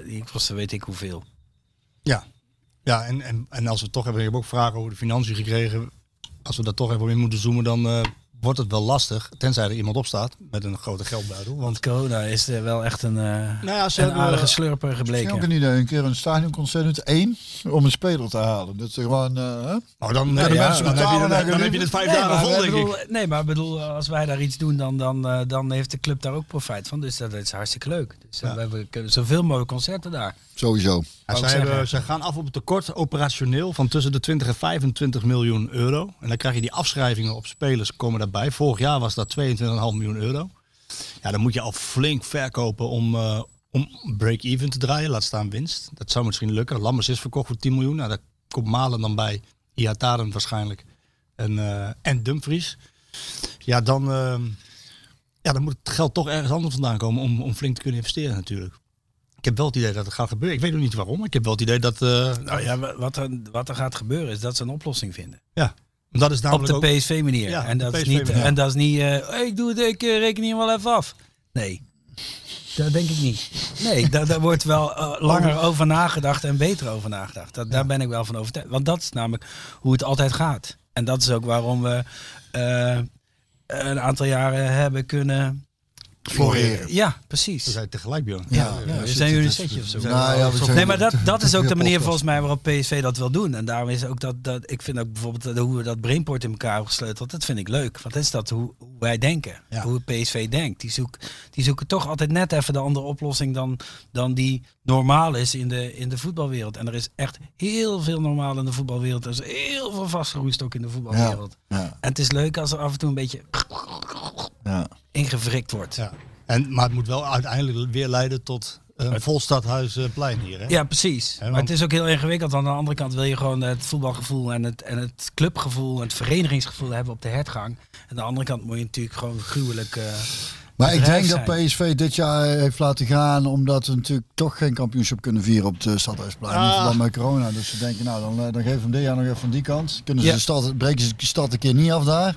die kosten weet ik hoeveel. Ja, ja en, en, en als we het toch hebben, ik heb ook vragen over de financiën gekregen. Als we daar toch even in moeten zoomen, dan eh, wordt het wel lastig. Tenzij er iemand op staat met een grote geldbuidel. Want Want corona is eh, wel echt een, eh, nou ja, ze een hebben, aardige slurper Misschien ook gebleken. een idee, een keer een stadionconcert met één om een speler te halen. Dat ze gewoon... eh, hè? nou, dan, Kunnen ja, mensen dan, heb je, betalen naar dan hun heb je het vijf Nee jaar maar, vol, ik denk ik. bedoel, nee, maar ik bedoel, eh, als wij daar iets doen, dan, dan, eh, dan heeft de club daar ook profijt van. Dus dat is hartstikke leuk. Dus eh, Ja. we hebben kunnen zoveel mogelijk concerten daar. Sowieso. Ja, Wou zij ik hebben- zeggen. zij gaan af op het tekort operationeel van tussen de 20 en 25 miljoen euro. En dan krijg je die afschrijvingen op spelers komen daarbij. Vorig jaar was dat 22,5 miljoen euro. Ja, dan moet je al flink verkopen om, eh, om break-even te draaien. Laat staan winst. Dat zou misschien lukken. Lammers is verkocht voor 10 miljoen. Nou, daar komt Malen dan bij. Iataren waarschijnlijk. En, eh, en Dumfries. Ja, dan, eh, ja, dan moet het geld toch ergens anders vandaan komen om, om flink te kunnen investeren natuurlijk. Ik heb wel het idee dat het gaat gebeuren. Ik weet nog niet waarom, maar ik heb wel het idee dat... eh, Nou ja, wa- wat er, wat er gaat gebeuren is dat ze een oplossing vinden. ja, dat is Op namelijk de ook... PSV-manier. Ja, en, de dat is PSV niet, manier. en dat is niet, eh, hey, ik doe het, ik eh, reken hier wel even af. Nee, dat denk ik niet. Nee, daar, daar wordt wel eh, langer over nagedacht en beter over nagedacht. Dat, Daar ben ik wel van overtuigd. Want dat is namelijk hoe het altijd gaat. En dat is ook waarom we eh, een aantal jaren hebben kunnen... Floreren. Ja, precies. We zijn tegelijk, Björn. Ja, ja, we zijn jullie een setje of zo. Nou ja, we zijn- Nee, maar dat, dat is ook de manier Heel podcast. volgens mij waarop PSV dat wil doen. En daarom is ook dat, dat ik vind ook bijvoorbeeld dat- hoe we dat brainport in elkaar hebben gesleuteld, dat vind ik leuk. Want dat is dat hoe, hoe wij denken, Ja. hoe PSV denkt. Die, zoek, die zoeken toch altijd net even de andere oplossing dan, dan die normaal is in de, in de voetbalwereld. En er is echt heel veel normaal in de voetbalwereld. Er is heel veel vastgeroest ook in de voetbalwereld. Ja, En het is leuk als er af en toe een beetje ja. ingevrikt wordt. Ja. Ja. En, maar het moet wel uiteindelijk weer leiden tot een vol stadhuisplein hier. Hè? precies. want- Maar het is ook heel ingewikkeld. Want aan de andere kant wil je gewoon het voetbalgevoel en het, en het clubgevoel en het verenigingsgevoel hebben op de hertgang. En aan de andere kant moet je natuurlijk gewoon gruwelijk. [laughs] eh, Maar ik bedrijf denk dat zijn. PSV dit jaar eh, heeft laten gaan omdat we natuurlijk toch geen kampioenschap kunnen vieren op de Stadhuisplein Ah. in verband met corona. Dus ze denken, nou dan, eh, dan geven we hem dit jaar nog even van die kant. Kunnen ze Ja. de stad, breken ze de stad een keer niet af daar.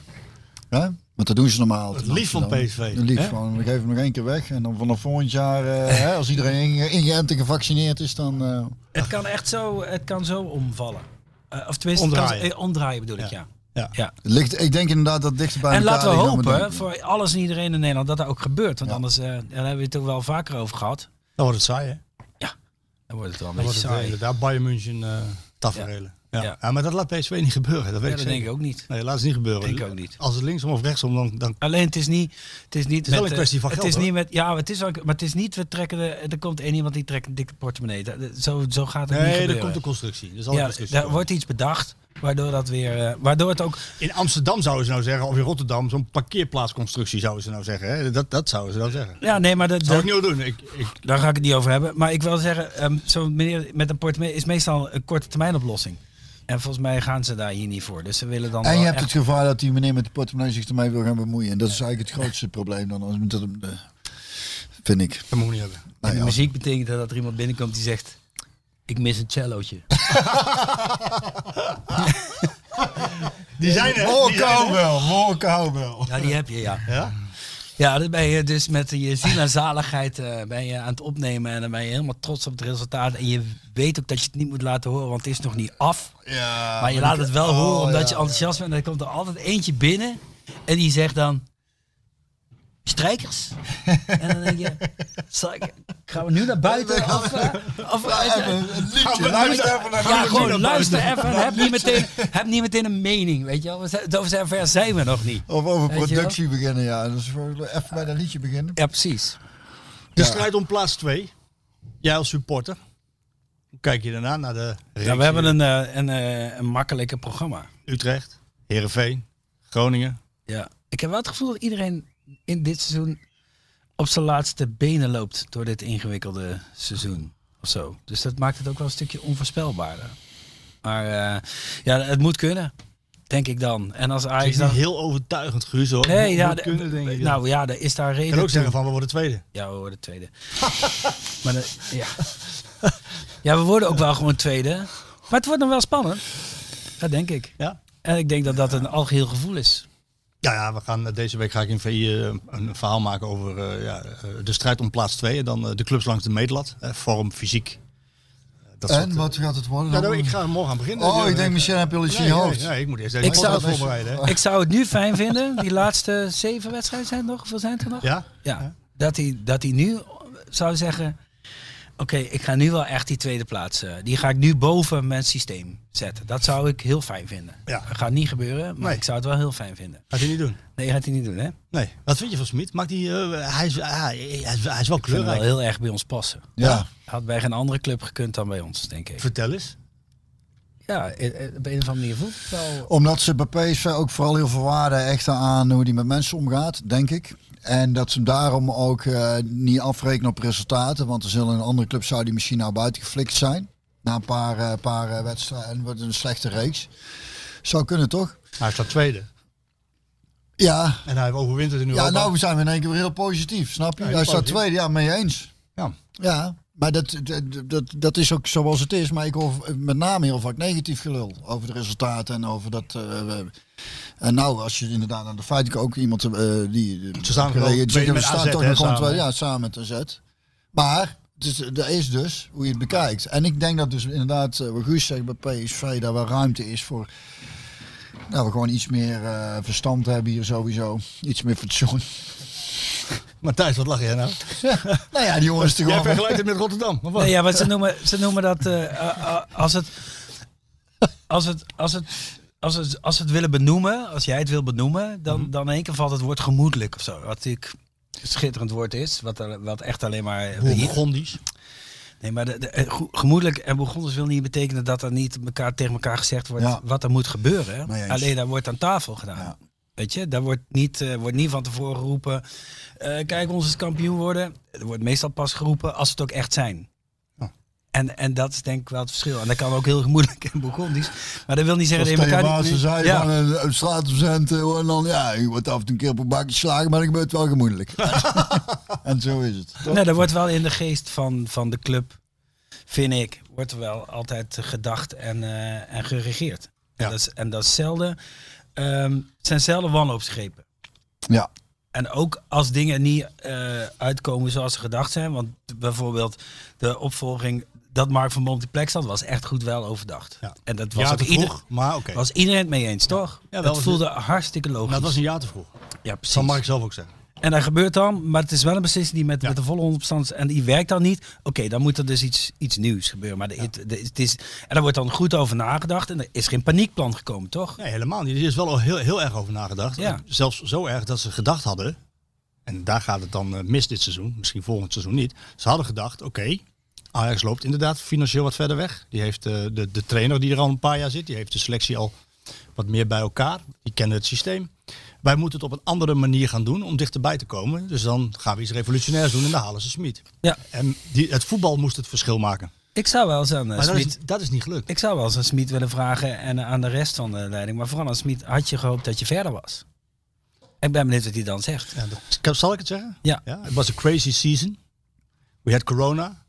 Hè? Want dat doen ze normaal. Het lief van PSV, Het lief hè? van, we geven hem nog één keer weg. En dan vanaf volgend jaar, eh, hè, als iedereen inge- ingeënt en gevaccineerd is, dan... eh, het kan echt zo, het kan zo omvallen. Eh, of tenminste, Het kan, Omdraaien. eh, omdraaien bedoel ik, ja. Ja. het ligt, ik denk inderdaad dat het dichter bij En elkaar laten we ligt dan we hopen denken. voor alles en iedereen in Nederland dat dat ook gebeurt. Want Ja. anders, eh, daar hebben we het ook wel vaker over gehad. Dan wordt het saai, hè? Dan wordt het wel een beetje Dan wordt het eh, saai. inderdaad Bayern München eh taferelen. Ja. Ja. Ja, maar dat laat PSV niet gebeuren, dat weet Ja, ik dat zeker. Nou, denk ik ook niet. Nee, laat het niet gebeuren. Denk ik ook niet. Als het linksom of rechtsom, dan, dan Alleen het is niet, het is niet is wel een eh, kwestie van het geld, is hoor. niet met, ja, het is wel, maar het is niet. We trekken de, er komt één iemand die trekt een dikke portemonnee. Dat- dat- zo, zo gaat het niet Nee, er gebeuren. komt een constructie. Er zal een ja, constructie daar komen. wordt iets bedacht, waardoor dat weer, eh, waardoor het ook. In Amsterdam zouden ze nou zeggen, of in Rotterdam, zo'n parkeerplaatsconstructie zouden ze nou zeggen. Hè? Dat, dat zouden ze nou zeggen. Ja, nee, maar dat, Dat zou ik dat- niet doen. Ik, ik, daar ga ik het niet over hebben. Maar ik wil zeggen, ehm, zo'n meneer met een portemonnee is meestal een korte termijn oplossing. En volgens mij gaan ze daar hier niet voor. Dus ze willen dan. En wel je hebt echt- het gevaar dat die meneer met de portemonnee zich ermee wil gaan bemoeien. En dat is eigenlijk het grootste probleem dan. Als dat, hem, eh, vind ik. dat moet ik niet hebben. in Nou de ja, muziek betekent dat, dat er iemand binnenkomt die zegt. Ik mis een cellootje. Die zijn er. Oh, die zijn er. cowbell, oh, cowbell. Ja, die heb je, ja. Ja? Ja, dan ben je dus met je ziel en zaligheid eh, ben je aan het opnemen. En dan ben je helemaal trots op het resultaat. En je weet ook dat je het niet moet laten horen, want het is nog niet af. Ja, Maar je laat het wel horen oh, omdat ja, je enthousiast bent. En dan komt er altijd eentje binnen en die zegt dan... Strijkers? en dan denk je... zal ik- gaan we nu naar buiten? Of, eh, of, Een liedje, we luisteren luister even even naar- naar ja, gewoon luister even. en Heb niet, meteen, heb niet meteen een mening, weet je wel. We zijn, over zover zijn we nog niet. Of over Weet je wel? productie beginnen, ja. Dus even bij dat liedje beginnen. Ja, precies. De strijd om plaats 2. Jij als supporter. Hoe kijk je daarna naar de Ja, reeks we hebben hier? een, eh, een, eh, een makkelijke programma. Utrecht, Heerenveen, Groningen. Ja. Ik heb wel het gevoel dat iedereen in dit seizoen op zijn laatste benen loopt door dit ingewikkelde seizoen. Of zo. Dus dat maakt het ook wel een stukje onvoorspelbaarder. Maar eh, ja, het moet kunnen. Denk ik dan. En als Het is Ajax niet dan... heel overtuigend Guus hoor. Nee, Moet ja, de- kunnen, denk ik. dan. nou ja, er is daar je reden kan ook toe. zeggen van we worden tweede. Ja, we worden tweede. [laughs] maar de- ja. ja, we worden ook wel gewoon tweede. Maar het wordt nog wel spannend. Dat denk ik. Ja. En ik denk dat dat een algeheel gevoel is. Ja, ja we gaan, eh, deze week ga ik in VI eh, een verhaal maken over eh, ja, eh, de strijd om plaats 2. En dan eh, de clubs langs de meetlat. Eh, vorm, fysiek. Eh, dat soort, En eh, wat gaat het worden? Ja, dan? nou, ik ga er morgen aan beginnen. Oh, Ja, ik denk misschien heb je al iets in je hoofd. eh, Nee, nee, ik moet eerst Ik deze podcast zou- [laughs] voorbereiden. Hè. Ik zou het nu fijn vinden, die laatste zeven wedstrijden zijn het nog, hoeveel zijn het er nog? Ja? Ja, dat hij, dat hij nu zou zeggen, oké, ik ga nu wel echt die tweede plaats, eh, die ga ik nu boven mijn systeem zetten. Dat zou ik heel fijn vinden. Ja. Dat gaat niet gebeuren, maar Nee. ik zou het wel heel fijn vinden. Gaat hij niet doen? Nee, gaat hij niet doen, hè? Ik Nee. Wat vind je van Smit? Maakt hij, eh, hij, is, ah, hij, is, hij is wel vind hem wel kleurrijk. heel erg bij ons passen. Ja. Had bij geen andere club gekund dan bij ons, denk ik. Vertel eens. Ja, eh, eh, op een of andere manier voelt het wel... Omdat ze bij PSV ook vooral heel veel waarde hechten aan hoe die met mensen omgaat, denk ik. En dat ze hem daarom ook eh, niet afrekenen op resultaten. Want er zullen in een andere club zou die misschien nou buiten geflikt zijn. Na een paar, eh, paar eh, wedstrijden en wordt het een slechte reeks. Zou kunnen toch? Hij staat tweede. Ja, En hij overwint het in Europa. ja nou zijn we in één keer weer heel positief, snap je? Ja, Hij heel staat positief. tweede, ja, mee eens. Ja. Ja, maar dat, dat, dat, dat is ook zoals het is. Maar ik hoor met name heel vaak negatief gelul over de resultaten en over dat. eh, eh, en nou, als je inderdaad aan de feiten ook iemand eh, die. Ze staan die- wel die- tweede we met staan AZ, toch hè, nog gewoon samen. twee- Ja, samen met AZ. Maar het is, er is dus hoe je het bekijkt. En ik denk dat dus inderdaad, eh, wat Guus zegt bij PSV, daar wel ruimte is voor. Nou, we gewoon iets meer eh, verstand hebben hier sowieso. Iets meer fatsoen. [laughs] Maar Thijs, wat lach jij nou? Nou ja, die jongens is Jij toch wel... vergelijkt het met Rotterdam. of wat? Nee, ja, maar ze noemen, ze noemen dat eh, eh, eh, als, het, als, het, als, het, als het. Als het willen benoemen, als jij het wil benoemen, dan, dan in één keer valt het woord gemoedelijk of zo. Wat natuurlijk een schitterend woord is, wat, er, wat echt alleen maar. Bourgondisch. Nee, maar de, de- eh, goe- gemoedelijk en begonnen wil niet betekenen dat er niet elkaar, tegen elkaar gezegd wordt Ja. wat er moet gebeuren. Mee eens. Alleen daar wordt aan tafel gedaan. Ja. Weet je, daar wordt niet, eh, wordt niet van tevoren geroepen. eh, kijk, ons is kampioen worden. Er wordt meestal pas geroepen als we het ook echt zijn. En, en dat is denk ik wel het verschil. En dat kan ook heel gemoedelijk en begondisch. Maar dat wil niet zeggen Als dat je Theo elkaar Maassen niet... zei ja. van een, een straatverzend eh, hoor, en dan ja, je wordt af en toe een keer op een bakje slagen, maar dan gebeurt het wel gemoedelijk. en zo is het. toch? Nee, er wordt wel in de geest van, van de club, vind ik, wordt er wel altijd gedacht en, eh, en geregeerd. Ja. En, dat is, en dat is zelden, ehm, het zijn zelden wanhoopsgrepen. Ja. En ook als dingen niet eh, uitkomen zoals ze gedacht zijn. Want bijvoorbeeld de opvolging dat Mark van Mond die plek zat, was echt goed wel overdacht. Ja. En dat was Ja, ook te ieder- vroeg, maar oké. was iedereen het mee eens, toch? Ja, wel, dat was voelde hartstikke logisch. Nou, dat was een jaar te vroeg. ja, Dat precies. zal Mark zelf ook zeggen. En dat gebeurt dan, maar het is wel een beslissing die met, Ja. met de volle onderstand en die werkt dan niet. Oké, dan moet er dus iets, iets nieuws gebeuren. Maar de, het, de- het is, en daar wordt dan goed over nagedacht en er is geen paniekplan gekomen, toch? Nee, helemaal niet. Er is wel al heel, heel erg over nagedacht. Eh, Ja. Zelfs zo erg dat ze gedacht hadden, en daar gaat het dan eh, mis dit seizoen, misschien volgend seizoen niet. Ze hadden gedacht, oké, Ajax loopt inderdaad financieel wat verder weg. Die heeft eh, de, de trainer die er al een paar jaar zit, die heeft de selectie al wat meer bij elkaar. Die kennen het systeem. Wij moeten het op een andere manier gaan doen om dichterbij te komen. Dus dan gaan we iets revolutionairs doen en dan halen ze Smit. Ja, En die, het voetbal moest het verschil maken. ik zou wel eens aan eh, Maar dat is, Smit... dat is niet gelukt. Ik zou wel eens aan Smit willen vragen en eh, aan de rest van de leiding. Maar vooral aan Smit, had je gehoopt dat je verder was? Ik ben benieuwd wat hij dan zegt. Ja, dat, zal ik het zeggen? Ja. ja. Het was een crazy season. We had corona.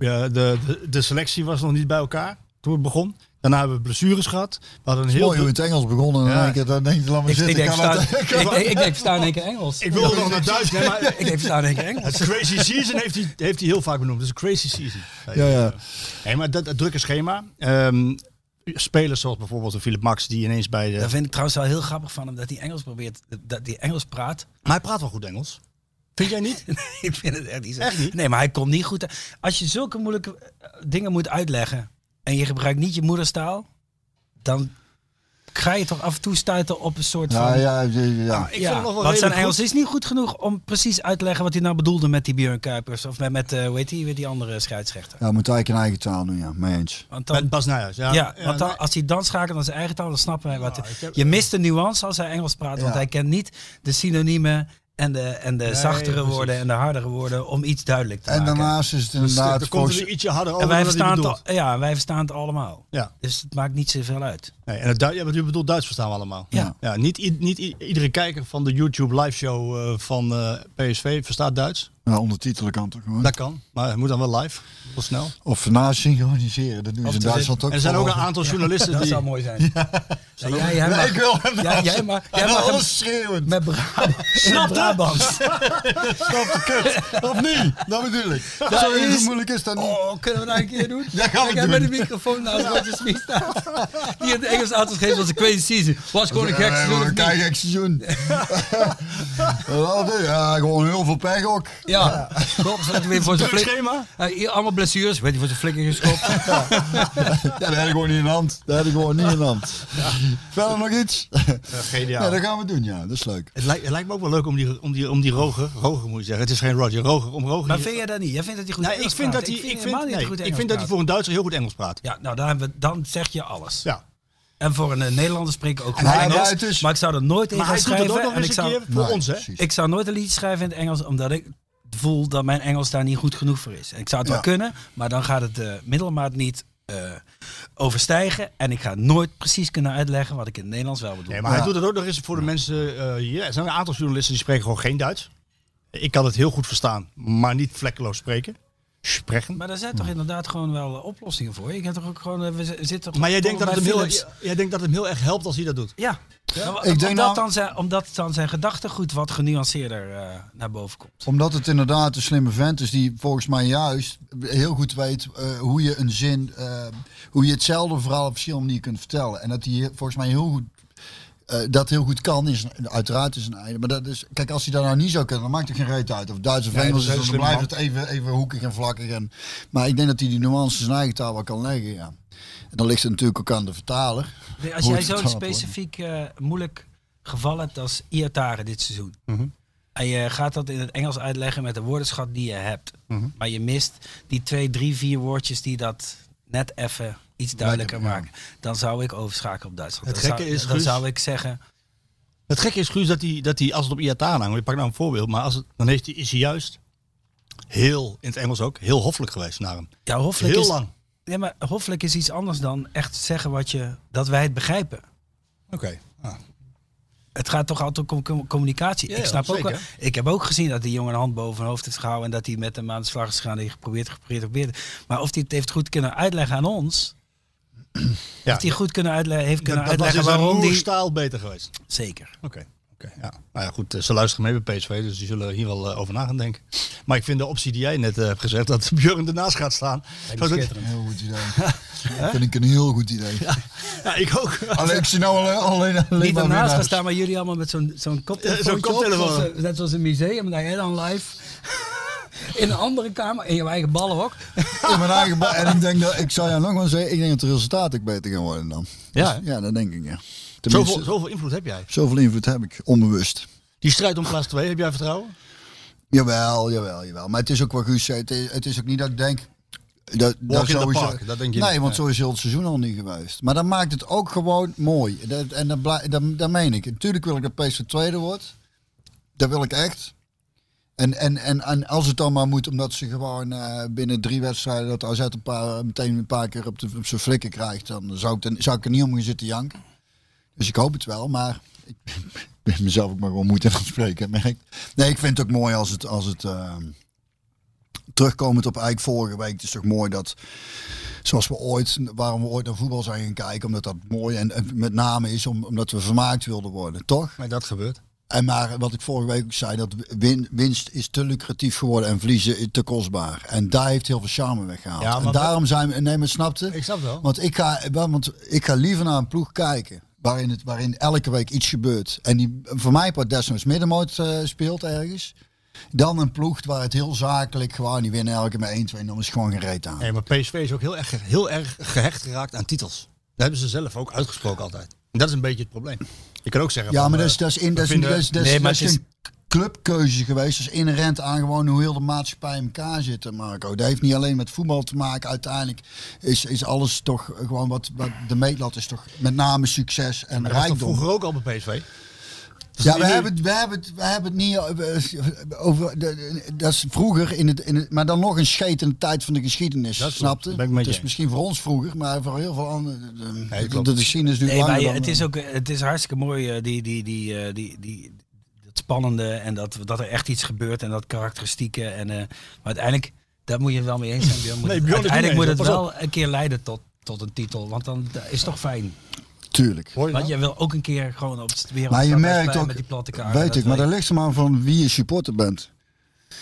Ja, de, de, de selectie was nog niet bij elkaar toen het begon. Daarna hebben we blessures gehad. We hadden een heel Mooi hoe druk- het Engels begonnen. En dan Ja. denk je, dan denk je, laat maar Ik, zitten. ik, denk, kan verstaan, het- ik, ik, ik denk, verstaan in één keer Engels. Ik wilde nog naar Duits, hè, maar Ik denk, verstaan in één keer Engels. het crazy season heeft hij, heeft hij heel vaak benoemd. Het is een crazy season. Ja, ja. Hey, maar dat, dat drukke schema. ehm, spelers zoals bijvoorbeeld een Philip Max die ineens bij de... Dat vind ik trouwens wel heel grappig van hem, dat hij Engels probeert, dat hij Engels praat. Maar hij praat wel goed Engels. Vind jij niet? [laughs] ik vind het echt niet zo. Echt niet? Nee, maar hij komt niet goed. Als je zulke moeilijke eh, dingen moet uitleggen en je gebruikt niet je moederstaal, dan ga je toch af en toe stuiten op een soort [laughs] Ja, van... ja, ja, Nou, ja. Ik vind hem nog wel want zijn redelijk Engels goed. is niet goed genoeg om precies uit te leggen wat hij nou bedoelde met die Björn Kuipers. Of met, met eh, hoe heet die, weer die andere scheidsrechter. Ja, moet eigenlijk een eigen taal doen, ja. Mee eens. Want Met dan, Bas Nijhuis. Ja, ja, Ja, want nee. dan, als hij dan schakelt naar zijn eigen taal, dan snappen wij wat... Ja, ik heb- je mist de nuance als hij Engels praat, want Ja. hij kent niet de synoniemen en de, en de zachtere precies. woorden en de hardere woorden om iets duidelijk te En maken. daarnaast is het Dan inderdaad... komt volgens- het er ietsje harder over En wij dan dat hij verstaan, bedoelt. het, al- ja, wij verstaan het allemaal. Ja. Dus het maakt niet zoveel uit. Nee, en het, Du- ja, wat u bedoelt Duits verstaan we allemaal. Ja. ja niet i- niet i- iedere kijker van de YouTube live show van eh, PSV verstaat Duits. Nou, ondertitelen kan toch gewoon. Dat kan, maar het moet dan wel live, heel snel. Of naast synchroniseren, dat doen Of ze in te Duitsland ook. En er zijn ook een volgens- aantal journalisten Dat die... zou mooi [laughs] zijn. Ja. jij, jij Nee, mag, ik wil hem jij, naast- jij mag, En jij dan mag hem [laughs] alles schreeuwend. met [laughs] Brabant. Snap Brabant. Of niet? Dat bedoel ik. Zo is- heel moeilijk is dat niet. Oh, kunnen we dat een keer doen? Dat gaan we ik heb met de doen. microfoon naast Roger Smit staan. [laughs] Die in het Engels aan te geven was een crazy season. Was gewoon een gek Ja, seizoen. gewoon of een niet? kei gek [laughs] seizoen. Wel, ja, gewoon heel veel pech ook. Ja. Rob zat weer [laughs] voor zijn Druk flik. schema? Hij- hier allemaal blessures. Weet je, voor zijn flikker [laughs] geschopt. Ja, dat heb ik gewoon niet in de hand. Dat heb ik gewoon niet in de hand. Verder nog iets? geniaal. Ja, dat gaan we doen, ja. Dat is leuk. Het lijkt, het lijkt me ook wel leuk om die, om die, om die Roger, Roger moet je zeggen, het is geen Roger, Roger, om Roger... Maar die- vind jij dat niet? Jij vindt dat hij goed Nou, ik Engels vind praat. dat hij, ik helemaal vind, niet nee, goed ik Engels vind dat hij praat. voor een Duitser heel goed Engels praat. Ja, nou, dan, hebben we- dan zeg je alles. Ja. En voor een eh, Nederlander spreek ik ook goed hij Engels. draait dus- maar ik zou er nooit in Maar gaan hij doet het ook schrijven. nog En eens ik een zou, keer voor Nee, ons, hè? precies. ik zou nooit een liedje schrijven in het Engels, omdat ik voel dat mijn Engels daar niet goed genoeg voor is. En ik zou het Ja. wel kunnen, maar dan gaat het de middelmaat niet eh, overstijgen. En ik ga nooit precies kunnen uitleggen wat ik in het Nederlands wel bedoel. Nee, maar hij doet het ook nog eens voor de mensen eh, hier. Er zijn een aantal journalisten die spreken gewoon geen Duits. Ik kan het heel goed verstaan, maar niet vlekkeloos spreken. Spreken. Maar daar zijn toch inderdaad gewoon wel eh, oplossingen voor. Je hebt toch ook gewoon, eh, we z- zitten toch Maar jij denkt, dat gewoon het hem bij heel, Philips. jij jij denkt dat het hem heel erg helpt als hij dat doet? Ja, Nou, wa- Ik denk omdat, nou- dan zijn, omdat dan zijn gedachtegoed wat genuanceerder eh, naar boven komt. Omdat het inderdaad een slimme vent is die volgens mij juist heel goed weet eh, hoe je een zin, eh, hoe je hetzelfde verhaal op verschillende manieren kunt vertellen. En dat hij heel- volgens mij heel goed, eh, dat heel goed kan, is uiteraard is een einde. Maar dat is, kijk, als hij dat nou niet zou kunnen, dan maakt het geen reet uit. Of Duits of Nee, Engels, dat is, is dan een blijft het even, even hoekig en vlakkig. En, maar ik denk dat hij die nuances in zijn eigen taal wel kan leggen, ja. En dan ligt het natuurlijk ook aan de vertaler. Nee, Als Hoe jij het zo'n vertaald wordt. specifiek eh, moeilijk geval hebt als Iataren dit seizoen. En je gaat dat in het Engels uitleggen met de woordenschat die je hebt. Maar je mist die twee, drie, vier woordjes die dat net even iets duidelijker Lekker, ja. maken. Dan zou ik overschakelen op Duitsland. Het dan gekke zou, is, dan Guus- zou ik zeggen, Het gekke is, Guus, dat hij, dat hij als het op Iatana hangt, ik pak nou een voorbeeld, maar als het, dan heeft hij, is hij juist heel, in het Engels ook, heel hoffelijk geweest naar hem. ja, hoffelijk heel is, lang. Ja, maar hoffelijk is iets anders dan echt zeggen wat je, dat wij het begrijpen. Oké. Ah. Het gaat toch altijd om com- communicatie. Ja, ik ja, snap ook zeker. wel. Ik heb ook gezien dat die jongen een hand boven zijn hoofd heeft gehouden en dat hij met hem aan de slag is gegaan. en hij geprobeerd, geprobeerd, geprobeerd. Maar of hij het heeft goed kunnen uitleggen aan ons, Ja. of hij goed kunnen uitleggen, heeft kunnen dat was uitleggen dus een waarom die. roerstaal beter geweest. Zeker. Oké. oké, ja. Nou ja, goed, eh, ze luisteren mee bij PSV, dus die zullen hier wel eh, over na gaan denken. Maar ik vind de optie die jij net eh, hebt gezegd, dat [laughs] Björn ernaast gaat staan. Zodat- Heel goed idee. [laughs] Dat vind ik een heel goed idee. ja, ik ook. Alleen, ik zie nou alleen, alleen, alleen Niet ernaast maar gaan winnaars. staan, maar jullie allemaal met zo'n zo'n koptelefoon. Ja, zo'n koptelefoon. Net zoals een museum, daar jij dan live. [laughs] In een andere kamer, in je eigen ballenhok. in mijn eigen ba- En ik denk dat, ik zou jou nog wel zeggen, ik denk dat het resultaat ook beter gaan worden dan. Ja, Dus, hè? ja dat denk ik, ja. Tenminste, Zoveel, zoveel, zoveel invloed heb jij. invloed heb ik, onbewust. Die strijd om plaats 2, heb jij vertrouwen? Jawel, jawel, jawel. Maar het is ook wat Guus zei, het is, het is ook niet dat ik denk... Dat, in the sowieso- park, dat denk je Nee, niet, want nee. zo is heel het seizoen al niet geweest. Maar dat maakt het ook gewoon mooi. Dat, en dat, blij- dat, dat meen ik. Natuurlijk wil ik dat PSV tweede wordt. Dat wil ik echt. En, en, en, en als het dan maar moet, omdat ze gewoon eh, binnen drie wedstrijden dat AZ een paar, meteen een paar keer op, de, op zijn flikken krijgt, dan zou ik, dan, zou ik er niet om gaan zitten janken. Dus ik hoop het wel, maar ik ben mezelf ook maar gewoon moeite aan het spreken, merk. Nee, ik vind het ook mooi als het, als het, eh, ehm, terugkomend op eigenlijk vorige week. Het is toch mooi dat, zoals we ooit, waarom we ooit naar voetbal zijn gaan kijken, omdat dat mooi en, en met name is om- omdat we vermaakt wilden worden, toch? Maar dat gebeurt. En maar wat ik vorige week ook zei, dat win- winst is te lucratief geworden en verliezen is te kostbaar. En daar heeft heel veel charme weggehaald. Ja, maar en wat- daarom zijn we, nee, maar snapte? Ik snap wel. Want ik ga, want ik ga liever naar een ploeg kijken. Waarin, het, waarin elke week iets gebeurt. En die voor mij part desnoods middenmoot eh, speelt ergens. Dan een ploeg waar het heel zakelijk gewoon. Die winnen elke keer met 1-2. En dan is het gewoon gereed aan. Nee, maar PSV is ook heel erg, heel erg gehecht geraakt aan titels. Dat hebben ze zelf ook uitgesproken altijd. En dat is een beetje het probleem. Je kan ook zeggen. Ja, van, maar eh, dat is, dat is, in, dat is, vinden- dat is, dat is- Nee, maar dat het is een clubkeuze geweest. Dat is inherent aan gewoon hoe heel de maatschappij in elkaar zit, eh, Marco. Dat heeft niet alleen met voetbal te maken. Uiteindelijk is, is alles toch gewoon wat, wat de meetlat is toch met name succes en maar dat was toch rijkdom. vroeger ook al bij PSV. Ja, we hebben, het- we, hebben het, we hebben het niet eh, over. de- Dat is vroeger, in het, in het, maar dan nog een scheet in de tijd van de geschiedenis. Dat klopt, snapte? dat ben ik met je is eens. misschien voor ons vroeger, maar voor heel veel anderen. de- de- Nee, de, klopt. de geschiedenis duurt Nee, maar langer. je- dan, het eh, is ook eh, het is hartstikke mooi, eh, die, die, die, eh, die, die, dat spannende en dat, dat er echt iets gebeurt en dat karakteristieke. En, eh, maar uiteindelijk, daar moet je het wel mee eens zijn. Björn. Moet Nee, het- Björn is uiteindelijk niet moet mee het eens, wel een keer leiden tot, tot een titel, want dan dat is toch fijn. Tuurlijk. Hoor je Want nou? je wil ook een keer gewoon op het weer op Maar het je stadhuisplein merkt ook, met die platte kaart. weet ik, maar dat ligt er maar van wie je supporter bent.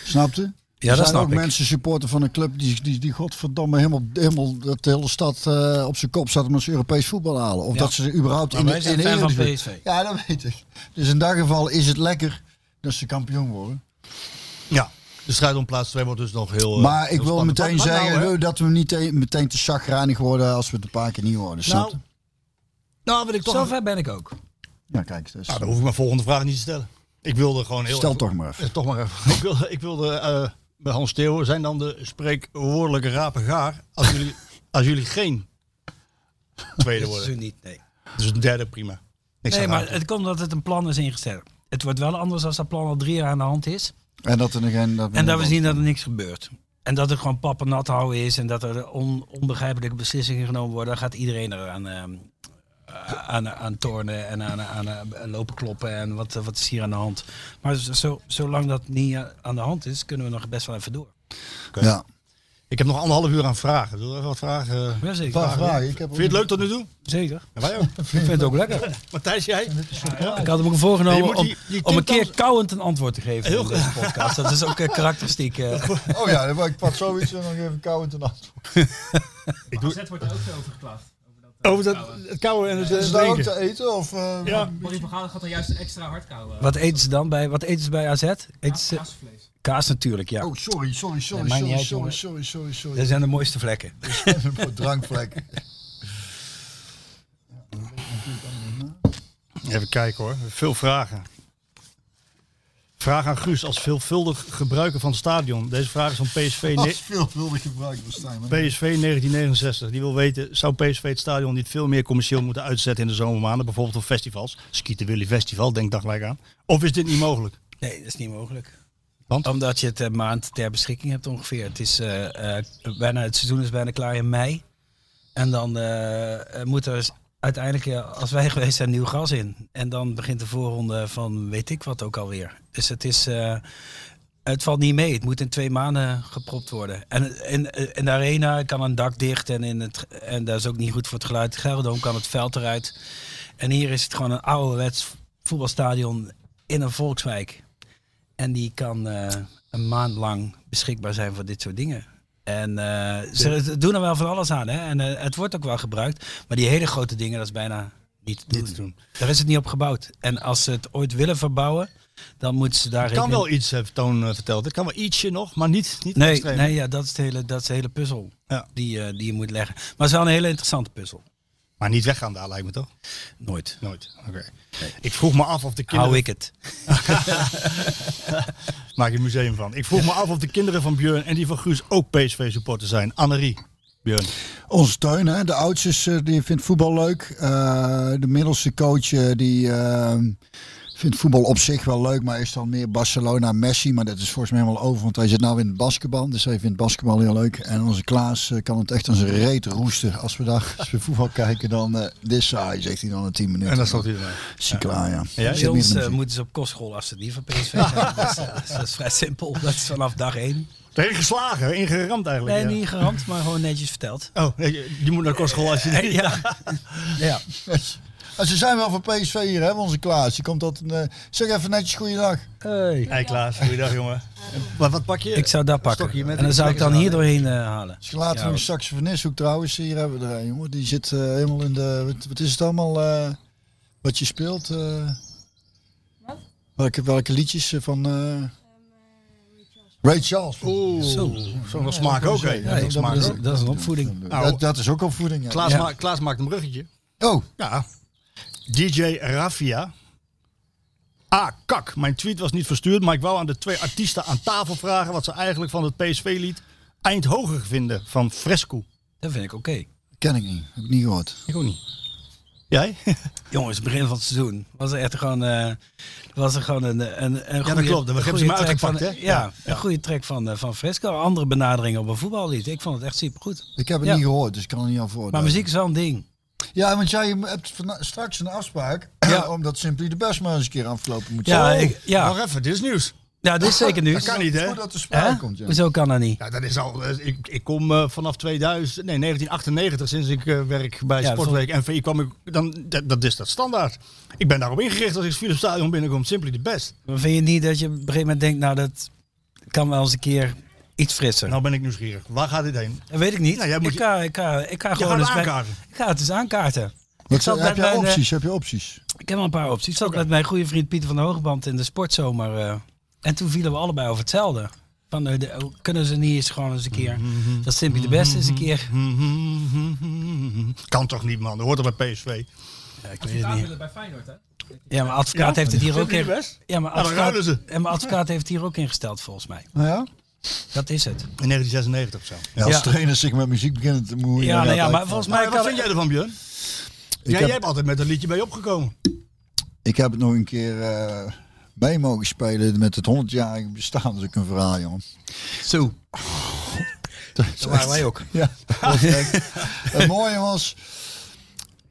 Snapte? Ja, er dat zijn snap ook ik. mensen supporter van een club die, die, die godverdomme helemaal, helemaal dat de hele stad eh, op zijn kop staat omdat ze Europees voetbal halen. Of Ja. dat ze überhaupt Maar in wij de, zijn in de fan van Eredivisie- PSV. Ja, dat weet ik. Dus in dat geval is het lekker dat ze kampioen worden. Ja. De strijd om plaats 2 wordt dus nog heel. eh, maar ik heel wil spannend. meteen Wat- wat nou, zeggen hè? eh, dat we niet te- meteen te chagrijnig worden als we het een paar keer niet Dus worden. Snap Nou, je? nou, wil ik toch. Zover ben ik ook. Ja, kijk dus. Nou, dan hoef ik mijn volgende vraag niet te stellen. Ik wilde gewoon heel. Stel toch maar even. Eh, Toch maar even. [laughs] Ik wilde, ik wilde eh, bij Hans Theo zijn dan de spreekwoordelijke rapen gaar als jullie, [laughs] als jullie geen tweede Dat is worden. niet, nee. Dus een derde prima. Niks Nee, aan maar raken. het komt omdat het een plan is ingesteld. Het wordt wel anders als dat plan al drie jaar aan de hand is. En dat er nog een. Dat En dat we zien dat er niks gebeurt. En dat er gewoon pappen nat houden is en dat er on- onbegrijpelijke beslissingen genomen worden. Dan gaat iedereen eraan ehm, eh, aan, aan tornen en aan, aan, eh, lopen kloppen en wat, eh, wat is hier aan de hand. Maar zo- zo, zolang dat niet eh, aan de hand is, kunnen we nog best wel even door. Ja. Ik heb nog anderhalf uur aan vragen. Doe even wat vragen. eh, Ja, zeker. Paar vragen. Ik heb Vind je het leuk tot nu toe? Zeker. Ja, wij ook. Ik vind het ook lekker. Matthijs, jij? Ik had hem ook Je voorgenomen moet om, die- die om een keer 10.000 kauwend een antwoord te geven Heel in deze podcast. Dat is ook eh, karakteristiek. eh. Oh ja, dan wou ik pak zoiets en dan geef ik koud en af. Ik doe AZ wordt er ook zo over geklaagd. Over dat, eh, over dat, kouwen. het kouwen en het eh, Is dat ook drinken. te eten? Of, eh, Ja. Barry van Gaal gaat er juist extra hard kouwen. wat eten ze dan bij, wat eten ze bij AZ? Eten ze, Kaasvlees. kaas natuurlijk, ja. Oh, sorry, sorry, sorry, Nee, maakt niet sorry, uit, sorry, jongen. sorry, sorry, sorry, Dat zijn de mooiste vlekken. Voor drankvlek. [laughs] Even kijken hoor. Veel vragen. Vraag aan Guus als veelvuldig gebruiker van het stadion. Deze vraag is van PSV, Dat ne- is veelvuldig gebruikt van Stijn. maar- PSV 1969. Die wil weten, zou PSV het stadion niet veel meer commercieel moeten uitzetten in de zomermaanden? Bijvoorbeeld op festivals. Skieten Willy Festival, denk daar gelijk aan. Of is dit niet mogelijk? Nee, dat is niet mogelijk. Want? Omdat je het een maand ter beschikking hebt ongeveer. Het, is, eh, eh, bijna, het seizoen is bijna klaar in mei. En dan eh, eh, moet er s- uiteindelijk, eh, als wij [laughs] geweest zijn, nieuw gas in. En dan begint de voorronde van weet ik wat ook alweer. Dus het is... eh, het valt niet mee. Het moet in twee maanden gepropt worden. En in, in de arena kan een dak dicht. En, in het, en dat is ook niet goed voor het geluid. Gelderdoom kan het veld eruit. En hier is het gewoon een ouderwets voetbalstadion in een volkswijk. En die kan eh, een maand lang beschikbaar zijn voor dit soort dingen. En eh, ze doen er wel van alles aan. Hè? En eh, het wordt ook wel gebruikt. Maar die hele grote dingen, dat is bijna niet te doen. te doen. Daar is het niet op gebouwd. En als ze het ooit willen verbouwen, dan moeten ze daar... Het kan rekening- wel iets, heeft Toon eh, verteld. Het kan wel ietsje nog, maar niet, niet Nee, extreem. nee ja, dat, is de hele, dat is de hele puzzel Ja. die, eh, die je moet leggen. Maar het is wel een hele interessante puzzel. Maar niet weggaan daar lijkt me toch? Nooit. Nooit. Oké. Ik vroeg me af of de kinderen... Hou ik het. Maak je een museum van. Ik vroeg me af of de kinderen van Björn en die van Guus ook PSV-supporter zijn. Annerie. Björn. Onze steun, hè? de oudste is, eh, die vindt voetbal leuk. Eh, de middelste coach eh, die, eh, vindt voetbal op zich wel leuk, maar is dan meer Barcelona Messi. Maar dat is volgens mij helemaal over, want hij zit nou in het basketbal. Dus hij vindt basketbal heel leuk. En onze Klaas eh, kan het echt aan zijn reet roesten. Als we daar als we voetbal kijken, dan eh dit is saai, zegt hij dan na 10 minuten. En dat stond hij erbij. Is hij klaar, ja. Ja, Zit Bij meer in ons de eh, muziek. moeten ze op kostschool als ze het niet van PSV zijn. [laughs] dat, is, eh, dat is- dat is vrij simpel. Dat is vanaf dag één. Tegen geslagen, ingeramd eigenlijk. Nee, ja. niet gerand, maar gewoon netjes verteld. Oh, je, je moet naar kostschool als je... Eh, [laughs] Ja, Ja. En Ah, ze zijn wel van PSV hier, hè, onze Klaas. Die komt dat. zeg even netjes goeiedag. Hey. Hey Klaas, goeiedag jongen. Maar wat pak je? ik zou dat Stokje pakken. met En dan een zou ik dan stekkerzaad. hier doorheen eh, halen. Als je later Ja. een saxofonist ook trouwens, hier hebben we er een jongen. Die zit eh, helemaal in de. Wat, wat is het allemaal? eh, wat je speelt? eh? welke, welke liedjes eh, van. eh, Ray Charles. Oeh, Zo. zo'n smaak ook. hè. Ja, Zo'n dat smaak is- ook. dat is een opvoeding. Nou. Dat, dat is ook opvoeding. Ja. Klaas, Ja. ma- Klaas maakt een bruggetje. Oh, Ja. DJ Raffia. Ah, kak. Mijn tweet was niet verstuurd, maar ik wou aan de twee artiesten aan tafel vragen wat ze eigenlijk van het PSV-lied Eindhoger vinden van Fresco. Dat vind ik oké. ken ik niet. Heb ik niet gehoord. Ik ook niet. Jij? Jongens, begin van het seizoen was er echt gewoon, eh, was er gewoon een, een, een goede, klopt. We een hebben ze goede maar track uitgepakt, van- hè? Ja, Ja, ja. een goede track van, eh, van Fresco. Een Andere benadering op een voetballied. Ik vond het echt supergoed. Ik heb het Ja. niet gehoord, dus ik kan er niet aan voor. Maar muziek is wel een ding. Ja, want jij hebt vana- straks een afspraak. [clears throat] Ja. omdat Simply de Best maar eens een keer afgelopen moet Ja, zijn. [laughs] ik- ja. Wacht even, dit is nieuws. ja [laughs] dit is zeker nieuws. kan niet, hè? Voordat de Hè? Dus sprake komt. Ja. Hoezo kan dat niet? Ja, dat is al. eh, Ik, ik kom eh, vanaf 2000, nee 1998, sinds ik eh, werk bij Ja, Sportweek NVI, kwam ik. Dan, dat, dat is dat standaard. Ik ben daarop ingericht als ik het Philips Stadion binnenkom. Simply the best. Maar Vind je niet dat je op een gegeven moment denkt, nou dat kan wel eens een keer iets frisser? Nou ben ik nieuwsgierig. Waar gaat dit heen? dat weet ik niet. Nou, jij moet ik, je- ga, ik, ga, ik ga gewoon gaat eens het bij- aankaarten. Ik ga het eens aankaarten. Wat, zat eh, heb, bij- je bij de- opties, heb je opties? Ik heb wel een paar opties. Ik zat met mijn goede vriend Pieter van de Hogeband in de sportzomer. eh, en toen vielen we allebei over hetzelfde. Van, eh, de- kunnen ze niet eens gewoon eens een keer... Dat Simply de Best eens een keer... [laughs] Kan toch niet, man? Dat hoort er bij PSV. Ja, ik weet het Daar niet. willen bij Feyenoord, hè? Ja, maar advocaat heeft het hier ook Simply in... the best? Ja, maar dan ruilen advocaat, ze. en mijn advocaat heeft het hier ook ingesteld volgens mij. Nou ja? Dat is het. In 1996 of zo. Ja, als Ja. trainers zich met muziek beginnen te moeien. Ja, nou ja, inderdaad, maar ik- volgens mij Maar wat kan... vind jij ervan, Björn? ik, Ja, heb, Jij hebt altijd met een liedje bij je opgekomen. ik heb het nog een keer eh, bij mogen spelen met het 100-jarige bestaan. Dat is ook een verhaal, jongen. [laughs] Zo. Dat waren wij ook. Ja, dat is echt- [laughs] het mooie was...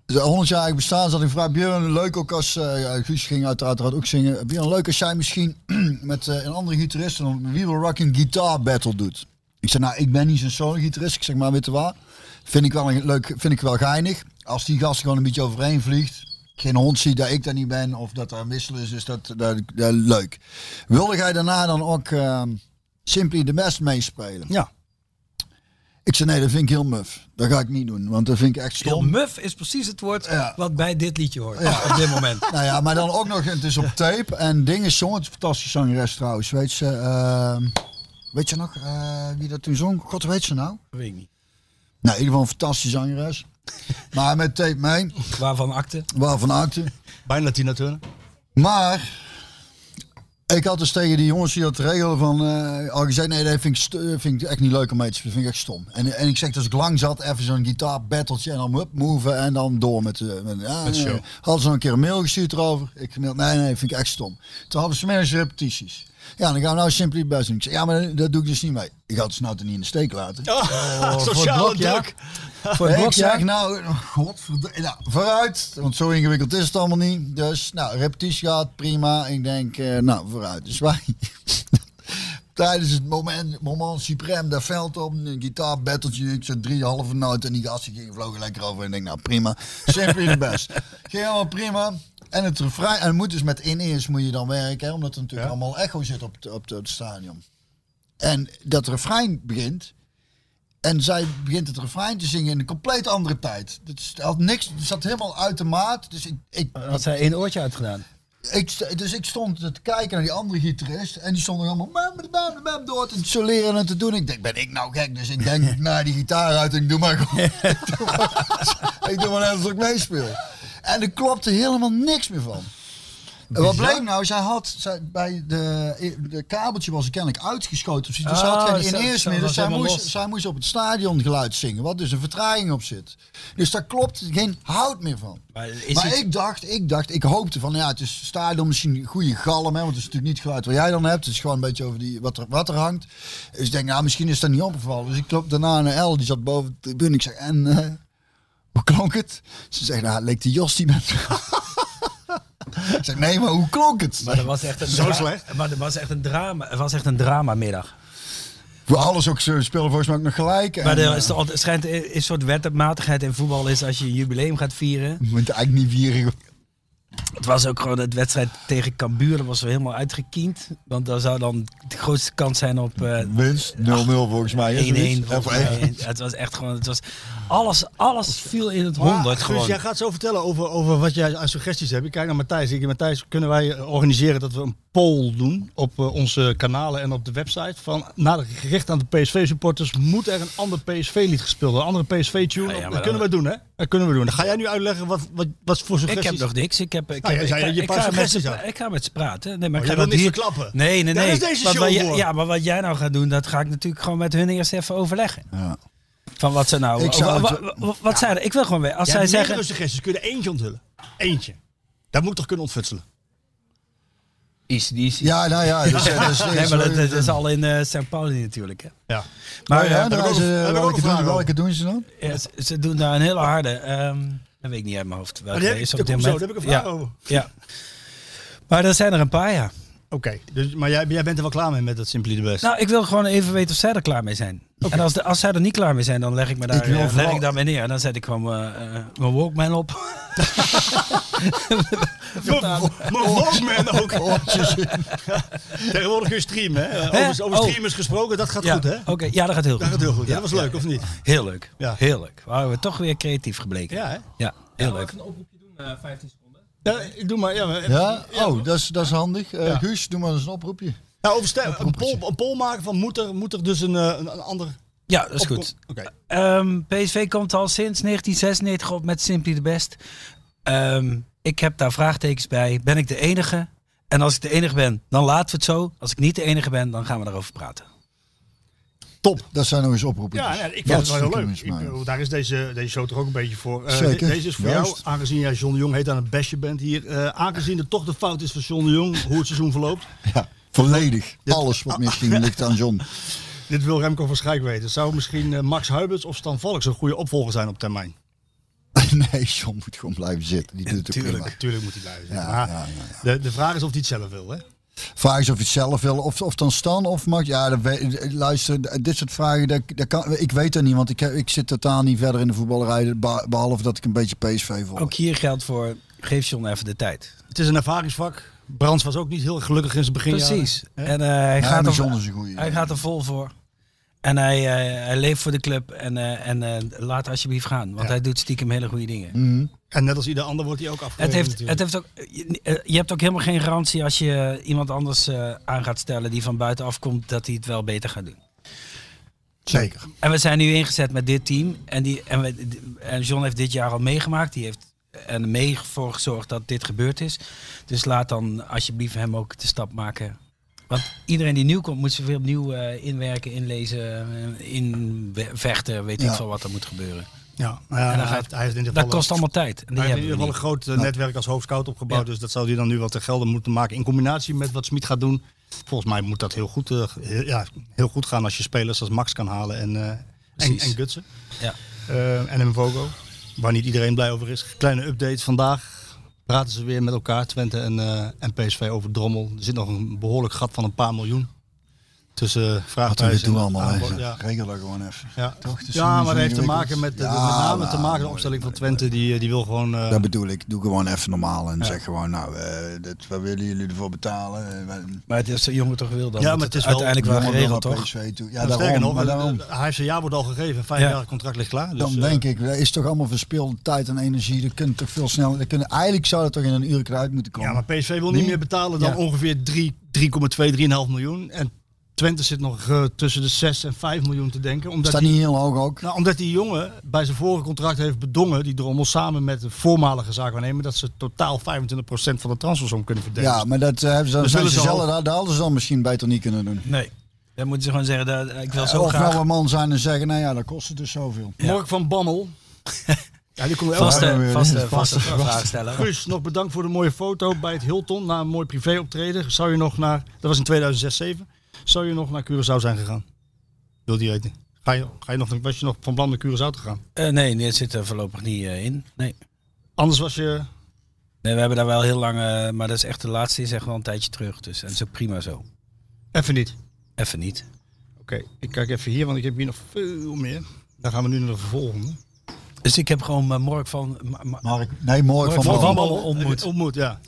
De 100-jarige bestaan zat ik vraag Björn, leuk ook als... eh, ja, Guus ging uiteraard ook zingen. Björn, leuk als jij misschien [clears throat] met eh, een andere gitarist... een We Will Rock een guitar battle doet. Ik zei, nou, ik ben niet zo'n solo-gitarist. Ik zeg, maar weet je waar? Vind ik wel een, leuk, vind ik wel geinig. Als die gast gewoon een beetje overheen vliegt... Geen hond ziet dat ik daar niet ben of dat er wisselen is, dus dat, dat, dat- leuk. Wilde jij daarna dan ook ehm Simply the Best meespelen? Ja. Ik zei nee, dat vind ik heel muf. Dat ga ik niet doen, want dat vind ik echt Heel stom. muf is precies het woord Ja. wat bij dit liedje hoort. Op dit [laughs] moment. Nou ja, maar dan ook nog, het is op tape. En dingen zong, het is een fantastische zangeres trouwens. Weet ze, ehm, weet je nog eh, wie dat toen zong? God, weet ze nou? Dat weet ik niet. Nou, in ieder geval een fantastische zangeres. Maar met tape mee, Waarvan akte? waarvan acte. [laughs] Bijna Tina Turner. Maar ik had dus tegen die jongens die dat regelen van eh, al gezegd, nee, dat vind ik, st- vind ik echt niet leuk om mee te spelen. vind ik echt stom. En, en ik zeg, als ik lang zat, even zo'n gitaar battletje en dan hup, move en dan door met de... Met, ja, Met de show. nee. Hadden ze nog een keer een mail gestuurd erover. Ik gemaild, nee, nee, vind ik echt stom. Toen hadden ze middags repetities. Ja, dan gaan we nou simply best doen. Ik zeg, ja, maar dat doe ik dus niet mee. Ik had ze nou toch niet in de steek laten. [laughs] Oh, voor het blok, ja. Voor het Ik blok, zeg ja. nou, godverdomme, nou, vooruit. Want zo ingewikkeld is het allemaal niet. Dus, nou, repetitie gaat prima. Ik denk, eh, nou, vooruit. Dus wij [laughs] tijdens het moment, moment supreme, daar veld op, een gitaarbetteltje, ik zat drie halve noten en die gasten gingen vlogen lekker over. En ik denk, nou prima, simply the [laughs] best. Ging helemaal prima. En het refrein, en het moet dus met in-ears moet je dan werken, hè, omdat er natuurlijk allemaal echo zit op, het- op, het- op het stadion. En dat refrein begint. En zij begint het refrein te zingen in een compleet andere tijd. Het is- had niks, het zat helemaal uit de maat. Dus ik, ik, Had zij één oortje uitgedaan. ik, st- dus ik stond te kijken naar die andere gitarist. En die stonden allemaal bam, bam, bam, bam, door te soleren en te doen. Ik denk, ben ik nou gek? Dus ik [laughs] denk naar die gitaar uit en ik doe maar gewoon. [laughs] ik doe maar- ik doe maar net alsof ik meespeel. En er klopte helemaal niks meer van. En wat bleek nou? Zij had zij, bij de, de kabeltje was er kennelijk uitgeschoten. of zoiets. Dus ze had Ah, geen zo- ineers zo meer. Dus was zij helemaal moest, los. zij moest op het stadion geluid zingen. Wat dus een vertraging op zit. Dus daar klopt geen hout meer van. Maar is maar het- ik dacht, ik dacht, ik hoopte van ja, het is stadion misschien een goede galm, hè, want het is natuurlijk niet het geluid wat jij dan hebt. Het is gewoon een beetje over die, wat, er, wat er hangt. Dus ik denk, nou, misschien is dat niet opgevallen. Dus ik klop daarna naar El, die zat boven de tribune. Ik zeg, en eh, hoe klonk het? Ze zegt, nou, het leek de Jos die met. [laughs] ik zeg, nee, maar hoe klonk het? Maar dat was echt [laughs] een Zo dra- slecht. Maar dat was echt een drama. Het was echt een dramamiddag. Voor alles ook, ze spelen volgens mij ook nog gelijk. Maar en, er eh, is, toch altijd- schijnt eh, een soort wetmatigheid in voetbal is als je een jubileum gaat vieren. je moet eigenlijk niet vieren. Het was ook gewoon het wedstrijd tegen Cambuur. Dat was wel helemaal uitgekiend. Want daar zou dan de grootste kans zijn op eh, 1-1. Winst 0-0 volgens mij. hè, zoiets. volgens Of mij. 1-1. Het was echt gewoon... Het was, alles, alles viel in het honderd Dus gewoon. jij gaat zo vertellen over, over wat jij aan suggesties hebt. Ik kijk naar Matthijs. Ik, Matthijs, kunnen wij organiseren dat we een poll doen op eh, onze kanalen en op de website? Van, na de gericht aan de PSV-supporters, moet er een ander PSV-lied gespeeld worden? Een andere Ja, PSV-tune? ja, maar dat dan- kunnen we doen, hè? Dat kunnen we doen. Dan ga jij nu uitleggen wat, wat, wat voor Ik heb suggesties... nog niks. Ik, heb, ik, Nou, heb- jij zei ik, dat je ik een paar ga met ze, suggesties had. ik ga met ze praten. Nee, maar Oh, ik ga jij wil dat niks hier... verklappen. Nee, nee, Daar nee. is deze Wat- show wat, jij- voor. Ja, maar wat jij nou gaat doen, dat ga ik natuurlijk gewoon met hun eerst even overleggen. Ja. Van wat ze nou... Ik zou wa- het- wa- wa- wat zijn er? Ik wil gewoon weer... Als Jij zij hebt zeggen... meerdere suggesties. Kun je er eentje onthullen? Eentje. Dat moet toch kunnen ontfutselen? Easy, easy. Ja, nou ja. Dus, eh, dus, Nee, maar dat, dat is al in eh St. Pauli natuurlijk. Hè. Ja. Maar Oh ja, eh, daar heb ik is, ook- eh, heb ik ook welke een vraag doen- over. Welke doen ze dan? ja, ze, Dus ze doen daar een hele harde. ehm dat weet ik niet uit mijn hoofd. Welke Maar Oh, die heb is ik- op dit zo, moment. daar heb ik oh. een vraag ja. over. ja. Maar er zijn er een paar, ja. Oké. Dus, maar jij, jij bent er wel klaar mee met dat Simply de Best? Nou, ik wil gewoon even weten of zij er klaar mee zijn. En als, de, als zij er niet klaar mee zijn, dan leg ik me daar, Ik wil eh, leg vooral- ik daar mee neer. En dan zet ik gewoon eh, eh, mijn Walkman op. [laughs] Mijn Walkman [laughs] Oh, ook. [laughs] Tegenwoordig kun je streamen. Hè? Hè? Over, over Oh. streamers gesproken, dat gaat ja, goed hè? Oké, ja, dat gaat heel goed. Dat gaat heel goed. Ja, dat was ja, leuk, of niet? Heel leuk. Ja. Heel leuk. Waren we toch weer creatief gebleken. Ja, hè? Ja, Zal heel ik leuk. even een oproepje doen, eh 15 seconden. Ja, ik doe maar. Ja, maar- Ja? Oh, dat is, dat is handig. Eh, Ja. Guus, doe maar eens een oproepje. Nou, over stem- een, poll, een poll maken van moet er, moet er dus een, eh, een, een ander... Ja, dat is opkom- goed. Oké. Ehm, PSV komt al sinds 1996 op met Simply the Best. Ehm, ik heb daar vraagtekens bij. Ben ik de enige? En als ik de enige ben, dan laten we het zo. Als ik niet de enige ben, dan gaan we daarover praten. Top. Dat zijn nog eens oproepjes. Ja, nee, ik Dat vind het wel heel kunnen leuk. we eens Ik maken. bedoel, daar is deze, deze show toch ook een beetje voor. Eh, Zeker, de- deze is voor jou, juist. aangezien jij John de Jong heet aan het bestje bent hier. Eh, aangezien het toch de fout is van John de Jong, hoe het seizoen verloopt. Ja, volledig. Alles wat misschien ligt aan John. [laughs] Dit wil Remco van Schijk weten. Zou misschien eh, Max Huibers of Stan Valks een goede opvolger zijn op termijn? Nee, John moet gewoon blijven zitten. Die doet het ook prima. Tuurlijk moet hij blijven. zitten. Ja, maar ja, De, de vraag is of hij het zelf wil. Hè? Vraag is of je het zelf wil. Of, of dan Stan of Max. Ja, dat we- luister, d- dit soort vragen. Dat, dat kan, ik weet dat niet, want ik, heb- ik zit totaal niet verder in de voetballerij. be- Behalve dat ik een beetje PSV volg. Ook hier geldt voor, geef John even de tijd. Het is een ervaringsvak. Brands was ook niet heel gelukkig in zijn beginjaren. Precies. Hè? En eh, hij, Ja, gaat maar er, John is een goeie. hij gaat er vol voor. En hij, eh, hij leeft voor de club. En, eh, en eh, laat alsjeblieft gaan. Want Ja. hij doet stiekem hele goede dingen. Mhm. En net als ieder ander wordt hij ook Het afgewezen. heeft, het natuurlijk. heeft ook, je- eh, je hebt ook helemaal geen garantie als je iemand anders eh, aan gaat stellen die van buitenaf komt, dat hij het wel beter gaat doen. Zeker. En we zijn nu ingezet met dit team. En, die, en, we, en John heeft dit jaar al meegemaakt. Die heeft er mee voor gezorgd dat dit gebeurd is. Dus laat dan alsjeblieft hem ook de stap maken. Want iedereen die nieuw komt, moet zoveel opnieuw eh, inwerken, inlezen, eh, invechten. Weet Ja. ik veel wat er moet gebeuren. Ja, nou ja, En dan hij, gaat- heeft, hij heeft in ieder Dat geval... kost allemaal tijd. En die Hij heeft in hebben ieder we geval een niet. Nou. groot eh, netwerk als hoofdscout opgebouwd. Ja. Dus dat zou hij dan nu wel te gelden moeten maken. In combinatie met wat Smit gaat doen. Volgens mij moet dat heel goed, eh, heel, ja, heel goed gaan als je spelers als Max kan halen en, eh en, Precies. en Gutsen. Ja. Eh, en Mvogo. Waar niet iedereen blij over is. Kleine update vandaag. Praten ze weer met elkaar, Twente en, eh, en PSV over Drommel. Er zit nog een behoorlijk gat van een paar miljoen. Tussen eh, Wat we dit vraagprijs doen allemaal. hè. Ja, Regel dat gewoon even. ja. Toch, het is ja, maar sowieso dat heeft te ingewikkeld. maken met, de, Ja, met name nou, te maken de mooi, opstelling van mooi, Twente. Die, eh, die wil gewoon... eh, Dat bedoel ik. Doe gewoon even normaal en zeg gewoon, nou, eh dit, wat willen jullie ervoor betalen? Eh, wij- Maar het is de jongen toch wil dan. Ja, want maar het is wel- uiteindelijk wel jongen wil geregeld, naar toch? PSV toe. Ja, Ja, daarom. sterker nog, maar daarom. hij heeft zijn jaar wordt al gegeven. Vijf Ja. jaar het contract ligt klaar. Dus, Dan eh, denk ik, dat is toch allemaal verspilde tijd en energie. Dat kunt toch veel sneller. Dat kunnen, eigenlijk zou dat toch in een uur eruit moeten komen. Ja, maar PSV wil niet meer betalen dan Ja. ongeveer drie- 3,2, 3,5 miljoen. En Twente zit nog eh, tussen de 6 en 5 miljoen te denken. Omdat Staat die- niet heel hoog ook. nou, omdat die jongen bij zijn vorige contract heeft bedongen, die drommel samen met de voormalige zaakwaarnemer, dat ze totaal 25% van de transfersom kunnen verdelen. Ja, maar dat eh, hebben ze, Dus zijn willen ze ze zelf, al- daar, daar hadden ze dan misschien beter niet kunnen doen. Nee. Dan moeten ze gewoon zeggen, dat, eh, ik wil zo of graag... nou een man zijn en zeggen, nou ja, dat kost het dus zoveel. Mark van Bammel. [laughs] ja, die komt wel. Vaste, Ja, vaste, ja, vaste, ja. vraag stellen. Guus, nog bedankt voor de mooie foto bij het Hilton. Na een mooi privéoptreden. Zou je nog naar, dat was in 2006 7 zou je nog naar Curaçao zijn gegaan? Wil die weten. Ga je, ga je nog, was je nog van plan naar Curaçao te gaan? Eh, nee, dit zit er voorlopig niet eh, in. Nee. Anders was je... nee, we hebben daar wel heel lang... eh, maar dat is echt de laatste, is echt wel een tijdje terug. Dus en zo prima zo. Even niet. Even niet. Oké, ik kijk even hier, want ik heb hier nog veel meer. Dan gaan we nu naar de volgende. Dus ik heb gewoon eh, Mork van... Ma- Ma- Mark, nee, Mark van Van Bammel. Bammel. ontmoet. Ontmoet, ja.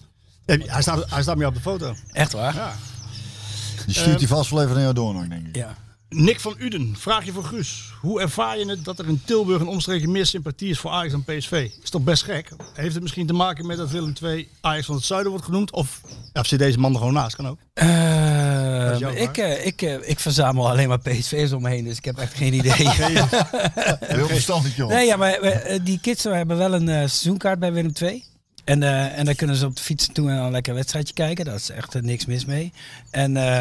Heb je- Hij staat, hij staat meer op de foto. echt waar? Die stuurt Eh, die vast wel even naar jou door nog, denk ik. Ja. Nick van Uden, vraag je voor Guus. Hoe ervaar je het dat er in Tilburg en omstreken meer sympathie is voor Ajax dan PSV? Is toch best gek? Heeft het misschien te maken met dat Willem II Ajax van het Zuiden wordt genoemd? Of ja, of zit deze man er gewoon naast? Kan ook. Eh, is jouw ik, vraag. eh, ik, eh, ik verzamel alleen maar PSV's om me heen, dus ik heb echt geen idee. Heel verstandig, joh. nee, ja, maar eh, die kids eh, hebben wel een eh, seizoenkaart bij Willem II. En, eh, en daar kunnen ze op de fiets toe en dan lekker een wedstrijdje kijken. Daar is echt eh, niks mis mee. En, eh,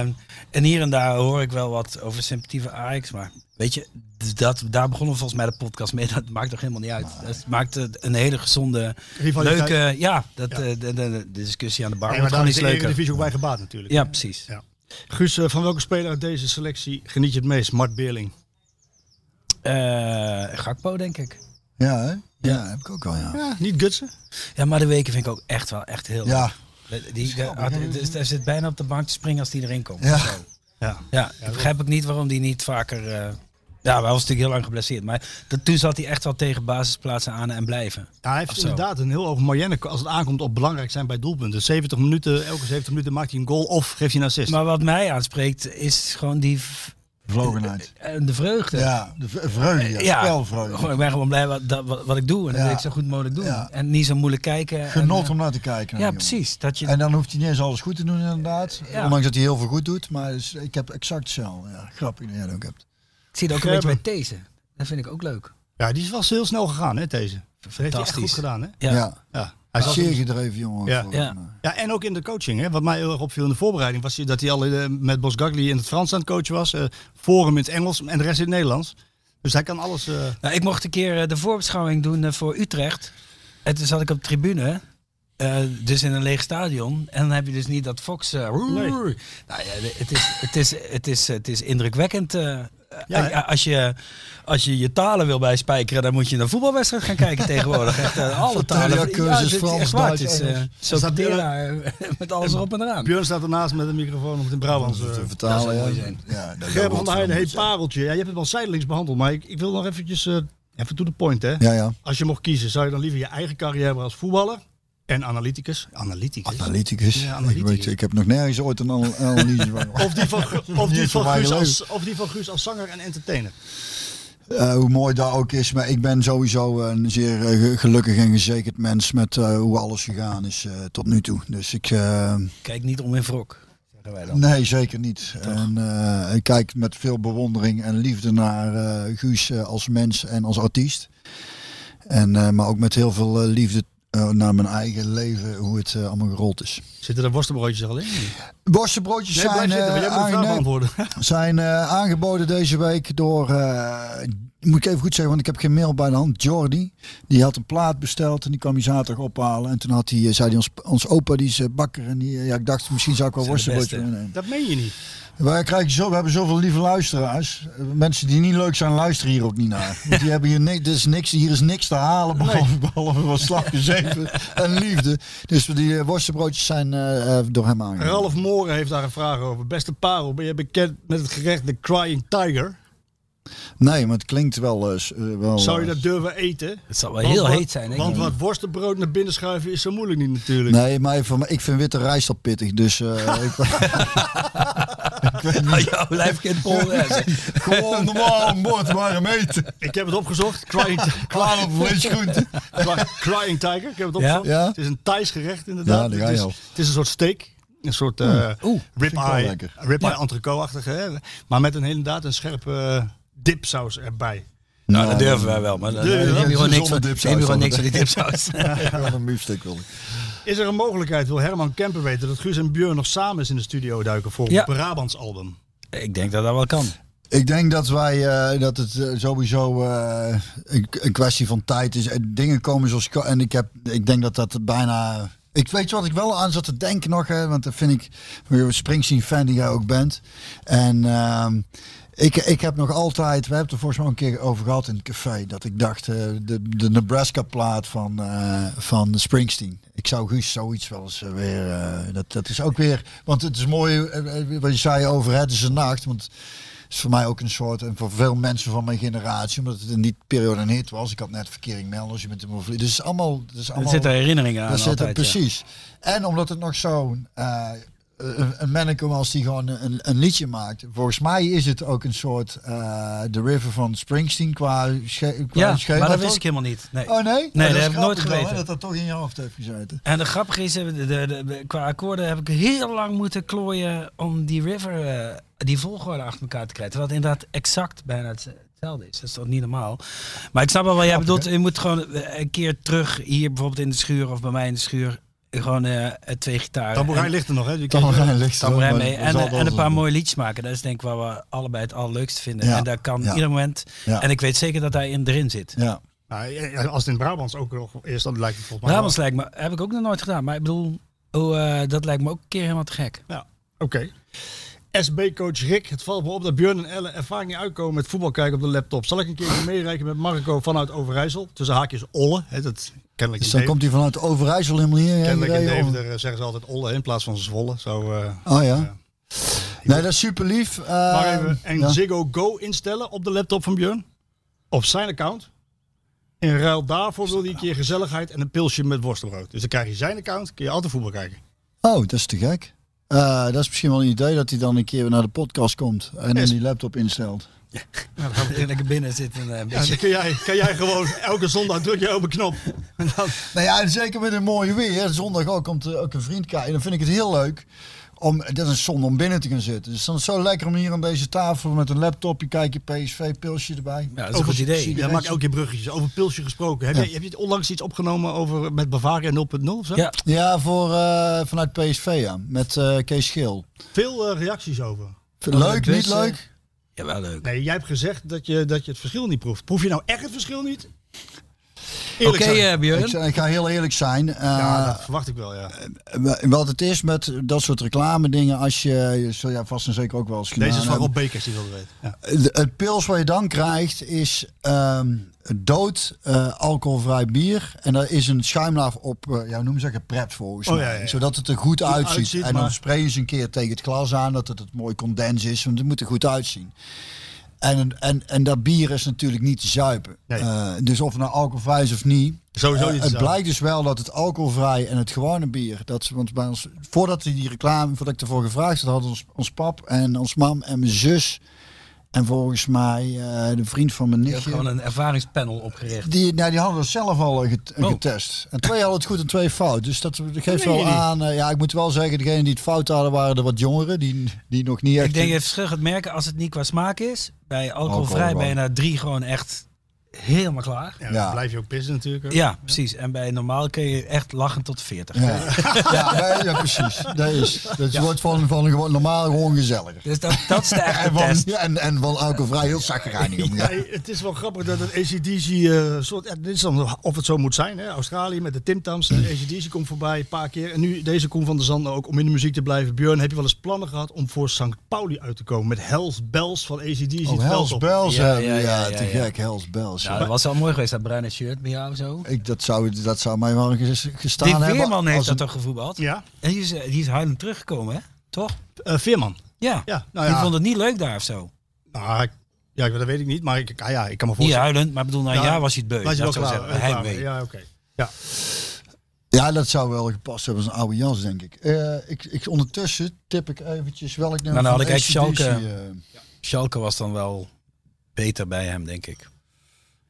en hier en daar hoor ik wel wat over sympathie voor Ajax. Maar weet je, d- dat, daar begonnen we volgens mij de podcast mee. [laughs] Dat maakt toch helemaal niet uit. Dat maakt eh, een hele gezonde, Rivaliteit. leuke... Ja, dat, eh, de, de- de discussie aan de bar Nee, wordt gewoon maar daar is iets de leuker. Eredivisie ook bij gebaat natuurlijk. Ja, precies. Ja. Guus, eh, van welke speler uit deze selectie geniet je het meest? Mart Beerling. Eh Gakpo, denk ik. Ja, hè? Ja, heb ik ook al, ja. Ja, Eh, niet Gutsen. Ja, maar de weken vind ik ook echt wel echt heel Ja, leuk. Die, de, had- dus hij zit bijna op de bank te springen als die erin komt. Ja. of zo. Ja. ja ik begrijp ook niet waarom die niet vaker... eh, ja, hij was natuurlijk heel lang geblesseerd. Maar dat, toen zat hij echt wel tegen basisplaatsen aan en blijven. Ja, hij heeft Of zo. inderdaad een heel hoog margine als het aankomt op belangrijk zijn bij doelpunten. 70 minuten, elke 70 minuten maakt hij een goal of geeft hij een assist. Maar wat mij aanspreekt is gewoon die... v- vlogenheid. eh, de vreugde. Ja, de v- vreugde, ja. Spelvreugde. gewoon, ik ben gewoon blij wat, dat- wat, wat ik doe. En dat Ja. wil ik zo goed mogelijk doen. Ja. En niet zo moeilijk kijken. en, Genot eh, om naar te kijken. ja, jongen. precies. Dat je, En dan hoeft hij niet eens alles goed te doen, inderdaad. Ja. Ondanks dat hij heel veel goed doet. Maar dus, ik heb exact hetzelfde. Ja, grappig dat jij dat ook hebt. ik zie dat ook een beetje bij These. Dat vind ik ook leuk. Ja, die is wel heel snel gegaan, hè, deze. Dat heeft hij echt goed Fantastisch. gedaan, hè? Ja. Ja. Ja, hij Hij is is zeer gedreven, jongen. eh, Ja. volgens Ja. mij. ja, en ook in de coaching. Hè. Wat mij heel erg opviel in de voorbereiding was dat hij al eh, met Bos Gagli in het Frans aan het coachen was. eh Forum in het Engels en de rest in het Nederlands. Dus hij kan alles. eh, Nou, ik mocht een keer eh, de voorbeschouwing doen eh, voor Utrecht. En toen zat ik op de tribune. eh, dus in een leeg stadion. En dan heb je dus niet dat Fox. eh, roer. Nee. Nou ja, het is, het is, het is, het is indrukwekkend. eh, Ja, eh, als, je, als je je talen wil bijspijkeren, dan moet je een voetbalwedstrijd gaan kijken tegenwoordig. Echt, eh, alle talen. Taalcursus, het is Frans, echt waar. Duits, Het is, eh, Engels. zo'n tera, eh, met alles erop en eraan. Björn staat ernaast met een microfoon op de Brabants. eh. Te vertalen, dat zou mooi ja. zijn. ja. dat zou Gerben van der wel Heijden, hey mooi zijn. pareltje. Ja, je hebt het wel zijdelings behandeld, maar ik, ik wil nog eventjes. eh, even to the point, hè? Ja, ja. Als je mocht kiezen, zou je dan liever je eigen carrière hebben als voetballer en analyticus? Analyticus. Analyticus. Ja, analyticus. Ik, weet, ik heb nog nergens ooit een anal- analyse [laughs] van Of die van, Gu- of Niet die voor van, mij Guus, leuk. als, of die van Guus als zanger en entertainer. Eh, hoe mooi dat ook is. Maar ik ben sowieso een zeer eh, ge- gelukkig en gezekerd mens met eh, hoe alles gegaan is eh, tot nu toe. Dus ik... eh, Kijk niet om in wrok. Zeggen wij dan. Nee, zeker niet. En eh, ik kijk met veel bewondering en liefde naar eh, Guus eh, als mens en als artiest. En, eh, maar ook met heel veel eh, liefde eh, naar mijn eigen leven, hoe het eh, allemaal gerold is. Zitten er worstenbroodjes al in? Worstenbroodjes Nee, zijn, blijf zitten, want eh, jij moet de vraag aange- beantwoorden. [laughs] zijn eh, aangeboden deze week door, eh, moet ik even goed zeggen, want ik heb geen mail bij de hand, Jordi. Die had een plaat besteld en die kwam hij zaterdag ophalen. En toen had hij, eh, zei hij, ons, ons opa die is eh, bakker. En die, eh, ja, ik dacht, misschien zou ik wel Zijn de worstenbroodjes beste. meenemen. Dat meen je niet. Wij krijgen zo, we hebben zoveel lieve luisteraars. Eh, Mensen die niet leuk zijn, luisteren hier ook niet [laughs] naar. Want die hebben hier, ni- dit is niks, hier is niks te halen, behalve, behalve wat [laughs] slapje zeven en liefde. Dus die eh, worstenbroodjes zijn eh, eh, door hem aangeboden. Ralf Moren heeft daar een vraag over. Beste parel, ben je bekend met het gerecht The Crying Tiger? Nee, maar het klinkt wel... eh, s- eh, wel Zou je eh, dat durven eten? Het zal wel Want heel wat- heet zijn. denk ik. Want wat worstenbrood naar binnen schuiven is zo moeilijk niet natuurlijk. Nee, maar voor mij- ik vind witte rijst al pittig, dus eh, ik, Oh, jouw lijfkind Paul. Ja, zeg. gewoon normaal een bord maar een eten. Ik heb het opgezocht. [laughs] Crying, Ti- Klaar op vleesgroenten. Cry- Crying Tiger, ik heb [laughs] het Ja? opgezocht. Ja? Het is een Thais gerecht inderdaad. Ja, daar ga je het, is, al. het is een soort steak. een soort eh oeh, vind ik wel rib-eye, lekker. rib-eye entrecôte-achtige. hè. Maar met een heel- inderdaad een scherpe eh, dipsaus erbij. Nou, dat durven wij wel, maar dan Durven we neem wel? je gewoon niks van, Zonder neem dipsaus je gewoon dan. niks van die dipsaus. [laughs] Ja, een biefstuk wil ik. Is er een mogelijkheid, wil Herman Kemper weten, dat Guus en Björn nog samen eens in de studio duiken voor Ja. een Brabants album? ik denk dat dat wel kan. Ik denk dat wij eh, dat het eh, sowieso eh, een, een kwestie van tijd is. Eh, Dingen komen zoals ko- en ik heb, ik denk dat dat bijna. Ik weet je wat ik wel aan zat te denken nog, hè, want dat vind ik een Springsteen fan die jij ook bent. En ehm, ik, ik heb nog altijd, we hebben het er volgens mij een keer over gehad in het café, dat ik dacht eh, de, de Nebraska plaat van, eh, van Springsteen. Ik zou Guus zoiets wel eens eh, weer, eh, dat, dat is ook weer, want het is mooi eh, eh, wat je zei over het is een nacht, want is voor mij ook een soort, en voor veel mensen van mijn generatie, omdat het in die periode een hit was. Ik had net verkering melders, je bent hem overleden. Dus het is allemaal, het is Er allemaal zitten herinneringen aan daar zit altijd, het ja. precies. En omdat het nog zo'n eh, een- een manneke was die gewoon een, een liedje maakt. Volgens mij is het ook een soort eh The River van Springsteen qua, sche- qua Ja, schema, maar dat toch? wist ik helemaal niet. Nee. Oh nee? Nou, dat is heb ik nooit grappig wel, hè, geweten. dat dat toch in je hoofd heeft gezeten. En de grappige is, eh, de, de, de- qua akkoorden heb ik heel lang moeten klooien om die river, eh, die volgorde achter elkaar te krijgen. Terwijl het inderdaad exact bijna het- hetzelfde is. Dat is toch niet normaal. Maar ik snap wel wat jij bedoelt. Je moet gewoon eh, een keer terug hier bijvoorbeeld in de schuur of bij mij in de schuur. Gewoon eh, twee gitaren. Tamboerijn en- ligt er nog, hè? Die ken je. Tamarijn ligt er ook, Tamboerijn maar mee. dat En, zal eh, wel en een zo paar zijn. mooie liedjes maken. Dat is denk ik waar we allebei het allerleukst vinden. Ja, En daar kan ja. ieder moment. Ja. En ik weet zeker dat hij in erin zit. Ja. Nou, ja, ja, als het in Brabants ook nog is, dan lijkt het volgens mij Brabants Nou, lijkt me, heb ik ook nog nooit gedaan. Maar ik bedoel, oh, eh, dat lijkt me ook een keer helemaal te gek. wel- Oké. SB-coach Rick, het valt me op dat Björn en Elle er vaak niet uitkomen met voetbal kijken op de laptop. Zal ik een keer meereiken met Marco vanuit Overijssel? Tussen haakjes Olle. Hè, dat kennelijk Dus in dan Deventer- komt hij vanuit Overijssel helemaal hier. hè, Kennelijk in gereden, of- Deventer eh, zeggen ze altijd Olle in plaats van Zwolle. Zo, eh. Oh ja. Nee, dat is ehm, super lief. maar even, en Ziggo Go instellen op de laptop van Björn. Op zijn account. In ruil daarvoor wil hij een keer gezelligheid en een pilsje met worstenbrood. Dus dan krijg je zijn account, kun je altijd voetbal kijken. Oh, dat is te gek. Eh, dat is misschien wel een idee dat hij dan een keer weer naar de podcast komt en dan Is- die laptop instelt. Lekker binnen zitten. eh, een Ja, beetje. dan kun jij, kan jij gewoon elke zondag druk je op een knop. En dan, Nou ja, en zeker met een mooie weer. Zondag ook komt eh, ook een vriend kijken. Dan vind ik het heel leuk. Om, dat is een zonde om binnen te gaan zitten. Dus dan is het zo lekker om hier aan deze tafel met een laptopje kijk je PSV-pilsje erbij. Ja, dat is een goed idee. Ja, maak elke keer bruggetjes. Over pilsje gesproken. Heb, je, heb je onlangs iets opgenomen over met Bavaria 0.0 of zo? Ja. Ja, voor, eh, vanuit PSV, ja. Met eh, Kees Schil. Veel eh, reacties over. Leuk, dus, niet eh, leuk? Ja, wel leuk. Nee, jij hebt gezegd dat je, dat je het verschil niet proeft. Proef je nou echt het verschil niet? Oké, Eerlijk zijn. eh, Ik, Björn. ik ga heel eerlijk zijn. Eh, ja, dat verwacht ik wel, ja. Eh, Wat het is met dat soort reclame dingen, als je, je zul jij vast en zeker ook wel eens gedaan eh, Deze is van hebben. Rob Bekers, die wilde weten. Ja. De- het pils wat je dan krijgt is ehm, dood eh, alcoholvrij bier. En daar is een schuimlaag op, eh ja, noem zeggen, pret volgens Oh, mij. ja, ja, ja. Zodat het er goed uitziet. uitziet, en dan maar- sprayen ze een keer tegen het glas aan dat het, het mooi condens is. Want het moet er goed uitzien. En, en, en dat bier is natuurlijk niet te zuipen. Nee. Eh, dus of het nou alcoholvrij is of niet. Sowieso eh, niet te het zuipen. blijkt dus wel dat het alcoholvrij en het gewone bier. Dat ze, want bij ons, voordat die die reclame, voordat ik ervoor gevraagd had, hadden ons, ons pap en ons mam en mijn zus. En volgens mij eh, de vriend van mijn Je hebt nichtje. gewoon een ervaringspanel opgericht. Die, nou, die hadden dat zelf al eh, get- Oh. getest. En twee hadden het goed en twee fout. Dus dat geeft wel aan. eh, ja, ik moet wel zeggen, degenen die het fout hadden, waren er wat jongeren. Die, die nog niet echt. Ik denk, je verschil gaat merken als het niet qua smaak is. Bij alcoholvrij Alcoholvrij. ben je na drie gewoon echt helemaal klaar. Ja, Ja. dan blijf je ook pissen natuurlijk. hè. Ja, precies. En bij normaal kun je echt lachen tot 40. ja. Ja, nee, ja, precies. Dat is. Dat wordt van, van gewoon normaal gewoon gezelliger. Dus dat, dat is de [laughs] echte En van, test. ja, en, en van alcoholvrij heel zakkerijnig. om, Ja, Ja. het is wel grappig dat een ACDC, eh soort, ja, dit is dan of het zo moet zijn, hè? Australië met de Timtams, eh, Mm. de ACDC komt voorbij een paar keer. En nu deze Koen van der Zanden ook, om in de muziek te blijven. Björn, heb je wel eens plannen gehad om voor St. Pauli uit te komen met Hells Bells van ACDC? Oh, het veld Hells op? Bells. Ja, Ja, ja, ja, ja, te ja, ja. gek. Hells Bells. ja. Nou, dat was wel mooi geweest, dat bruine shirt bij jou zo. Ik, dat, zou, dat zou mij wel ges- gestaan Dick hebben. Weerman heeft als dat een- toch gevoetbald? Ja, En die is, eh, die is huilend teruggekomen, hè? Toch? Eh, Veerman. Ja. Ja, nou Die ja. vond het niet leuk daar of zo. Nou, ik- ja, dat weet ik niet, maar ik, ah, ja, ik kan me Niet voorstellen. huilend, maar ik bedoel, na een Ja, jaar was hij het beu. Was je wel Laat ik zo klaar? zeggen. eh, klaar Heimwee. mee. Ja, oké. [laughs] Ja, dat zou wel gepast hebben als een oude jas, denk ik. Eh, ik, ik. Ondertussen tip ik eventjes welk nummer Nou, dan van eh, had ik eigenlijk AC/DC, Schalke. Schalke was dan wel beter bij hem, denk ik.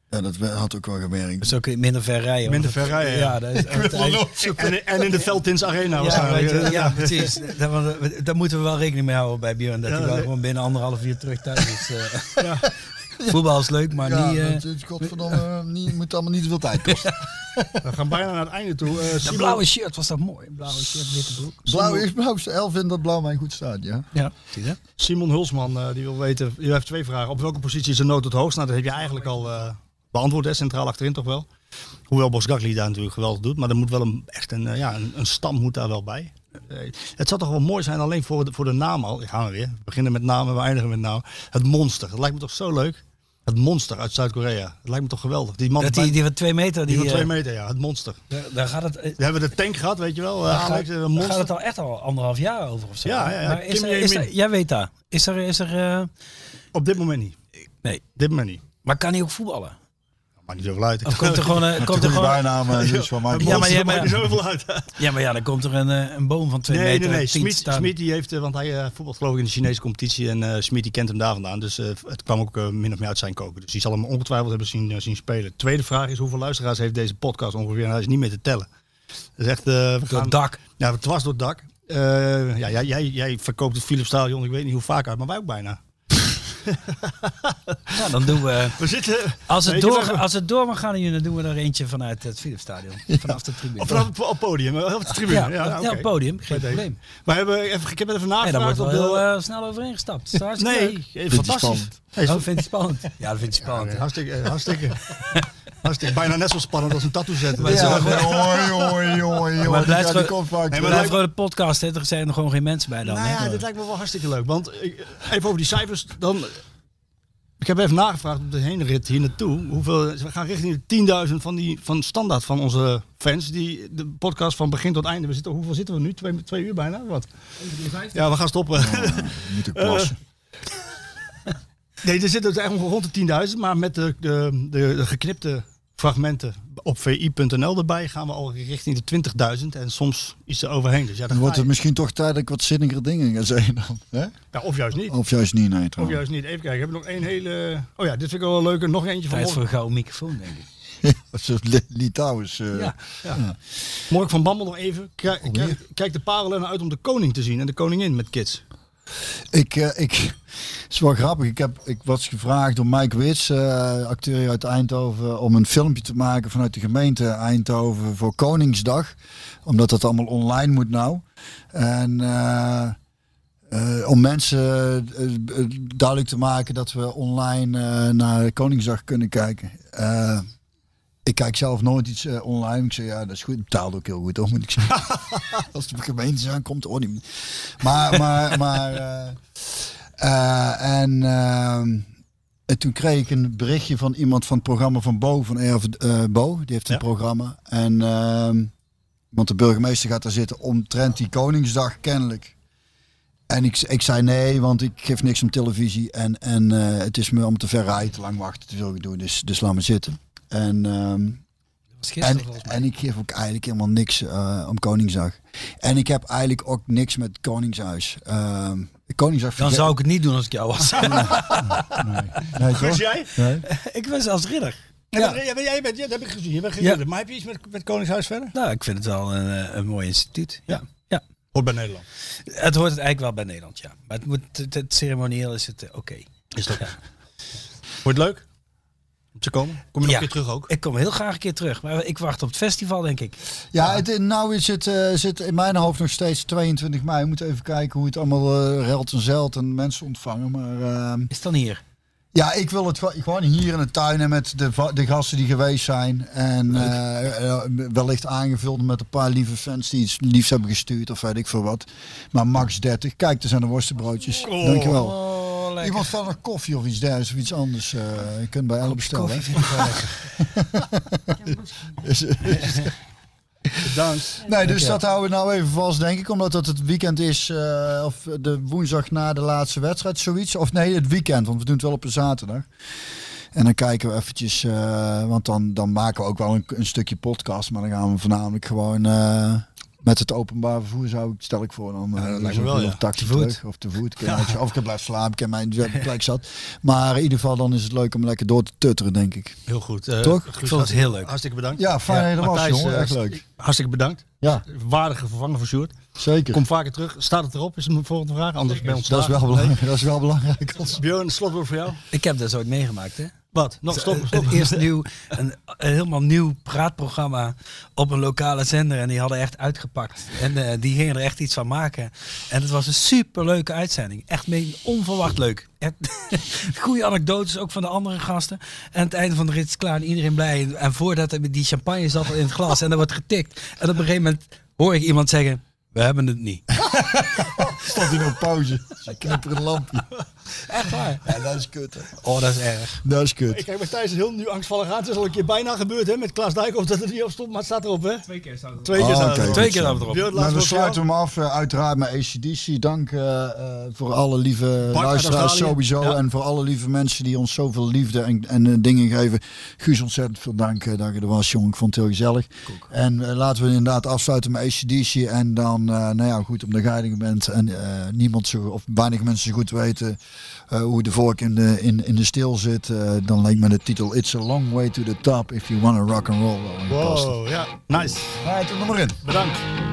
Ja, dat had ook wel gemerkt. Dus ook minder ver rijden. Minder want ver dat- rijden, Ja, ja. dat [laughs] is echt- En, en in de Veldins Arena Ja, waarschijnlijk. Eh, weet je, ja, precies. Daar, want, eh, daar moeten we wel rekening mee houden bij Björn. Dat Ja, hij wel nee. gewoon binnen anderhalf uur terug thuis is. [laughs] eh. Voetbal is leuk, maar Ja, niet... eh, dat, het, [laughs] godverdomme, eh, niet, moet allemaal niet zoveel tijd kosten. We gaan bijna naar het einde toe. Eh, dat Simon- blauwe shirt, was dat mooi? Blauwe shirt, witte broek. Blauw is blauw, is elf in dat blauw mij goed staat, ja. Ja, zie je dat? Simon Hulsman eh, die wil weten, u heeft twee vragen. Op welke positie is de nood het hoogst? Nou, dat heb je eigenlijk al eh, beantwoord, hè, centraal achterin toch wel. Hoewel Bosgakli daar natuurlijk geweldig doet, maar er moet wel een, echt een, eh, ja, een, een stam moet daar wel bij. Eh, het zou toch wel mooi zijn, alleen voor de, voor de naam al. Gaan we weer. We beginnen met naam en we eindigen met naam. Het monster. Dat lijkt me toch zo leuk. Het monster uit Zuid-Korea. Dat lijkt me toch geweldig. Die man Dat die, die van twee meter, die die, van twee eh, meter, ja. Het monster. daar, daar gaat het... eh, We hebben de tank gehad, weet je wel. eh, daar Alex, gaat- een daar monster. gaat het al echt al anderhalf jaar over of zo. Ja, ja, ja. Maar is Kim er, is Jae-min. er- jij weet dat. Is er... Is er eh, Op dit moment niet. nee. Dit moment niet. Maar kan hij ook voetballen? Maar niet zoveel uit. Of komt [laughs] er gewoon... eh, komt er Goede gewoon bijnaam, eh, dus van mij. Het monster maar jij- maakt niet zoveel [laughs] uit. ja, maar ja, dan komt er een, eh, een boom van twee Nee, meter. nee, nee. en tien te Smit, staan. Smit die heeft, eh, want hij eh, voetbalt geloof ik in de Chinese competitie en eh Smit die kent hem daar vandaan. Dus eh, het kwam ook eh, min of meer uit zijn koken. Dus die zal hem ongetwijfeld hebben zien, eh, zien spelen. Tweede vraag is hoeveel luisteraars heeft deze podcast ongeveer? Nou, dat is niet meer te tellen. Dat is echt... eh, we Door gaan- het dak. Ja, het was door het dak. Eh, ja, jij, jij, jij verkoopt het Philips Stadion, ik weet niet hoe vaak uit, maar wij ook bijna. Ja, dan doen we... We zitten... Als het, Weet je, door, we- als het door mag gaan, dan doen we er eentje vanuit het Philipsstadion. [laughs] Vanaf de tribune. Of vanaf het op het podium, eh, op de tribune. ja, Ja, ja, oké. op het podium, geen Bij deze. probleem. Maar hebben, even, ik heb even En dan wordt nagevraagd wel op heel de... eh, snel overheen gestapt. Dat is hartstikke leuk. nee, eh, fantastisch. spannend. Hey, Oh, vindt het spannend? Ja, dat vindt hij spannend. Ja, hartstikke, eh, hartstikke, [laughs] hartstikke. Bijna net zo spannend als een tattoo zetten. Maar zo- Ja, jongen, jongen, jongen, jongen. blijft Die gewoon- komt vaak Maar Nee, maar terug. bij lijkt- Vrode Podcast hè, er zijn er gewoon geen mensen bij dan. nou hè? ja, dit lijkt me wel hartstikke leuk. Want ik- even over die cijfers. Dan, ik heb even nagevraagd op de heenrit hier naartoe. Hoeveel, we gaan richting de 10.000 van, die, van standaard van onze fans. Die de podcast van begin tot einde. We zitten, hoeveel zitten we nu? Twee, twee uur bijna? Wat? Ja, we gaan stoppen. Moet ik Eh, plassen. Nee, er zitten dus eigenlijk rond de 10.000, maar met de, de, de, de geknipte fragmenten op vi.nl erbij gaan we al richting de 20.000 en soms iets eroverheen. Dus ja, dan Dan wordt ga het je- misschien toch tijd dat ik wat zinniger dingen ga zeggen dan. Hè? ja, of juist niet. Of juist niet, nee Of trouwens. juist niet. Even kijken, hebben we nog één hele... Oh ja, dit vind ik wel een leuke. Nog eentje van Tijd voor Mork. een gouden microfoon, denk ik. [laughs] Of zo Li- Litouwers. eh, Ja. Mork van Bammel nog even. Kijk, kijk, kijk de parelen naar uit om de koning te zien en de koningin met kids. Ik, eh, ik, het is wel grappig. Ik, heb, ik was gevraagd door Mike Wits, eh, acteur hier uit Eindhoven, om een filmpje te maken vanuit de gemeente Eindhoven voor Koningsdag. Omdat dat allemaal online moet nou. En eh, eh, om mensen eh, eh, duidelijk te maken dat we online eh, naar Koningsdag kunnen kijken. Eh, ik kijk zelf nooit iets eh, online. Ik zei ja, dat is goed. Betaalt ook heel goed, hoor, moet ik zeggen. Als de gemeente aankomt, hoor niet. Maar, maar, maar. eh, eh, en, ehm, en toen kreeg ik een berichtje van iemand van het programma van Bo, van Erf eh, Bo. Die heeft een Ja. programma. En, ehm, want de burgemeester gaat daar zitten omtrent die Koningsdag kennelijk. En ik, ik zei nee, want ik geef niks om televisie. En, en eh, het is me om te ver rijden, te lang wachten, te veel gedoe. Dus, dus laat me zitten. En ehm, Dat was gisteren en, volgens mij. en ik geef ook eigenlijk helemaal niks eh, om Koningsdag. En ik heb eigenlijk ook niks met Koningshuis. Ehm, Koningsdag Dan zou ik het niet doen als ik jou [laughs] was. Nee, toch? Dus jij? Nee. ik was als ridder. Ja. maar jij bent, ja, dat heb ik gezien. Je bent geen Ja. ridder. Maar heb je iets met, met Koningshuis verder? Nou, ik vind het wel een, eh, een mooi instituut. Ja. ja. Hoort bij Nederland. Het hoort het eigenlijk wel bij Nederland, ja. Maar het, moet, het, het ceremonieel is het eh, oké. Is dat Wordt leuk? Om te komen? Kom je nog Ja. een keer terug [laughs] ook? Ik kom heel graag een keer terug, maar ik wacht op het festival, denk ik. [laughs] Ja, het, nou is het, eh, zit in mijn hoofd nog steeds 22 mei. We moeten even kijken hoe het allemaal eh, relt en zelt en mensen ontvangen. Maar ehm, Is het dan hier? ja, ik wil het gewoon- gewoon hier in de tuin en met de, va- de gasten die geweest zijn. En eh, eh, wellicht aangevuld met een paar lieve fans die iets liefs hebben gestuurd of weet ik veel wat. Maar max 30. Kijk, er zijn de worstenbroodjes. Dankjewel. Oh, lekker. Iemand van een koffie of iets dergelijks of iets anders. eh, je kunt bij Elle bestellen. hè. [laughs] Is- is- Bedankt. nee, dus dat houden we nou even vast, denk ik. Omdat dat het weekend is, eh, of de woensdag na de laatste wedstrijd, zoiets. Of nee, het weekend, want we doen het wel op een zaterdag. En dan kijken we eventjes, eh, want dan, dan maken we ook wel een, een stukje podcast. Maar dan gaan we voornamelijk gewoon eh, Met het openbaar vervoer zou ik, stel ik voor, dan eh, dat dus lijkt me of- wel, of ja. een taxi Te voet. terug of te voet. [laughs] Ik weet niet, Of ik blijf slapen, ik heb mijn [laughs] plek zat. Maar in ieder geval, dan is het leuk om lekker door te tutteren, denk ik. Heel goed. eh, Toch? Guus, Ik vond het heel leuk. Hartstikke bedankt. Ja, fijn dat je er was, Matthijs, jongen. eh, Echt leuk. Hartstikke bedankt. Ja, Waardige vervanger voor Sjoerd. zeker. Kom vaker terug. Staat het erop? Is mijn volgende vraag. Anders bij ons. dat, is wel belangrijk, [laughs] dat is wel belangrijk. Björn, een slotwoord voor jou. Ik heb dat ooit meegemaakt, hè? Wat? Nog stoppen, Het stoppen. [laughs] eerste [laughs] nieuw, een, een helemaal nieuw praatprogramma op een lokale zender. En die hadden echt uitgepakt. En eh, die gingen er echt iets van maken. En het was een superleuke uitzending. Echt meen- onverwacht leuk. Echt, [laughs] goede anekdotes ook van de andere gasten. En aan het einde van de rit is klaar en iedereen blij. En voordat er- die champagne zat al in het glas en er wordt getikt. En op een gegeven moment hoor ik iemand zeggen, we hebben het niet. Stond in nou een pauze. Ze knipperen een lampje. Echt waar. Ja, dat is kut. hè. Oh, dat is erg. Dat is kut. Kijk, bij Thijs is heel nu angstvallig aan. Het is al een keer bijna gebeurd hè, met Klaas Dijkhoff dat het niet op stond, maar het staat erop hè. Ah, Twee keer staat het. Twee keer Oh, staat oké. het erop. Twee keer hadden we erop. Björn, Maar laatste we woord voor jou. sluiten hem af, eh, uiteraard met ACDC. Dank eh, eh, voor alle lieve uit luisteraars Australië. sowieso. Ja. En voor alle lieve mensen die ons zoveel liefde en, en eh, dingen geven. Guus, ontzettend veel dank eh, dat je er was, jongen. Ik vond het heel gezellig. En eh, laten we inderdaad afsluiten met ACDC. En dan, eh, nou ja, goed, omdat jij er bent en eh, niemand zo, of weinig mensen zo goed weten eh, hoe de vork in de, in, in de steel zit. eh, dan lijkt me de titel It's a long way to the top if you wanna rock and roll. eh, wel een Wow, Oh, ja. Nice. Right, doe maar in. Bedankt.